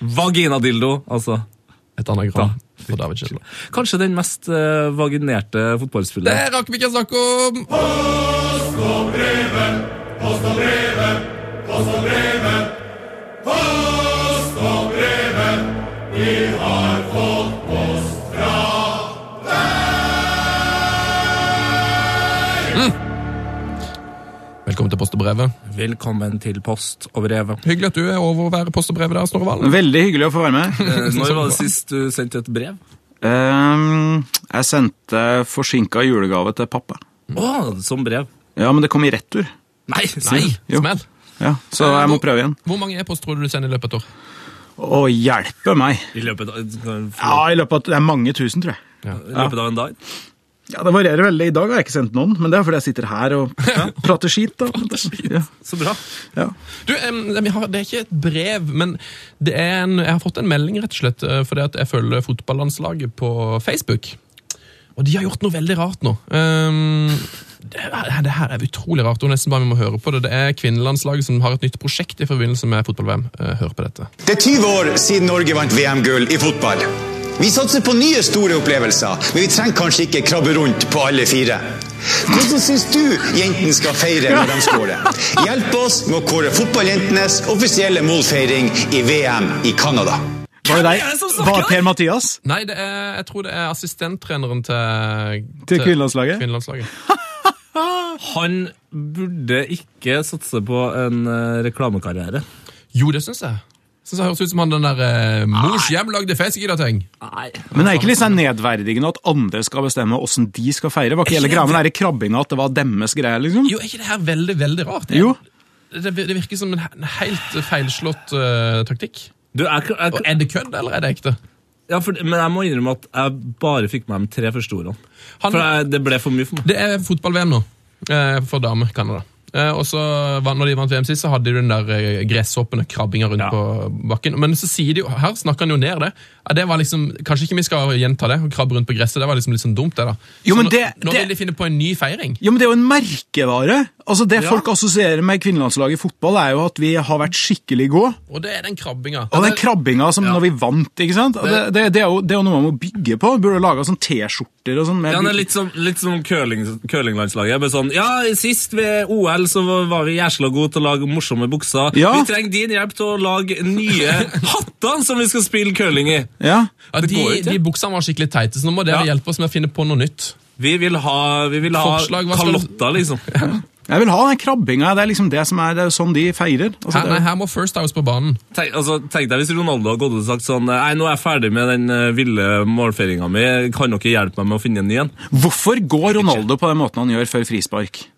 Speaker 2: Vaginadildo, altså.
Speaker 5: Et anagram for David Kjello.
Speaker 2: Kanskje den mest eh, vaginerte
Speaker 5: Det
Speaker 2: fotballspilleren.
Speaker 5: rakk vi ikke å snakke om!
Speaker 1: Post og brevet, post og brevet, post og brevet. Vi har fått post fra
Speaker 5: Mm. Velkommen til Post og brevet.
Speaker 2: Velkommen til post og brevet.
Speaker 5: Hyggelig at du er over å være Post og brevet der, Snorvalen.
Speaker 6: Veldig hyggelig å få være med.
Speaker 2: Eh, Når var det sist du sendte et brev?
Speaker 6: Ehm, jeg sendte forsinka julegave til pappa.
Speaker 2: Å, som brev.
Speaker 6: Ja, men det kom i retur.
Speaker 2: Nei! nei.
Speaker 6: Jo.
Speaker 5: Smell.
Speaker 6: Ja, så jeg må prøve igjen.
Speaker 5: Hvor mange e-post tror du du sender i løpet av et år?
Speaker 6: Å hjelpe meg!
Speaker 2: I løpet av,
Speaker 6: Ja, i løpet av Det er mange tusen, tror jeg.
Speaker 2: i løpet av en dag?
Speaker 6: Ja, Det varierer veldig. I dag har jeg ikke sendt noen, men det er fordi jeg sitter her og prater skit. da. Ja.
Speaker 2: Så bra.
Speaker 6: Ja.
Speaker 5: Du, em, vi har, det er ikke et brev, men det er en, jeg har fått en melding, rett og slett, eh, fordi at jeg følger fotballandslaget på Facebook. Og de har gjort noe veldig rart nå. Em, det, her- det her er utrolig rart, og nesten bare vi må høre på det. Det er kvinnelandslaget som har et nytt prosjekt i forbindelse med fotball-VM. Eh, Hør på dette.
Speaker 9: Det er 20 år siden Norge vant VM-gull i fotball. Vi satser på nye store opplevelser, men vi trenger kanskje ikke krabbe rundt på alle fire. Hvordan syns du jentene skal feire når de scorer? Hjelp oss med å kåre fotballjentenes offisielle målfeiring i VM i Canada.
Speaker 6: Var det
Speaker 2: er det som
Speaker 6: deg?
Speaker 2: snakker?
Speaker 6: Var det Per Mathias?
Speaker 5: Nei, det er, jeg tror det er assistenttreneren til
Speaker 6: Til kvinnelandslaget?
Speaker 5: kvinnelandslaget.
Speaker 2: Han burde ikke satse på en eh, reklamekarriere.
Speaker 5: Jo, det syns jeg. Synes jeg høres ut som han den der eh, mors hjemlagde fesegidateng.
Speaker 2: Nei.
Speaker 6: Men det er ikke litt sånn nedverdigende at andre skal bestemme hvordan de skal feire? Var ikke hele greia med den der krabbinga at det var deres greie, liksom?
Speaker 5: Jo, er ikke det her veldig, veldig rart?
Speaker 6: Jo.
Speaker 5: Det, det virker som en he- en helt feilslått eh, taktikk.
Speaker 2: Du, jeg, jeg,
Speaker 5: Og
Speaker 2: jeg,
Speaker 5: Er det kødd, eller er det ekte?
Speaker 2: ja, for, men jeg må innrømme at jeg bare fikk med meg de tre første ordene.
Speaker 5: Han-
Speaker 2: For jeg, det ble for mye for meg.
Speaker 5: Det er fotball-VM nå, eh, for damer, Canada. Eh, og så vant- Når de vant VM sist, så hadde de den der eh, gresshoppen og krabbinga rundt
Speaker 2: Ja.
Speaker 5: på bakken. Men så sier de jo Her snakker han jo ned det. Ja, det var liksom, Kanskje ikke vi skal gjenta det, å krabbe rundt på gresset. Det var liksom litt sånn dumt, det, da.
Speaker 6: Jo,
Speaker 5: Så
Speaker 6: men
Speaker 5: nå-
Speaker 6: det-
Speaker 5: nå
Speaker 6: det-
Speaker 5: vil de finne på en ny feiring.
Speaker 6: Jo, men Det er jo en merkevare. Altså Det
Speaker 2: Ja.
Speaker 6: folk assosierer med kvinnelandslaget i fotball, er jo at vi har vært skikkelig gode.
Speaker 5: Og det er den krabbinga.
Speaker 6: Og den
Speaker 5: Det-
Speaker 6: krabbinga som når vi vant, ikke sant? Og Det, det, det, er, jo, det er jo noe man må bygge på. Burde lage sånn T-skjorter og sånn. med
Speaker 2: Ja, det er
Speaker 6: bilder.
Speaker 2: litt som, litt som curling, curlinglandslaget. Bare sånn, ja, Sist ved OL så var vi jæsla gode til å lage morsomme bukser.
Speaker 6: Ja.
Speaker 2: Vi trenger din hjelp til å lage nye hatter som vi skal spille curling i!
Speaker 6: Ja.
Speaker 5: ja, de,
Speaker 2: går jo ikke.
Speaker 5: de buksene var skikkelig teite, så nå må dere
Speaker 2: Ja.
Speaker 5: hjelpe oss med å finne på noe nytt.
Speaker 2: Vi vil ha, vi vil ha
Speaker 5: Forslag, hva skal du-
Speaker 2: kalotter, liksom.
Speaker 6: Jeg vil ha den krabbinga. Det er liksom det som er, det er jo sånn de feirer. Altså,
Speaker 5: Her,
Speaker 6: det
Speaker 5: nei,
Speaker 6: er jo-
Speaker 5: her må First House på banen.
Speaker 2: Tenk, altså, tenk deg hvis Ronaldo hadde gått ut og sagt sånn Nei, nå er jeg ferdig med den eh, ville målfeiringa mi. Kan dere hjelpe meg med å finne en ny en?
Speaker 6: Hvorfor går Ronaldo på den måten han gjør før frispark?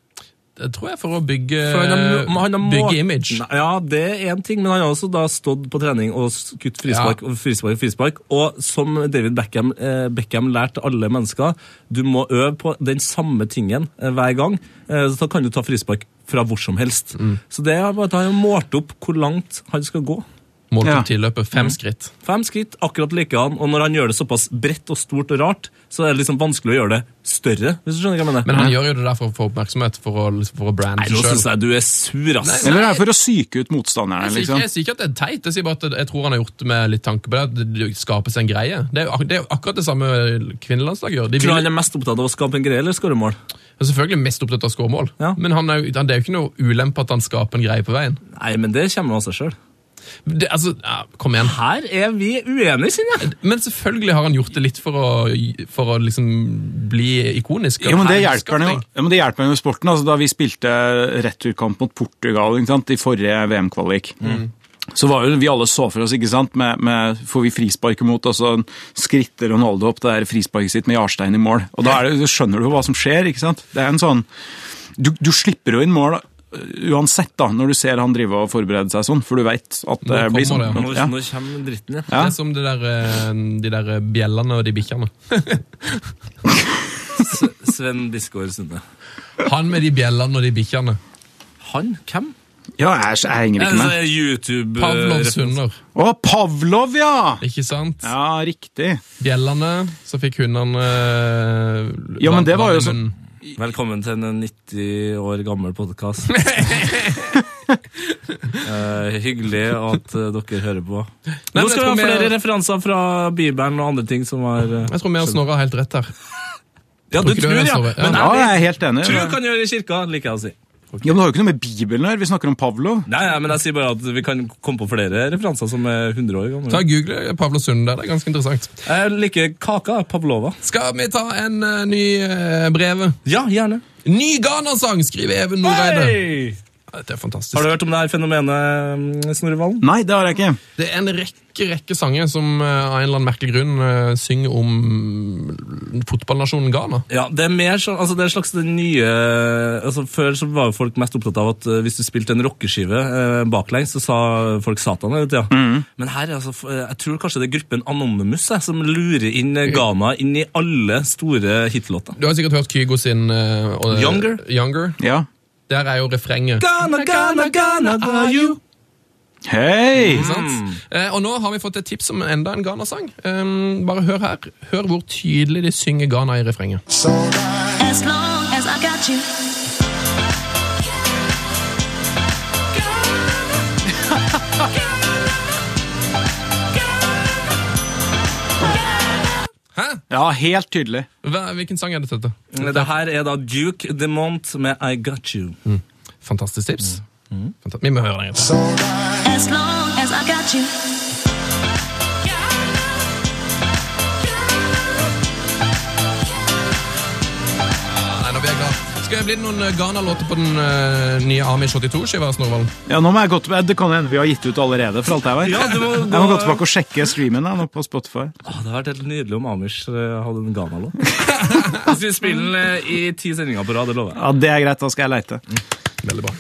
Speaker 5: Det tror jeg for å bygge,
Speaker 2: For han har- han har må-
Speaker 5: Eh, bygge image.
Speaker 2: Nei, Ja, det er én ting, men han har også da stått på trening og skutt frispark
Speaker 5: Ja.
Speaker 2: og frispark. frispark. Og som David Beckham, eh, Beckham lærte alle mennesker, du må øve på den samme tingen eh, hver gang. Eh, så da kan du ta frispark fra hvor som helst.
Speaker 5: Mm.
Speaker 2: Så det er bare at han har målt opp hvor langt han skal gå.
Speaker 5: Målt
Speaker 6: Ja.
Speaker 5: opp tilløpet fem skritt.
Speaker 2: Fem skritt, akkurat likedan, og når han gjør det såpass bredt og stort og rart, så er det liksom vanskelig å gjøre det større, hvis du skjønner hva jeg mener.
Speaker 5: Men han gjør jo det der for å få oppmerksomhet, for å, for å brande
Speaker 2: Nei, nå
Speaker 5: seg
Speaker 2: syns
Speaker 5: sjøl.
Speaker 2: jeg du er sur, ass.
Speaker 6: Eller er det for å psyke ut motstanderne?
Speaker 5: Jeg
Speaker 6: liksom?
Speaker 5: sier ikke at det er teit, jeg sier bare at det- jeg tror han har gjort det med litt tanke på det. At det skapes en greie. Det er jo, ak- det er jo akkurat det samme kvinnelandslaget gjør. De
Speaker 2: Tror du han
Speaker 5: vil,
Speaker 2: er mest opptatt av å skape en greie eller skåre mål?
Speaker 5: er selvfølgelig mest opptatt av å skåre mål,
Speaker 2: Ja.
Speaker 5: men han er, jo- han, det er jo ikke noe ulempe at han skaper en greie på veien.
Speaker 2: Nei, men det kommer av seg sjøl.
Speaker 5: Det, altså, ja, kom igjen.
Speaker 2: Her er vi uenige, kjenner jeg.
Speaker 5: Men selvfølgelig har han gjort det litt for å, for å liksom bli ikonisk.
Speaker 6: Jo, men det
Speaker 5: Her-
Speaker 6: hjelper han jo. Ja, men det hjelper han jo i sporten. Altså, da vi spilte returkamp mot Portugal ikke sant, i forrige VM-kvalik, så var jo vi alle så for oss, ikke sant, med, med får vi frispark imot, og så skritter Ronaldo opp det der frisparket sitt med Jarstein i mål. Og da er det, så skjønner du jo hva som skjer, ikke sant. Det er en sånn Du, du slipper jo inn mål uh, uansett, da, når du ser han drive og forberede seg sånn, for du veit at
Speaker 5: Nå
Speaker 6: det blir sånn.
Speaker 5: kommer
Speaker 2: Nå,
Speaker 6: Ja.
Speaker 2: nå kommer dritten, ja.
Speaker 5: Det er som de der, eh, de der eh, bjellene og de bikkjene.
Speaker 2: Sven Biskår Sunde.
Speaker 5: Han med de bjellene og de bikkjene.
Speaker 2: Han? Hvem?
Speaker 6: Ja, jeg, jeg henger
Speaker 2: Er
Speaker 6: ikke
Speaker 2: det
Speaker 6: med.
Speaker 2: sånn YouTube
Speaker 6: Eh,
Speaker 2: eh,
Speaker 5: Pavlovs hunder,
Speaker 6: Å, Pavlov, ja!
Speaker 5: ikke sant?
Speaker 6: Ja, riktig.
Speaker 5: Bjellene, så fikk hundene eh,
Speaker 6: Ja, men det var
Speaker 5: vann i
Speaker 6: jo sånn-
Speaker 5: munnen.
Speaker 2: Velkommen til en 90 år gammel podkast. Eh, hyggelig at eh, dere hører på.
Speaker 5: men
Speaker 2: Nå skal
Speaker 5: jeg
Speaker 2: vi ha
Speaker 5: tror vi-
Speaker 2: flere referanser fra Bibelen og andre ting som har eh,
Speaker 5: Jeg tror vi og Snorre har helt rett her.
Speaker 2: Ja, du
Speaker 5: ikke
Speaker 2: tror,
Speaker 5: det er
Speaker 2: ja.
Speaker 5: Snorre. Ja.
Speaker 2: Men
Speaker 6: Ja,
Speaker 2: jeg vet
Speaker 6: jeg er helt enig.
Speaker 2: tro kan gjøre i kirka, liker jeg å si.
Speaker 6: Ja, men Det har jo ikke noe med Bibelen å gjøre. Vi snakker om Pavlov.
Speaker 2: Nei, nei, men jeg sier bare at vi kan komme på flere referanser som er 100 år
Speaker 5: Ta
Speaker 2: gamle.
Speaker 5: Google Pavlos hunder, det er ganske interessant.
Speaker 2: Jeg liker kaka. Pavlova.
Speaker 5: Skal vi ta en eh, ny uh, brev?
Speaker 2: Ja, gjerne.
Speaker 5: Ny Ghana-sang, skriver Even Noreide.
Speaker 2: Hei!
Speaker 5: Dette er fantastisk.
Speaker 2: Har du hørt om det her fenomenet, mm, Snorre Valen?
Speaker 6: Nei, det har jeg ikke.
Speaker 5: Det er en rekke rekke sanger som eh, av en eller annen merkelig grunn eh, synger om mm, fotballnasjonen Ghana.
Speaker 2: Ja, det er mer sånn, altså det er en slags det nye altså Før så var jo folk mest opptatt av at eh, hvis du spilte en rockeskive eh, baklengs, så sa folk Satan hele tida. Men her er altså, f- eh, jeg tror kanskje det er gruppen Anonymous jeg, som lurer inn eh, Ghana inn i alle store hitlåter.
Speaker 5: Du har sikkert hørt Kygo sin eh, og-
Speaker 2: Younger?
Speaker 5: Younger.
Speaker 6: Ja.
Speaker 5: Der er jo refrenget.
Speaker 2: Ghana, Ghana, Ghana, are you? Mm.
Speaker 6: Hei!
Speaker 5: ikke sant? Eh, og nå har vi fått et tips om enda en Ghana-sang. Um, bare hør her. Hør hvor tydelig de synger Ghana i refrenget.
Speaker 10: As long as I got you.
Speaker 5: Hæ?
Speaker 6: Ja, helt tydelig.
Speaker 5: Hva, hvilken sang er dette? dette?
Speaker 2: Det her er da Duke DeMont med I Got You.
Speaker 5: Fantastisk tips. Fanta- vi må høre den. igjen.
Speaker 10: As long as I got you.
Speaker 5: Nei, nå blir jeg glad. Skal det bli noen eh, Ghana-låter på den eh, nye Amish 82-skiva, Snorvalen?
Speaker 6: Ja, nå må jeg gå til, Det kan hende vi har gitt ut allerede, for alt jeg vet.
Speaker 2: Ja, du må
Speaker 6: Jeg må
Speaker 2: gå-
Speaker 6: gå tilbake og sjekke streamen jeg, nå på Spotify.
Speaker 2: Å, det hadde vært helt nydelig om Amish eh, hadde en Ghana-låt. Hvis vi spiller den eh, i ti sendinger på rad, det lover jeg.
Speaker 6: Ja, Det er greit, da skal jeg leite.
Speaker 2: Mm.
Speaker 5: Veldig bra.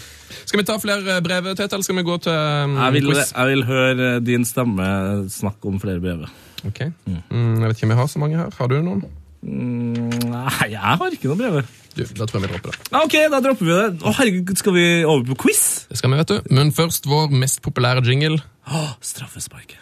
Speaker 5: Skal vi ta flere eh, brev, Tete, eller skal vi gå til um,
Speaker 2: Jeg vil,
Speaker 5: quiz?
Speaker 2: jeg vil høre eh, din stemme snakke om flere brev.
Speaker 5: Ok. Mm, jeg vet ikke om jeg har så mange her. Har du noen?
Speaker 2: Nei, jeg har ikke noe brev.
Speaker 5: Du, da tror jeg vi dropper det.
Speaker 2: Ja, ok, da dropper vi det. Å, herregud, skal vi over på quiz?
Speaker 5: Det skal vi, vet du. Men først vår mest populære jingle.
Speaker 2: Å, straffesparket.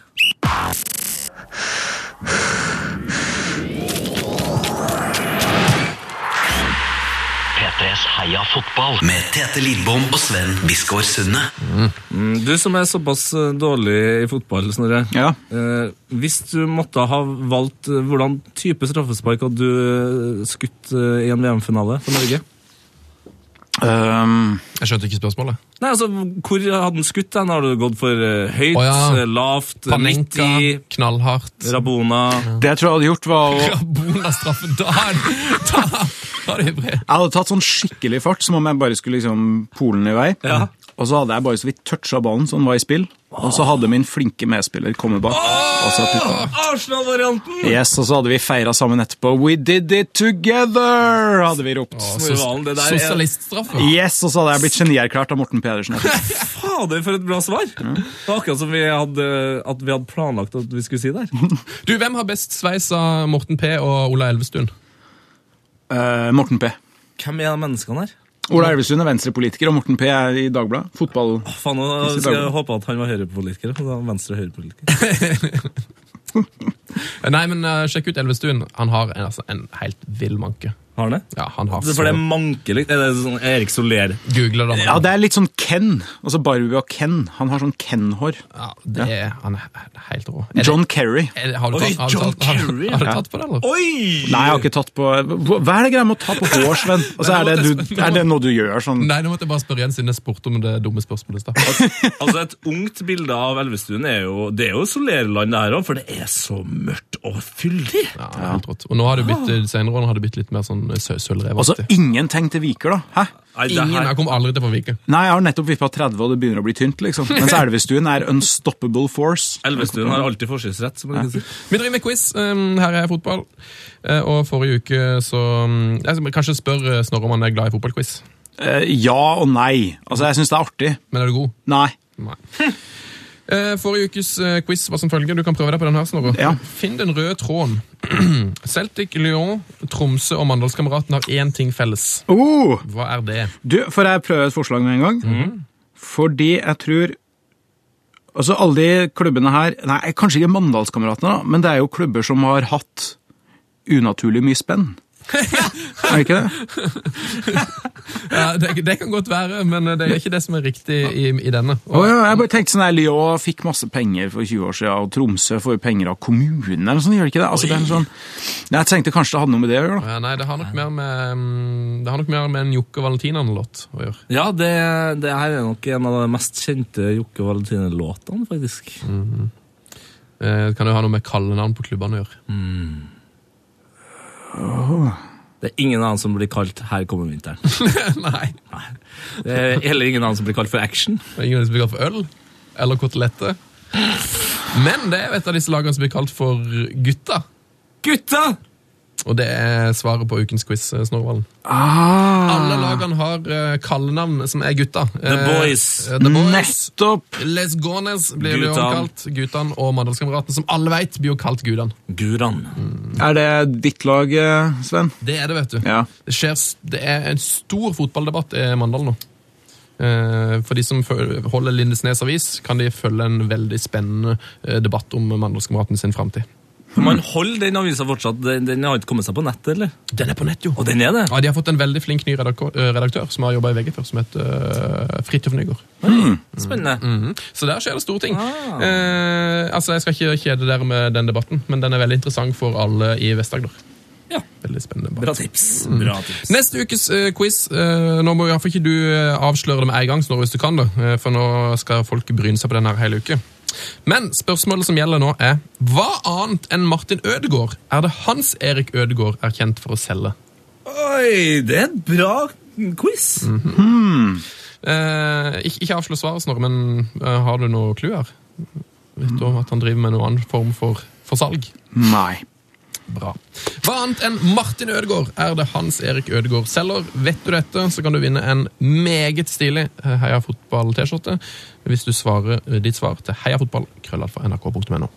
Speaker 4: P3s Heia fotball med Tete Lidbom og Sven Biskår Sunne.
Speaker 2: Du som er såpass eh, dårlig i fotball, Snorre.
Speaker 6: Ja.
Speaker 2: Eh, hvis du måtte ha valgt eh, hvordan type straffespark hadde du eh, skutt eh, i en VM-finale for Norge?
Speaker 6: Øhm,
Speaker 5: Jeg skjønte ikke spørsmålet.
Speaker 2: Nei, altså, Hvor hadde den skutt? den? Har du gått for eh, høyt,
Speaker 5: Å, ja.
Speaker 2: eh, lavt, midt
Speaker 5: Panenka,
Speaker 2: i,
Speaker 5: knallhardt.
Speaker 2: Rabona?
Speaker 6: det jeg tror jeg hadde gjort, var å Jeg
Speaker 5: Rabona-straffen. Da er det- da- da er det brev.
Speaker 6: hadde tatt sånn skikkelig fart, som om jeg bare skulle liksom polen i vei.
Speaker 2: Ja.
Speaker 6: Og så hadde jeg bare så vidt toucha ballen, så den var i spill. Og så hadde min flinke medspiller kommet bak. Og så putta den.
Speaker 2: Arsenal-varianten!
Speaker 6: Yes, og så hadde vi feira sammen etterpå. We did it together! hadde vi ropt.
Speaker 2: Snorre Valen, det der er-
Speaker 5: Sosialiststraffe.
Speaker 6: Yes, og så hadde jeg blitt genierklært av Morten Pedersen. etterpå.
Speaker 2: Fader, for et bra svar! Det var akkurat som vi hadde, at vi hadde planlagt at vi skulle si der.
Speaker 5: Du, Hvem har best sveis av Morten P. og Ola Elvestuen?
Speaker 6: Eh, Morten P.
Speaker 2: Hvem er de menneskene her?
Speaker 6: Ola Elvestuen er venstrepolitiker, og Morten P er i Dagbladet. Fotball...
Speaker 2: Faen, nå
Speaker 6: Hvis vi
Speaker 2: skal
Speaker 6: tar-
Speaker 2: jeg håpe at han var høyrepolitiker. og da Venstre høyrepolitiker.
Speaker 5: Eh, Nei, men eh, Sjekk ut Elvestuen. Han har en, altså, en helt vill manke.
Speaker 2: Har han det?
Speaker 5: Ja, han har
Speaker 2: Det er For det er
Speaker 5: så...
Speaker 2: mankelig. Er det sånn Erik Soler?
Speaker 5: Google det.
Speaker 6: Ja, det er litt sånn Ken. Altså Barbie og Ken. Han har sånn Ken-hår.
Speaker 5: Ja, det er, han er he- helt rå. Er det-
Speaker 6: John Kerry.
Speaker 5: er det- Har du
Speaker 2: Oi,
Speaker 5: tatt, har du
Speaker 2: John
Speaker 5: tatt, har,
Speaker 2: Kerry,
Speaker 5: har du
Speaker 6: ja.
Speaker 5: tatt på det, eller?
Speaker 2: Oi!
Speaker 6: Nei, jeg har ikke tatt på Hva hva er det greia med å ta på hår, Sven? Altså, er, det du, er det noe du gjør sånn
Speaker 5: Nei, nå måtte jeg bare spørre igjen siden jeg spurte om det dumme spørsmålet. i stad.
Speaker 2: Altså, Et ungt bilde av Elvestuen er jo Det er jo Solerland, det her òg, for det er så mørkt og fyldig.
Speaker 5: Ja, helt rått. Og nå har det
Speaker 2: Ah.
Speaker 5: blitt, eh, senere årene har det blitt litt mer sånn sø-
Speaker 6: Altså,
Speaker 5: sølvrevaktig.
Speaker 6: ingenting til Viker, da. Hæ?
Speaker 2: Nei, det
Speaker 5: Ingen
Speaker 2: her,
Speaker 5: her kommer aldri til å få vike.
Speaker 6: Nei, jeg har nettopp vippa 30, og det begynner å bli tynt, liksom. Mens Elvestuen er unstoppable force.
Speaker 2: Elvestuen har alltid forsynsrett, som man kan si.
Speaker 5: Vi driver med quiz. Um, her er fotball. Eh, og forrige uke så um, jeg skal Kanskje spør eh, Snorre om han er glad i fotballquiz.
Speaker 6: Eh, ja og nei. Altså, jeg syns det er artig.
Speaker 5: Men er du god?
Speaker 6: Nei.
Speaker 5: Nei. Eh, forrige ukes eh, quiz var som følger. Du kan prøve deg på den her, Snorre.
Speaker 6: Ja.
Speaker 5: Finn den røde tråden. Celtic, Lyon, Tromsø og Mandalskameraten har én ting felles.
Speaker 6: Oh,
Speaker 5: Hva er det?
Speaker 6: du, får jeg prøve et forslag med en gang?
Speaker 5: Mm.
Speaker 6: Fordi jeg tror Altså, alle de klubbene her Nei, kanskje ikke Mandalskameratene, da, men det er jo klubber som har hatt unaturlig mye spenn. Er det ikke det?
Speaker 5: Ja, det? Det kan godt være, men eh, det er ikke det som er riktig i, i denne.
Speaker 6: Å ja, jeg bare tenkte sånn der, Lyon fikk masse penger for 20 år siden, og Tromsø får jo penger av kommunen, eller sånn, gjør det ikke det? Altså, det er en sånn, Nei, jeg tenkte kanskje det hadde noe med det å gjøre, da.
Speaker 5: Ja, nei, det har nok mer med, mm, det har nok mer med en Jokke Valentinan-låt å gjøre.
Speaker 2: Ja, det, det her er nok en av de mest kjente Jokke Valentine-låtene, faktisk.
Speaker 5: Eh, det kan jo ha noe med kallenavn på klubbene å gjøre.
Speaker 2: Det er ingen annen som blir kalt 'Her kommer vinteren'.
Speaker 5: Nei.
Speaker 2: Det er heller ingen annen som blir kalt for action.
Speaker 5: Det er ingen som blir kalt for øl eller koteletter. Men det er jo et av disse lagene som blir kalt for Gutta.
Speaker 2: Gutta!
Speaker 5: Og det er svaret på ukens quiz, eh, Snorvalen. Alle lagene har eh, kallenavn som er Gutta.
Speaker 2: The
Speaker 5: Eh,
Speaker 2: Boys.
Speaker 5: eh, The Boys.
Speaker 6: Nettopp!
Speaker 5: Les Gånes blir jo
Speaker 2: Gutan.
Speaker 5: kalt. Gutan og Mandalskameratene, som alle veit, blir jo kalt Gudan.
Speaker 2: Guran.
Speaker 6: Er det ditt lag, eh, Sven?
Speaker 5: Det er det, vet du.
Speaker 6: Ja.
Speaker 5: Det, skjer, s- det er en stor fotballdebatt i Mandal nå. Eh, For de som føl- holder Lindesnes avis, kan de følge en veldig spennende eh, debatt om Mandalskameratene sin framtid.
Speaker 2: Man holder den avisa fortsatt. Den, den har ikke kommet seg på nettet, eller?
Speaker 5: Den er på nett, jo.
Speaker 2: Og den er det.
Speaker 5: Ja, De har fått en veldig flink ny redaktor, eh, redaktør som har jobba i VG før, som heter uh, Fridtjof Nygaard.
Speaker 2: Spennende.
Speaker 5: Mm. Så der skjer det store ting. Eh, altså, Jeg skal ikke kjede dere med den debatten, men den er veldig interessant for alle i Vest-Agder.
Speaker 2: Ja.
Speaker 5: Veldig spennende. debatt.
Speaker 2: Bra tips. Bra tips.
Speaker 5: Neste ukes eh, quiz eh, Nå må i hvert fall ikke du eh, avsløre det med en gang, Snorre, hvis du kan det, eh, for nå skal folk bryne seg på den her hele uke. Men spørsmålet som gjelder nå, er hva annet enn Martin Ødegaard er det Hans Erik Ødegaard er kjent for å selge?
Speaker 2: Oi, det er en bra quiz.
Speaker 5: Mm. Eh, ikke, ikke avslør svaret, Snorre, men eh, har du noe clou her? Vet du om at han driver med noen annen form for, for salg?
Speaker 6: Nei.
Speaker 5: Bra. Hva annet enn Martin Ødegaard er det Hans Erik Ødegaard selger? Vet du dette, så kan du vinne en meget stilig eh, Heia Fotball-T-skjorte hvis du svarer eh, ditt svar til heiafotball.nrk.no.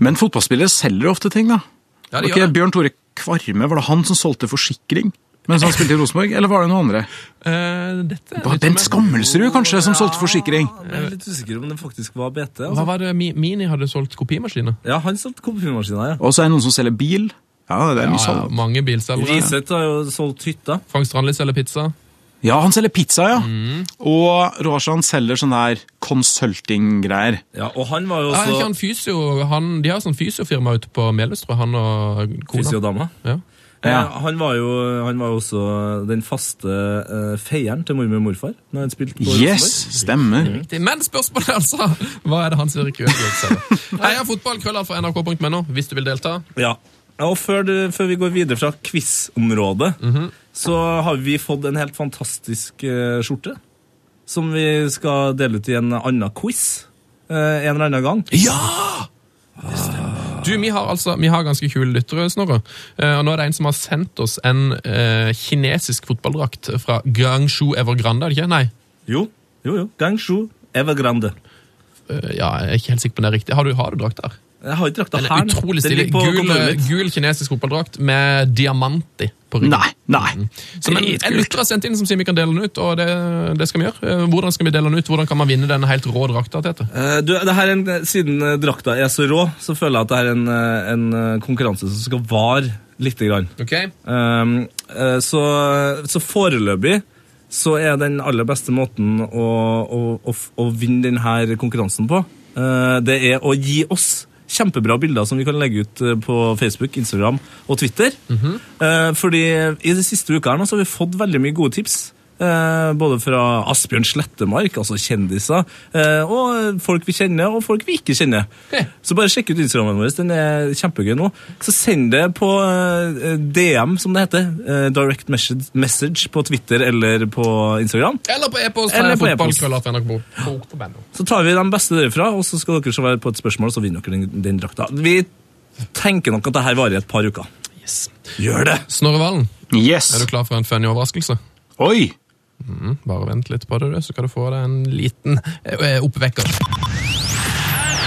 Speaker 6: Men fotballspillere selger ofte ting, da.
Speaker 5: Ja,
Speaker 6: Var
Speaker 5: de
Speaker 6: ikke
Speaker 5: gjør det.
Speaker 6: Bjørn Tore Kvarme var det han som solgte forsikring mens han spilte i Rosenborg? Eller var det noen andre?
Speaker 5: Eh, dette er
Speaker 6: Det var
Speaker 5: litt som
Speaker 6: Bent
Speaker 5: en-
Speaker 6: Skammelsrud kanskje som solgte forsikring?
Speaker 2: Jeg er litt usikker om det faktisk var BT.
Speaker 5: Hva
Speaker 2: Altså.
Speaker 5: var det Mi- Mini hadde solgt kopimaskiner?
Speaker 2: Ja, han solgte kopimaskina, ja.
Speaker 6: Og så er det noen som selger bil. Ja, det er mye
Speaker 5: Ja, ja,
Speaker 6: salg.
Speaker 5: mange bilselgere.
Speaker 2: Riseth har jo solgt hytta.
Speaker 5: Frank Strandli selger pizza.
Speaker 6: Ja, han selger pizza, ja. Og Roshan selger sånne her consulting-greier.
Speaker 2: Ja, og han var jo
Speaker 5: Ja, er ikke han
Speaker 2: også
Speaker 5: fysio, han, de har sånn fysiofirma ute på Melhus, tror jeg, han og kona.
Speaker 2: fysiodama.
Speaker 5: Ja.
Speaker 6: Ja.
Speaker 2: Eh, Han, var jo, han var jo også den faste eh, feieren til mormor og morfar. Når han spilte på
Speaker 6: Yes,
Speaker 2: Rosenborg.
Speaker 6: stemmer.
Speaker 5: riktig. Men spørsmålet er altså Hva er det Hans Erik Ødegaard selger? Heia fotball, krøller fra nrk.no hvis du vil delta.
Speaker 2: Ja. Ja, Og før, du, før vi går videre fra quiz-området,
Speaker 5: Mhm.
Speaker 2: så har vi fått en helt fantastisk eh, skjorte. Som vi skal dele ut i en annen quiz eh, en eller annen gang.
Speaker 5: Du, Vi har altså, vi har ganske kule lyttere, Snorre. Eh, og nå er det en som har sendt oss en eh, kinesisk fotballdrakt fra Guangzhou Evergrande. er det ikke? Nei,
Speaker 2: Jo, jo, jo. Gangshu Evergrande.
Speaker 5: Eh, ja, jeg er ikke helt sikker på om det er riktig. Har du, har du drakt der?
Speaker 2: Jeg har ikke drakta
Speaker 5: Den
Speaker 2: her.
Speaker 5: er
Speaker 2: nå.
Speaker 5: utrolig
Speaker 2: Den
Speaker 5: stilig.
Speaker 2: ligger på
Speaker 5: Gul, eh,
Speaker 2: kontoret mitt.
Speaker 5: gul kinesisk fotballdrakt med diamant i på ryggen.
Speaker 6: Nei, nei.
Speaker 5: Som en, en lytter har sendt inn som sier vi kan dele den ut, og det, det skal vi gjøre. Eh, Hvordan skal vi dele den ut? Hvordan kan man vinne denne helt rå drakta? Tete?
Speaker 2: Eh, Du, det her er en, siden eh, drakta er så rå, så føler jeg at det her er en, eh, en eh, konkurranse som skal vare lite grann.
Speaker 5: Ok.
Speaker 2: Um, eh, så, så foreløpig så er den aller beste måten å, å, å, f- å vinne denne konkurransen på, eh, det er å gi oss kjempebra bilder som vi kan legge ut eh, på Facebook, Instagram og Twitter. Eh, fordi i de siste ukene her nå så har vi fått veldig mye gode tips. eh, både fra Asbjørn Slettemark, altså kjendiser, eh, og folk vi kjenner, og folk vi ikke kjenner.
Speaker 5: Ok.
Speaker 2: Så bare sjekk ut Instagrammen vår, den er kjempegøy nå. Så send det på eh, DM, som det heter. eh, direct message, message på Twitter eller på Instagram.
Speaker 5: Eller på e-post.
Speaker 2: Eller
Speaker 5: Eller
Speaker 2: på
Speaker 5: på
Speaker 2: e-post. Så tar vi de beste derfra, og så skal dere svare på et spørsmål, så vinner dere den, den drakta. Vi tenker nok at det her varer i et par uker. Gjør det!
Speaker 5: Snorre Valen,
Speaker 6: Mm.
Speaker 5: er
Speaker 6: Yes.
Speaker 5: du klar for en funny overraskelse?
Speaker 6: Oi!
Speaker 5: Bare vent litt på det, du, så skal du få deg en liten eh, oppvekker.
Speaker 3: And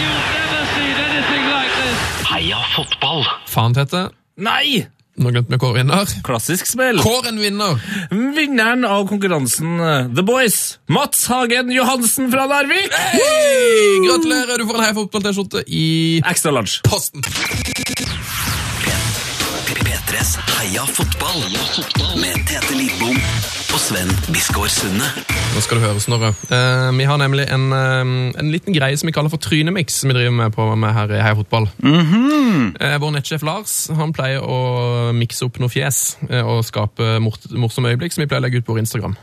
Speaker 3: you'll never seen anything like this.
Speaker 4: Heia fotball!
Speaker 5: Faen tette.
Speaker 2: Nei!
Speaker 5: Nå glemte vi Kåre vinner.
Speaker 2: Klassisk smell.
Speaker 5: Kåren vinner!
Speaker 2: Vinneren av konkurransen eh, The Boys, Mats Hagen Johansen fra Larvik!
Speaker 5: Hei! Gratulerer, du får en Heia Fotball-T-skjorte i
Speaker 2: Extra large.
Speaker 5: posten.
Speaker 4: P3s Heia fotball. Heia fotball med Tete Lidbom og Sven Biskår Sunde.
Speaker 5: Nå skal du høre, Snorre. Eh, vi har nemlig en, eh, en liten greie som vi kaller for trynemix, som vi driver med, på, med her i Heia Fotball. Eh, vår nettsjef Lars han pleier å mikse opp noen fjes eh, og skape mort, morsomme øyeblikk, som vi pleier å legge ut på vår Instagram.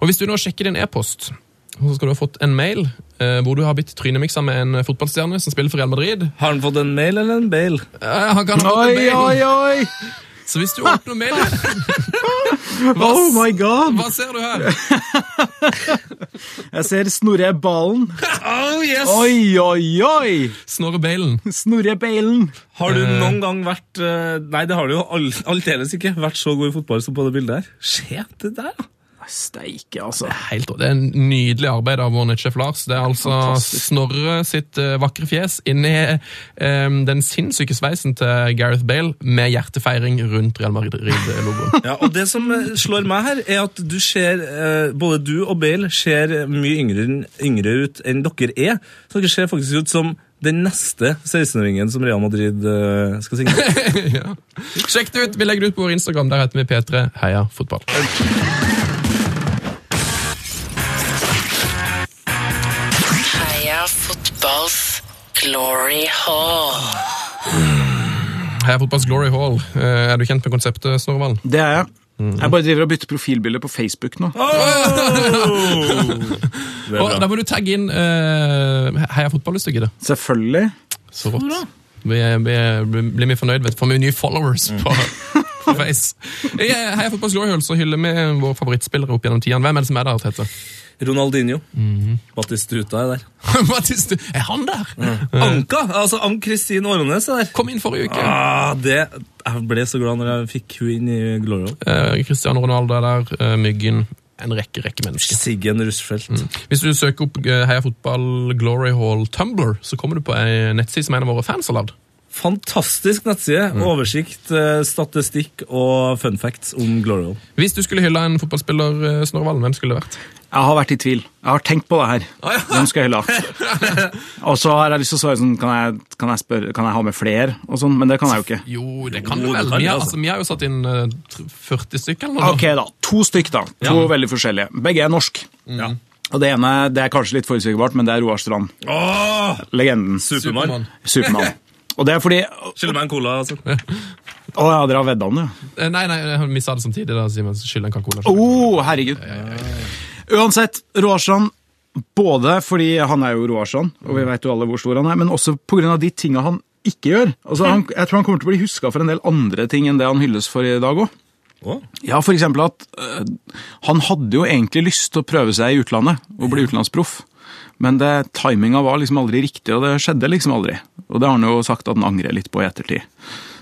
Speaker 5: Og Hvis du nå sjekker din e-post, så skal du ha fått en mail eh, hvor du har blitt trynemiksa med en fotballstjerne som spiller for Real Madrid.
Speaker 2: Har han fått en mail eller en bail?
Speaker 5: Eh, han kan ha fått en
Speaker 6: Oi,
Speaker 5: mail.
Speaker 6: oi, oi!
Speaker 5: Så hvis du åpner mailen hva,
Speaker 6: Oh my god!
Speaker 5: hva ser du her?
Speaker 6: Jeg ser Snorre Balen.
Speaker 5: Oh yes!
Speaker 6: Oi, oi, oi!
Speaker 5: Snorre Balen.
Speaker 6: Snorre Balen.
Speaker 2: Har du noen gang vært eh, Nei, det har du jo all- aldeles ikke. Vært så god i fotball som på det bildet her. Se det der, da!
Speaker 6: Steike, altså.
Speaker 5: Helt rå. Det er en nydelig arbeid av vår nettsjef Lars. Det er altså Snorre sitt eh, vakre fjes inni eh, den sinnssyke sveisen til Gareth Bale med hjertefeiring rundt Real Madrid-logoen.
Speaker 2: Ja, og det som eh, slår meg her, er at du ser eh, Både du og Bale ser mye yngre, yngre ut enn dere er. Så dere ser faktisk ut som den neste 16-åringen som Real Madrid eh, skal signere.
Speaker 5: ja. Sjekk det ut! Vi legger det ut på vår Instagram. Der heter vi P3 Heia Fotball.
Speaker 11: Heia fotballs glory hall.
Speaker 5: Heia Fotballs Glory Hall. Eh, Er du kjent med konseptet, Snorre Valen?
Speaker 6: Det er jeg. Jeg bare driver og bytter profilbilde på Facebook nå.
Speaker 5: Og Da må du tagge inn eh, Heia Fotball hvis du gidder.
Speaker 6: Selvfølgelig.
Speaker 5: Så rått. Vi, er- vi, er- blir mye fornøyd, vet du. Får vi nye followers på, på Face. I eh, Heia Fotballs Glory Hall så hyller vi våre favorittspillere opp gjennom tidene. Hvem er det som er der, Tete?
Speaker 2: Ronaldinho. Batistuta er der.
Speaker 5: Mathis, du- er han der?
Speaker 6: Mm.
Speaker 2: Anka! Altså Ann-Kristin Årenes er der.
Speaker 5: Kom inn forrige uke.
Speaker 2: Ah, det, jeg ble så glad når jeg fikk hun inn i Glory Hall.
Speaker 5: Eh, Cristiano Ronaldo er der. eh, Myggen. En rekke, rekke mennesker.
Speaker 2: Siggen Rushfeldt.
Speaker 6: Mm.
Speaker 5: Hvis du søker opp eh, Heia Fotball Glory Hall Tumblr, så kommer du på ei nettside som en av våre fans har lagd.
Speaker 2: Fantastisk nettside.
Speaker 6: Mm.
Speaker 2: Oversikt, eh, statistikk og fun facts om Glory Hall.
Speaker 5: Hvis du skulle hylla en fotballspiller, eh, Snorre Valen, hvem skulle det vært?
Speaker 6: Jeg har vært i tvil. Jeg har tenkt på det her. Hvem skal jeg hylle? Og så har jeg lyst til å svare sånn Kan jeg, kan jeg, spørre, kan jeg ha med flere? Og sånn, men det kan jeg jo ikke.
Speaker 5: Jo, det kan
Speaker 2: Jo,
Speaker 5: du
Speaker 2: det
Speaker 5: vel.
Speaker 2: kan du,
Speaker 5: Vi har,
Speaker 2: altså.
Speaker 5: altså, vi har jo satt inn eh, tr- 40 stykker. eller noe.
Speaker 6: Ok, da. To stykk, da. To veldig forskjellige. Begge er norsk. Og det ene det er kanskje litt forutsigbart, men det er Roar Strand. Legenden.
Speaker 2: Ah, Supermann.
Speaker 6: Supermann. Og det er fordi Å
Speaker 2: Skylder meg en cola. altså.
Speaker 6: ja, dere har vedda om det? ja.
Speaker 5: Eh, Nei, nei, vi sa det samtidig. da, Simon. Skyld en kalkula.
Speaker 6: Å, herregud. Uansett, Roar Strand både fordi han er jo Roar Strand, og vi vet jo alle hvor stor han er, men også pga. de tinga han ikke gjør. Altså, han, jeg tror han kommer til å bli huska for en del andre ting enn det han hylles for i dag òg.
Speaker 2: Å?
Speaker 6: Ja, for eksempel at øh, han hadde jo egentlig lyst til å prøve seg i utlandet og bli utenlandsproff. Men det, timinga var liksom aldri riktig, og det skjedde liksom aldri. Og det har han jo sagt at han angrer litt på i ettertid.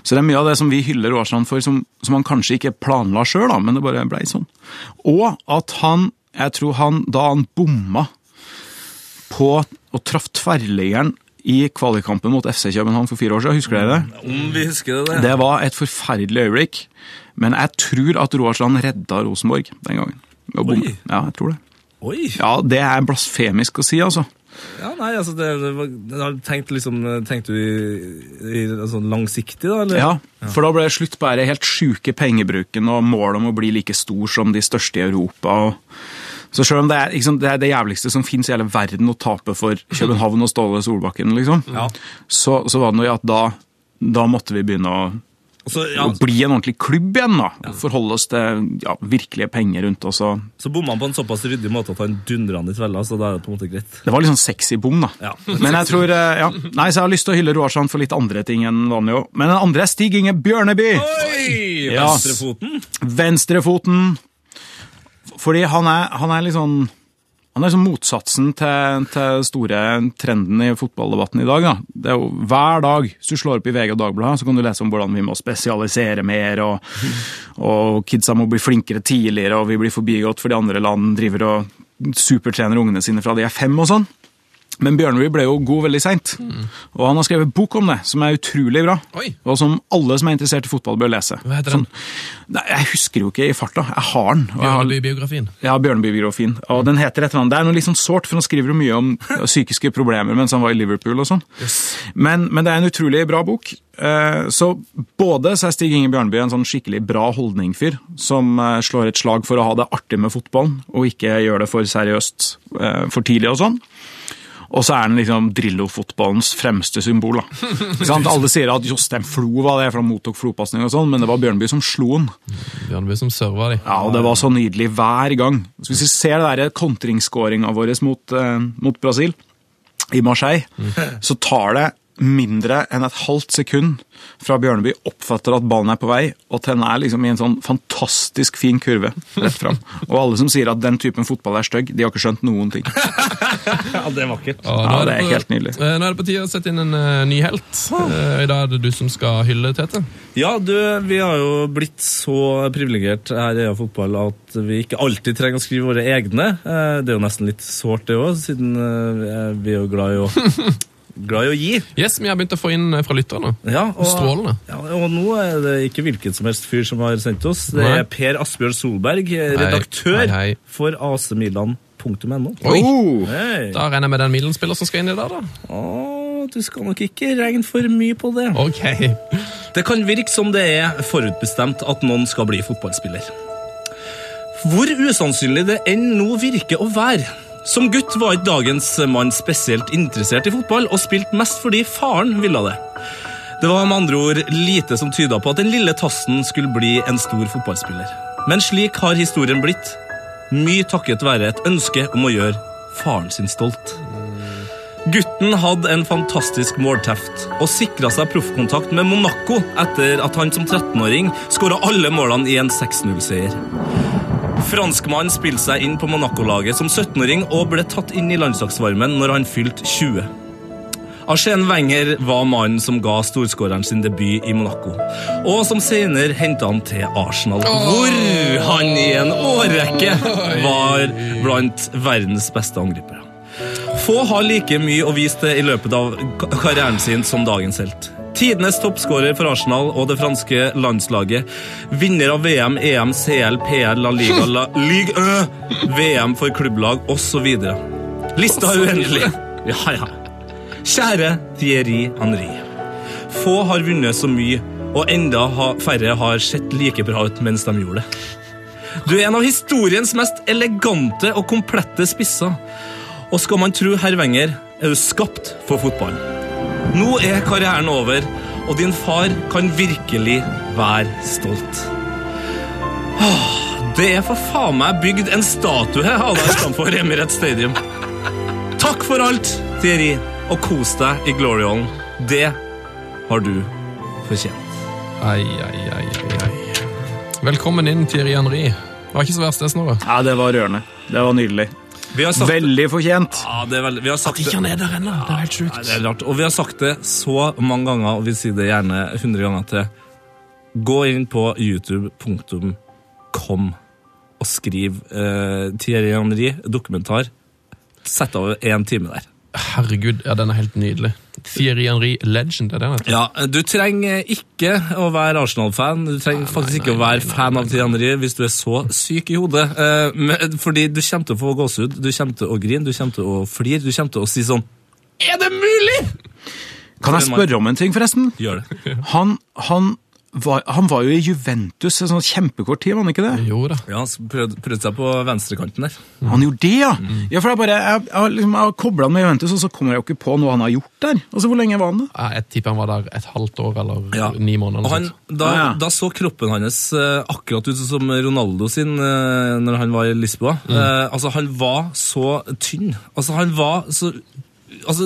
Speaker 6: Så det er mye av det som vi hyller Aarstrand for, som, som han kanskje ikke planla sjøl, men det bare blei sånn. Og at han, jeg tror han, da han bomma på og traff tverrliggeren i kvalikkampen mot FC København for fire år siden, husker dere det?
Speaker 2: Om Mm, vi husker det.
Speaker 6: Det var et forferdelig øyeblikk, men jeg tror at Roar Strand redda Rosenborg den gangen. Ved å bomme. Ja, jeg tror det.
Speaker 2: Oi!
Speaker 6: Ja, det er blasfemisk å si, altså.
Speaker 2: Ja, nei, altså, det, det var, det har tenkt liksom, tenkte du i, i, altså, langsiktig, da? Eller?
Speaker 6: Ja, For da ble det slutt på den helt sjuke pengebruken og målet om å bli like stor som de største i Europa. Og så selv om det er, ikke sant, det, er det jævligste som fins i hele verden å tape for København og Ståle Solbakken, liksom, så, så var det noe i at da, da måtte vi begynne å
Speaker 2: Så, ja,
Speaker 6: å bli en ordentlig klubb igjen, da. og Forholde oss til ja, virkelige penger rundt oss. og
Speaker 2: så bomma han på en såpass ryddig måte at han dundra han i tvella, så da er det på en måte greit.
Speaker 6: Det var litt sånn sexy bom, da.
Speaker 2: Ja.
Speaker 6: Men jeg tror, eh, ja. Nei, så jeg har lyst til å hylle Roar Strand for litt andre ting enn vanlig òg. Men den andre er Stig Inge Bjørneby!
Speaker 2: Oi!
Speaker 6: Ja.
Speaker 2: Venstrefoten.
Speaker 6: Venstrefoten. Fordi han er, han er litt sånn han er liksom motsatsen til den store trenden i fotballdebatten i dag. Da. Det er jo Hver dag hvis du slår opp i VG og Dagbladet, så kan du lese om hvordan vi må spesialisere mer, og, og kidsa må bli flinkere tidligere, og vi blir forbigått fordi andre land driver og supertrener ungene sine fra de er fem og sånn. Men Bjørneby ble jo god veldig seint, og han har skrevet bok om det, som er utrolig bra,
Speaker 5: Mm. Oi.
Speaker 6: og som alle som er interessert i fotball, bør lese. Sånn
Speaker 5: Hva heter den?
Speaker 6: Nei, jeg husker jo ikke i farta. Jeg har den. og jeg har-
Speaker 5: Bjørneby-biografien.
Speaker 6: ja, Bjørneby-biografien. Og den heter et eller annet. Det er noe litt sånn sårt, for han skriver jo mye om psykiske problemer mens han var i Liverpool og sånn. Men, men det er en utrolig bra bok. Eh, Så både så er Stig Inge Bjørneby en sånn skikkelig bra holdningfyr, som eh, slår et slag for å ha det artig med fotballen, og ikke gjør det for seriøst eh, for tidlig og sånn. Og så er han liksom Drillo-fotballens fremste symbol. da. Ikke sant? Alle sier at Jostein Flo var det, for han mottok flopasning og sånn, men det var Bjørneby som slo han.
Speaker 5: Bjørneby som serva de.
Speaker 6: Ja, og det var så nydelig hver gang. Så hvis vi ser det der kontringsskåringa vår mot, eh, mot Brasil i Marseille, så tar det mindre enn et halvt sekund fra Bjørneby oppfatter at ballen er på vei, og til den er liksom i en sånn fantastisk fin kurve rett fram. Og alle som sier at den typen fotball er stygg, de har ikke skjønt noen ting.
Speaker 2: Ja, det er vakkert.
Speaker 5: Og
Speaker 6: Ja,
Speaker 5: Ah, nå,
Speaker 6: det er
Speaker 5: på-
Speaker 6: helt nydelig.
Speaker 5: eh, nå er det på tide å sette inn en eh, ny helt. Eh, I dag er det du som skal hylle Tete.
Speaker 2: Ja, du, vi har jo blitt så privilegert her i EA Fotball at vi ikke alltid trenger å skrive våre egne. Eh, Det er jo nesten litt sårt det òg, siden eh, vi er jo glad i å, glad i å gi.
Speaker 5: Yes, vi har begynt å få inn eh, fra lytterne.
Speaker 2: Ja, og,
Speaker 5: Strålende.
Speaker 2: Ja, og nå er det ikke hvilken som helst fyr som har sendt oss. Det
Speaker 5: Nei.
Speaker 2: er Per Asbjørn Solberg, eh, redaktør
Speaker 5: hei, hei.
Speaker 2: for acmilan.no.
Speaker 5: Oi,
Speaker 6: Oh.
Speaker 2: Hei.
Speaker 5: Da regner jeg med det er en Milan-spiller som skal inn i dag, da.
Speaker 2: Å, du skal nok ikke regne for mye på det.
Speaker 5: Ok.
Speaker 2: Det kan virke som det er forutbestemt at noen skal bli fotballspiller. Hvor usannsynlig det enn nå virker å være. Som gutt var ikke dagens mann spesielt interessert i fotball, og spilte mest fordi faren ville det. Det var med andre ord lite som tyda på at den lille tassen skulle bli en stor fotballspiller. Men slik har historien blitt. Mye takket være et ønske om å gjøre faren sin stolt. Gutten hadde en fantastisk målteft og sikra seg proffkontakt med Monaco etter at han som 13-åring skåra alle målene i en 6-0-seier. Franskmannen spilte seg inn på Monaco-laget som 17-åring og ble tatt inn i landslagsvarmen når han fylte 20. Arsène Wenger var mannen som ga storskåreren sin debut i Monaco, og som senere henta han til Arsenal, hvor han i en årrekke var blant verdens beste angripere. Få har like mye å vise til i løpet av ka- karrieren sin som dagens helt. Tidenes toppskårer for Arsenal og det franske landslaget. Vinner av E VM, EM, CL, PL, La Liga, La Ligue 1, VM for klubblag osv. Lista er uendelig. Ja, ja. Kjære Thierry Henry. Få har vunnet så mye, og enda ha- færre har sett like bra ut mens de gjorde det. Du er en av historiens mest elegante og komplette spisser. Og skal man tro herr Wenger, er du skapt for fotballen. Nå er karrieren over, og din far kan virkelig være stolt. Åh, det er for faen meg bygd en statue av deg utenfor Emirates Stadium. Takk for alt, Thierry, og kos deg i Glory Hallen. Det har du fortjent.
Speaker 5: Ai, ai, ai, ai, ai. Velkommen inn, Thierry Henry. Det var ikke så verst, det, Snorre.
Speaker 6: Ja, det var rørende. Det var nydelig.
Speaker 2: Vi har sagt,
Speaker 6: Veldig fortjent.
Speaker 2: ja, det er veldig, vi har sagt det.
Speaker 5: er der ennå. Det er helt
Speaker 2: Nei, det er rart. Og vi har sagt det så mange ganger, og vi sier det gjerne 100 ganger til. Gå inn på youtube.com og skriv eh, Thierry Henry dokumentar. Sett av én time der.
Speaker 5: Herregud, ja, den er helt nydelig. Thierry Henry Legend, er det den heter?
Speaker 2: Ja, Du trenger ikke å være Arsenal-fan. Du trenger faktisk ikke å være fan av Thierry Henry hvis du er så syk i hodet. Eh, men, fordi du kommer til å få gåsehud, du kommer til å grine, du kommer til å flire, du kommer til å si sånn Er det mulig?!
Speaker 6: Kan jeg spørre om en ting, forresten?
Speaker 2: Gjør det.
Speaker 6: Han, han, var, han var jo i Juventus en sånn kjempekort tid, var han ikke det?
Speaker 5: Jo da.
Speaker 2: Ja, så prøvde, prøvde seg på venstrekanten der.
Speaker 6: Han gjorde det, ja! Ja, for Jeg bare, jeg, jeg, har liksom, jeg har koblet han med Juventus, og så kommer jeg jo ikke på noe han har gjort der. Altså, Hvor lenge var han der?
Speaker 5: Ja, Jeg tipper han var der et halvt år eller
Speaker 2: Ja.
Speaker 5: ni måneder.
Speaker 2: Og
Speaker 5: eller
Speaker 2: han,
Speaker 5: noe sånt.
Speaker 2: da,
Speaker 6: Ja, ja.
Speaker 2: da så kroppen hans eh, akkurat ut som Ronaldo sin eh, når han var i Lisboa. Eh, altså, han var så tynn. Altså, han var så altså,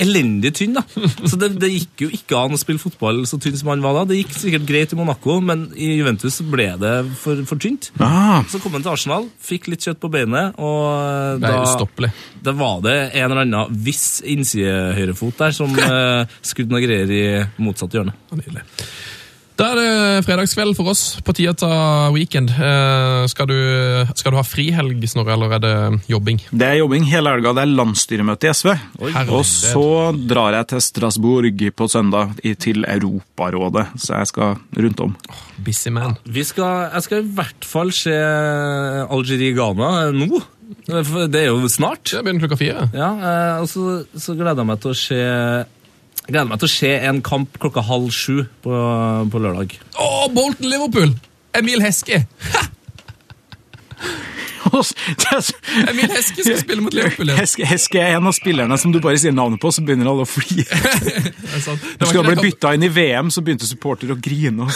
Speaker 2: elendig tynn, da. Så det, det gikk jo ikke an å spille fotball så tynn som han var da. Det gikk sikkert greit i Monaco, men i Juventus så ble det for, for tynt.
Speaker 6: Ah,
Speaker 2: Så kom han til Arsenal, fikk litt kjøtt på beinet, og eh,
Speaker 5: Det er
Speaker 2: da,
Speaker 5: ustoppelig.
Speaker 2: da var det en eller annen viss innsidehøyrefot der som eh, skudde noe greier i motsatt hjørne.
Speaker 5: Nydelig. Da er det fredagskveld for oss, på tide til å ta weekend. Eh, skal, du, skal du ha frihelg, Snorre, eller er det jobbing?
Speaker 6: det er jobbing hele helga. Det er landsstyremøte i SV. Og så drar jeg til Strasbourg på søndag, i- til Europarådet. Så jeg skal rundt om.
Speaker 5: Busy man.
Speaker 2: Vi skal, jeg skal i hvert fall se Algerie-Ghana nå. For Det er jo snart.
Speaker 5: Det begynner klokka fire.
Speaker 2: Ja, eh, og så, så gleder jeg meg til å se Gleder meg til å se en kamp klokka halv sju på, på lørdag.
Speaker 5: Å, Bolton Liverpool! Emil Heske! Emil Heske skal spille mot Liverpool. ja.
Speaker 6: Heske, Heske er en av spillerne som du bare sier navnet på, så begynner alle å flire.
Speaker 5: Det er sant. Det
Speaker 6: Du
Speaker 5: var
Speaker 6: skal
Speaker 5: ikke
Speaker 6: bli
Speaker 5: det-
Speaker 6: bytta inn i VM, så begynte supportere å grine.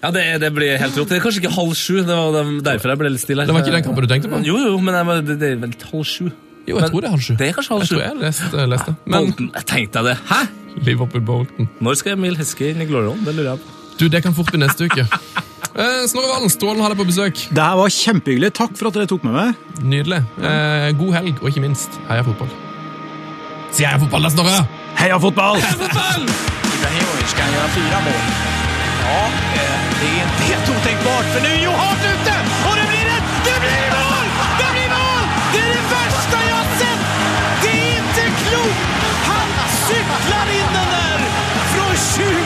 Speaker 2: Ja, Det, det blir helt rått. Det er kanskje ikke halv sju. Det var dem- derfor jeg ble litt stille. her.
Speaker 5: Det var ikke den kampen du tenkte på?
Speaker 2: Jo, jo, men jeg, var- det, det er vel halv sju.
Speaker 5: Jo, jeg tror det er eh, halv sju.
Speaker 2: Det er kanskje halv
Speaker 5: Jeg
Speaker 2: sju.
Speaker 5: tror jeg leste, leste. Men
Speaker 2: Bolton, jeg tenkte jeg det. Hæ?
Speaker 5: Liverpool-Bolton
Speaker 2: Når skal Emil Heske inn i Glory Hall? Det lurer jeg på.
Speaker 5: Du, det kan fort bli neste uke. Eh, Snorre Valen, strålende å ha deg på besøk.
Speaker 12: Det her var kjempehyggelig. Takk for at dere tok med meg.
Speaker 5: Nydelig. Eh, god helg, og ikke minst, heia fotball. Si heia fotball, da, Snorre!
Speaker 12: Heia fotball!
Speaker 6: Ibrahimovic kan göra fyra mål. Ja, eh, det är inte helt otänkbart för nu är Joe Hart ute och det blir ett, det blir mål! Det blir mål! Det är det värsta jag har sett! Det är inte klokt! Han cyklar in den där från 25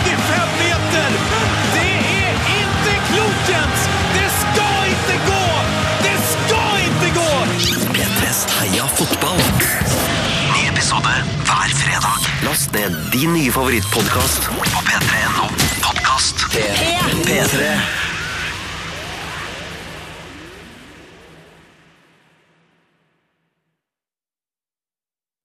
Speaker 6: meter! Det är inte klokt Jens! Det ska inte gå! Det ska inte gå!
Speaker 11: P3s Heia fotball. Ny episode hver fredag. Last ned din nye favorittpodkast på p3.no podkast. P3.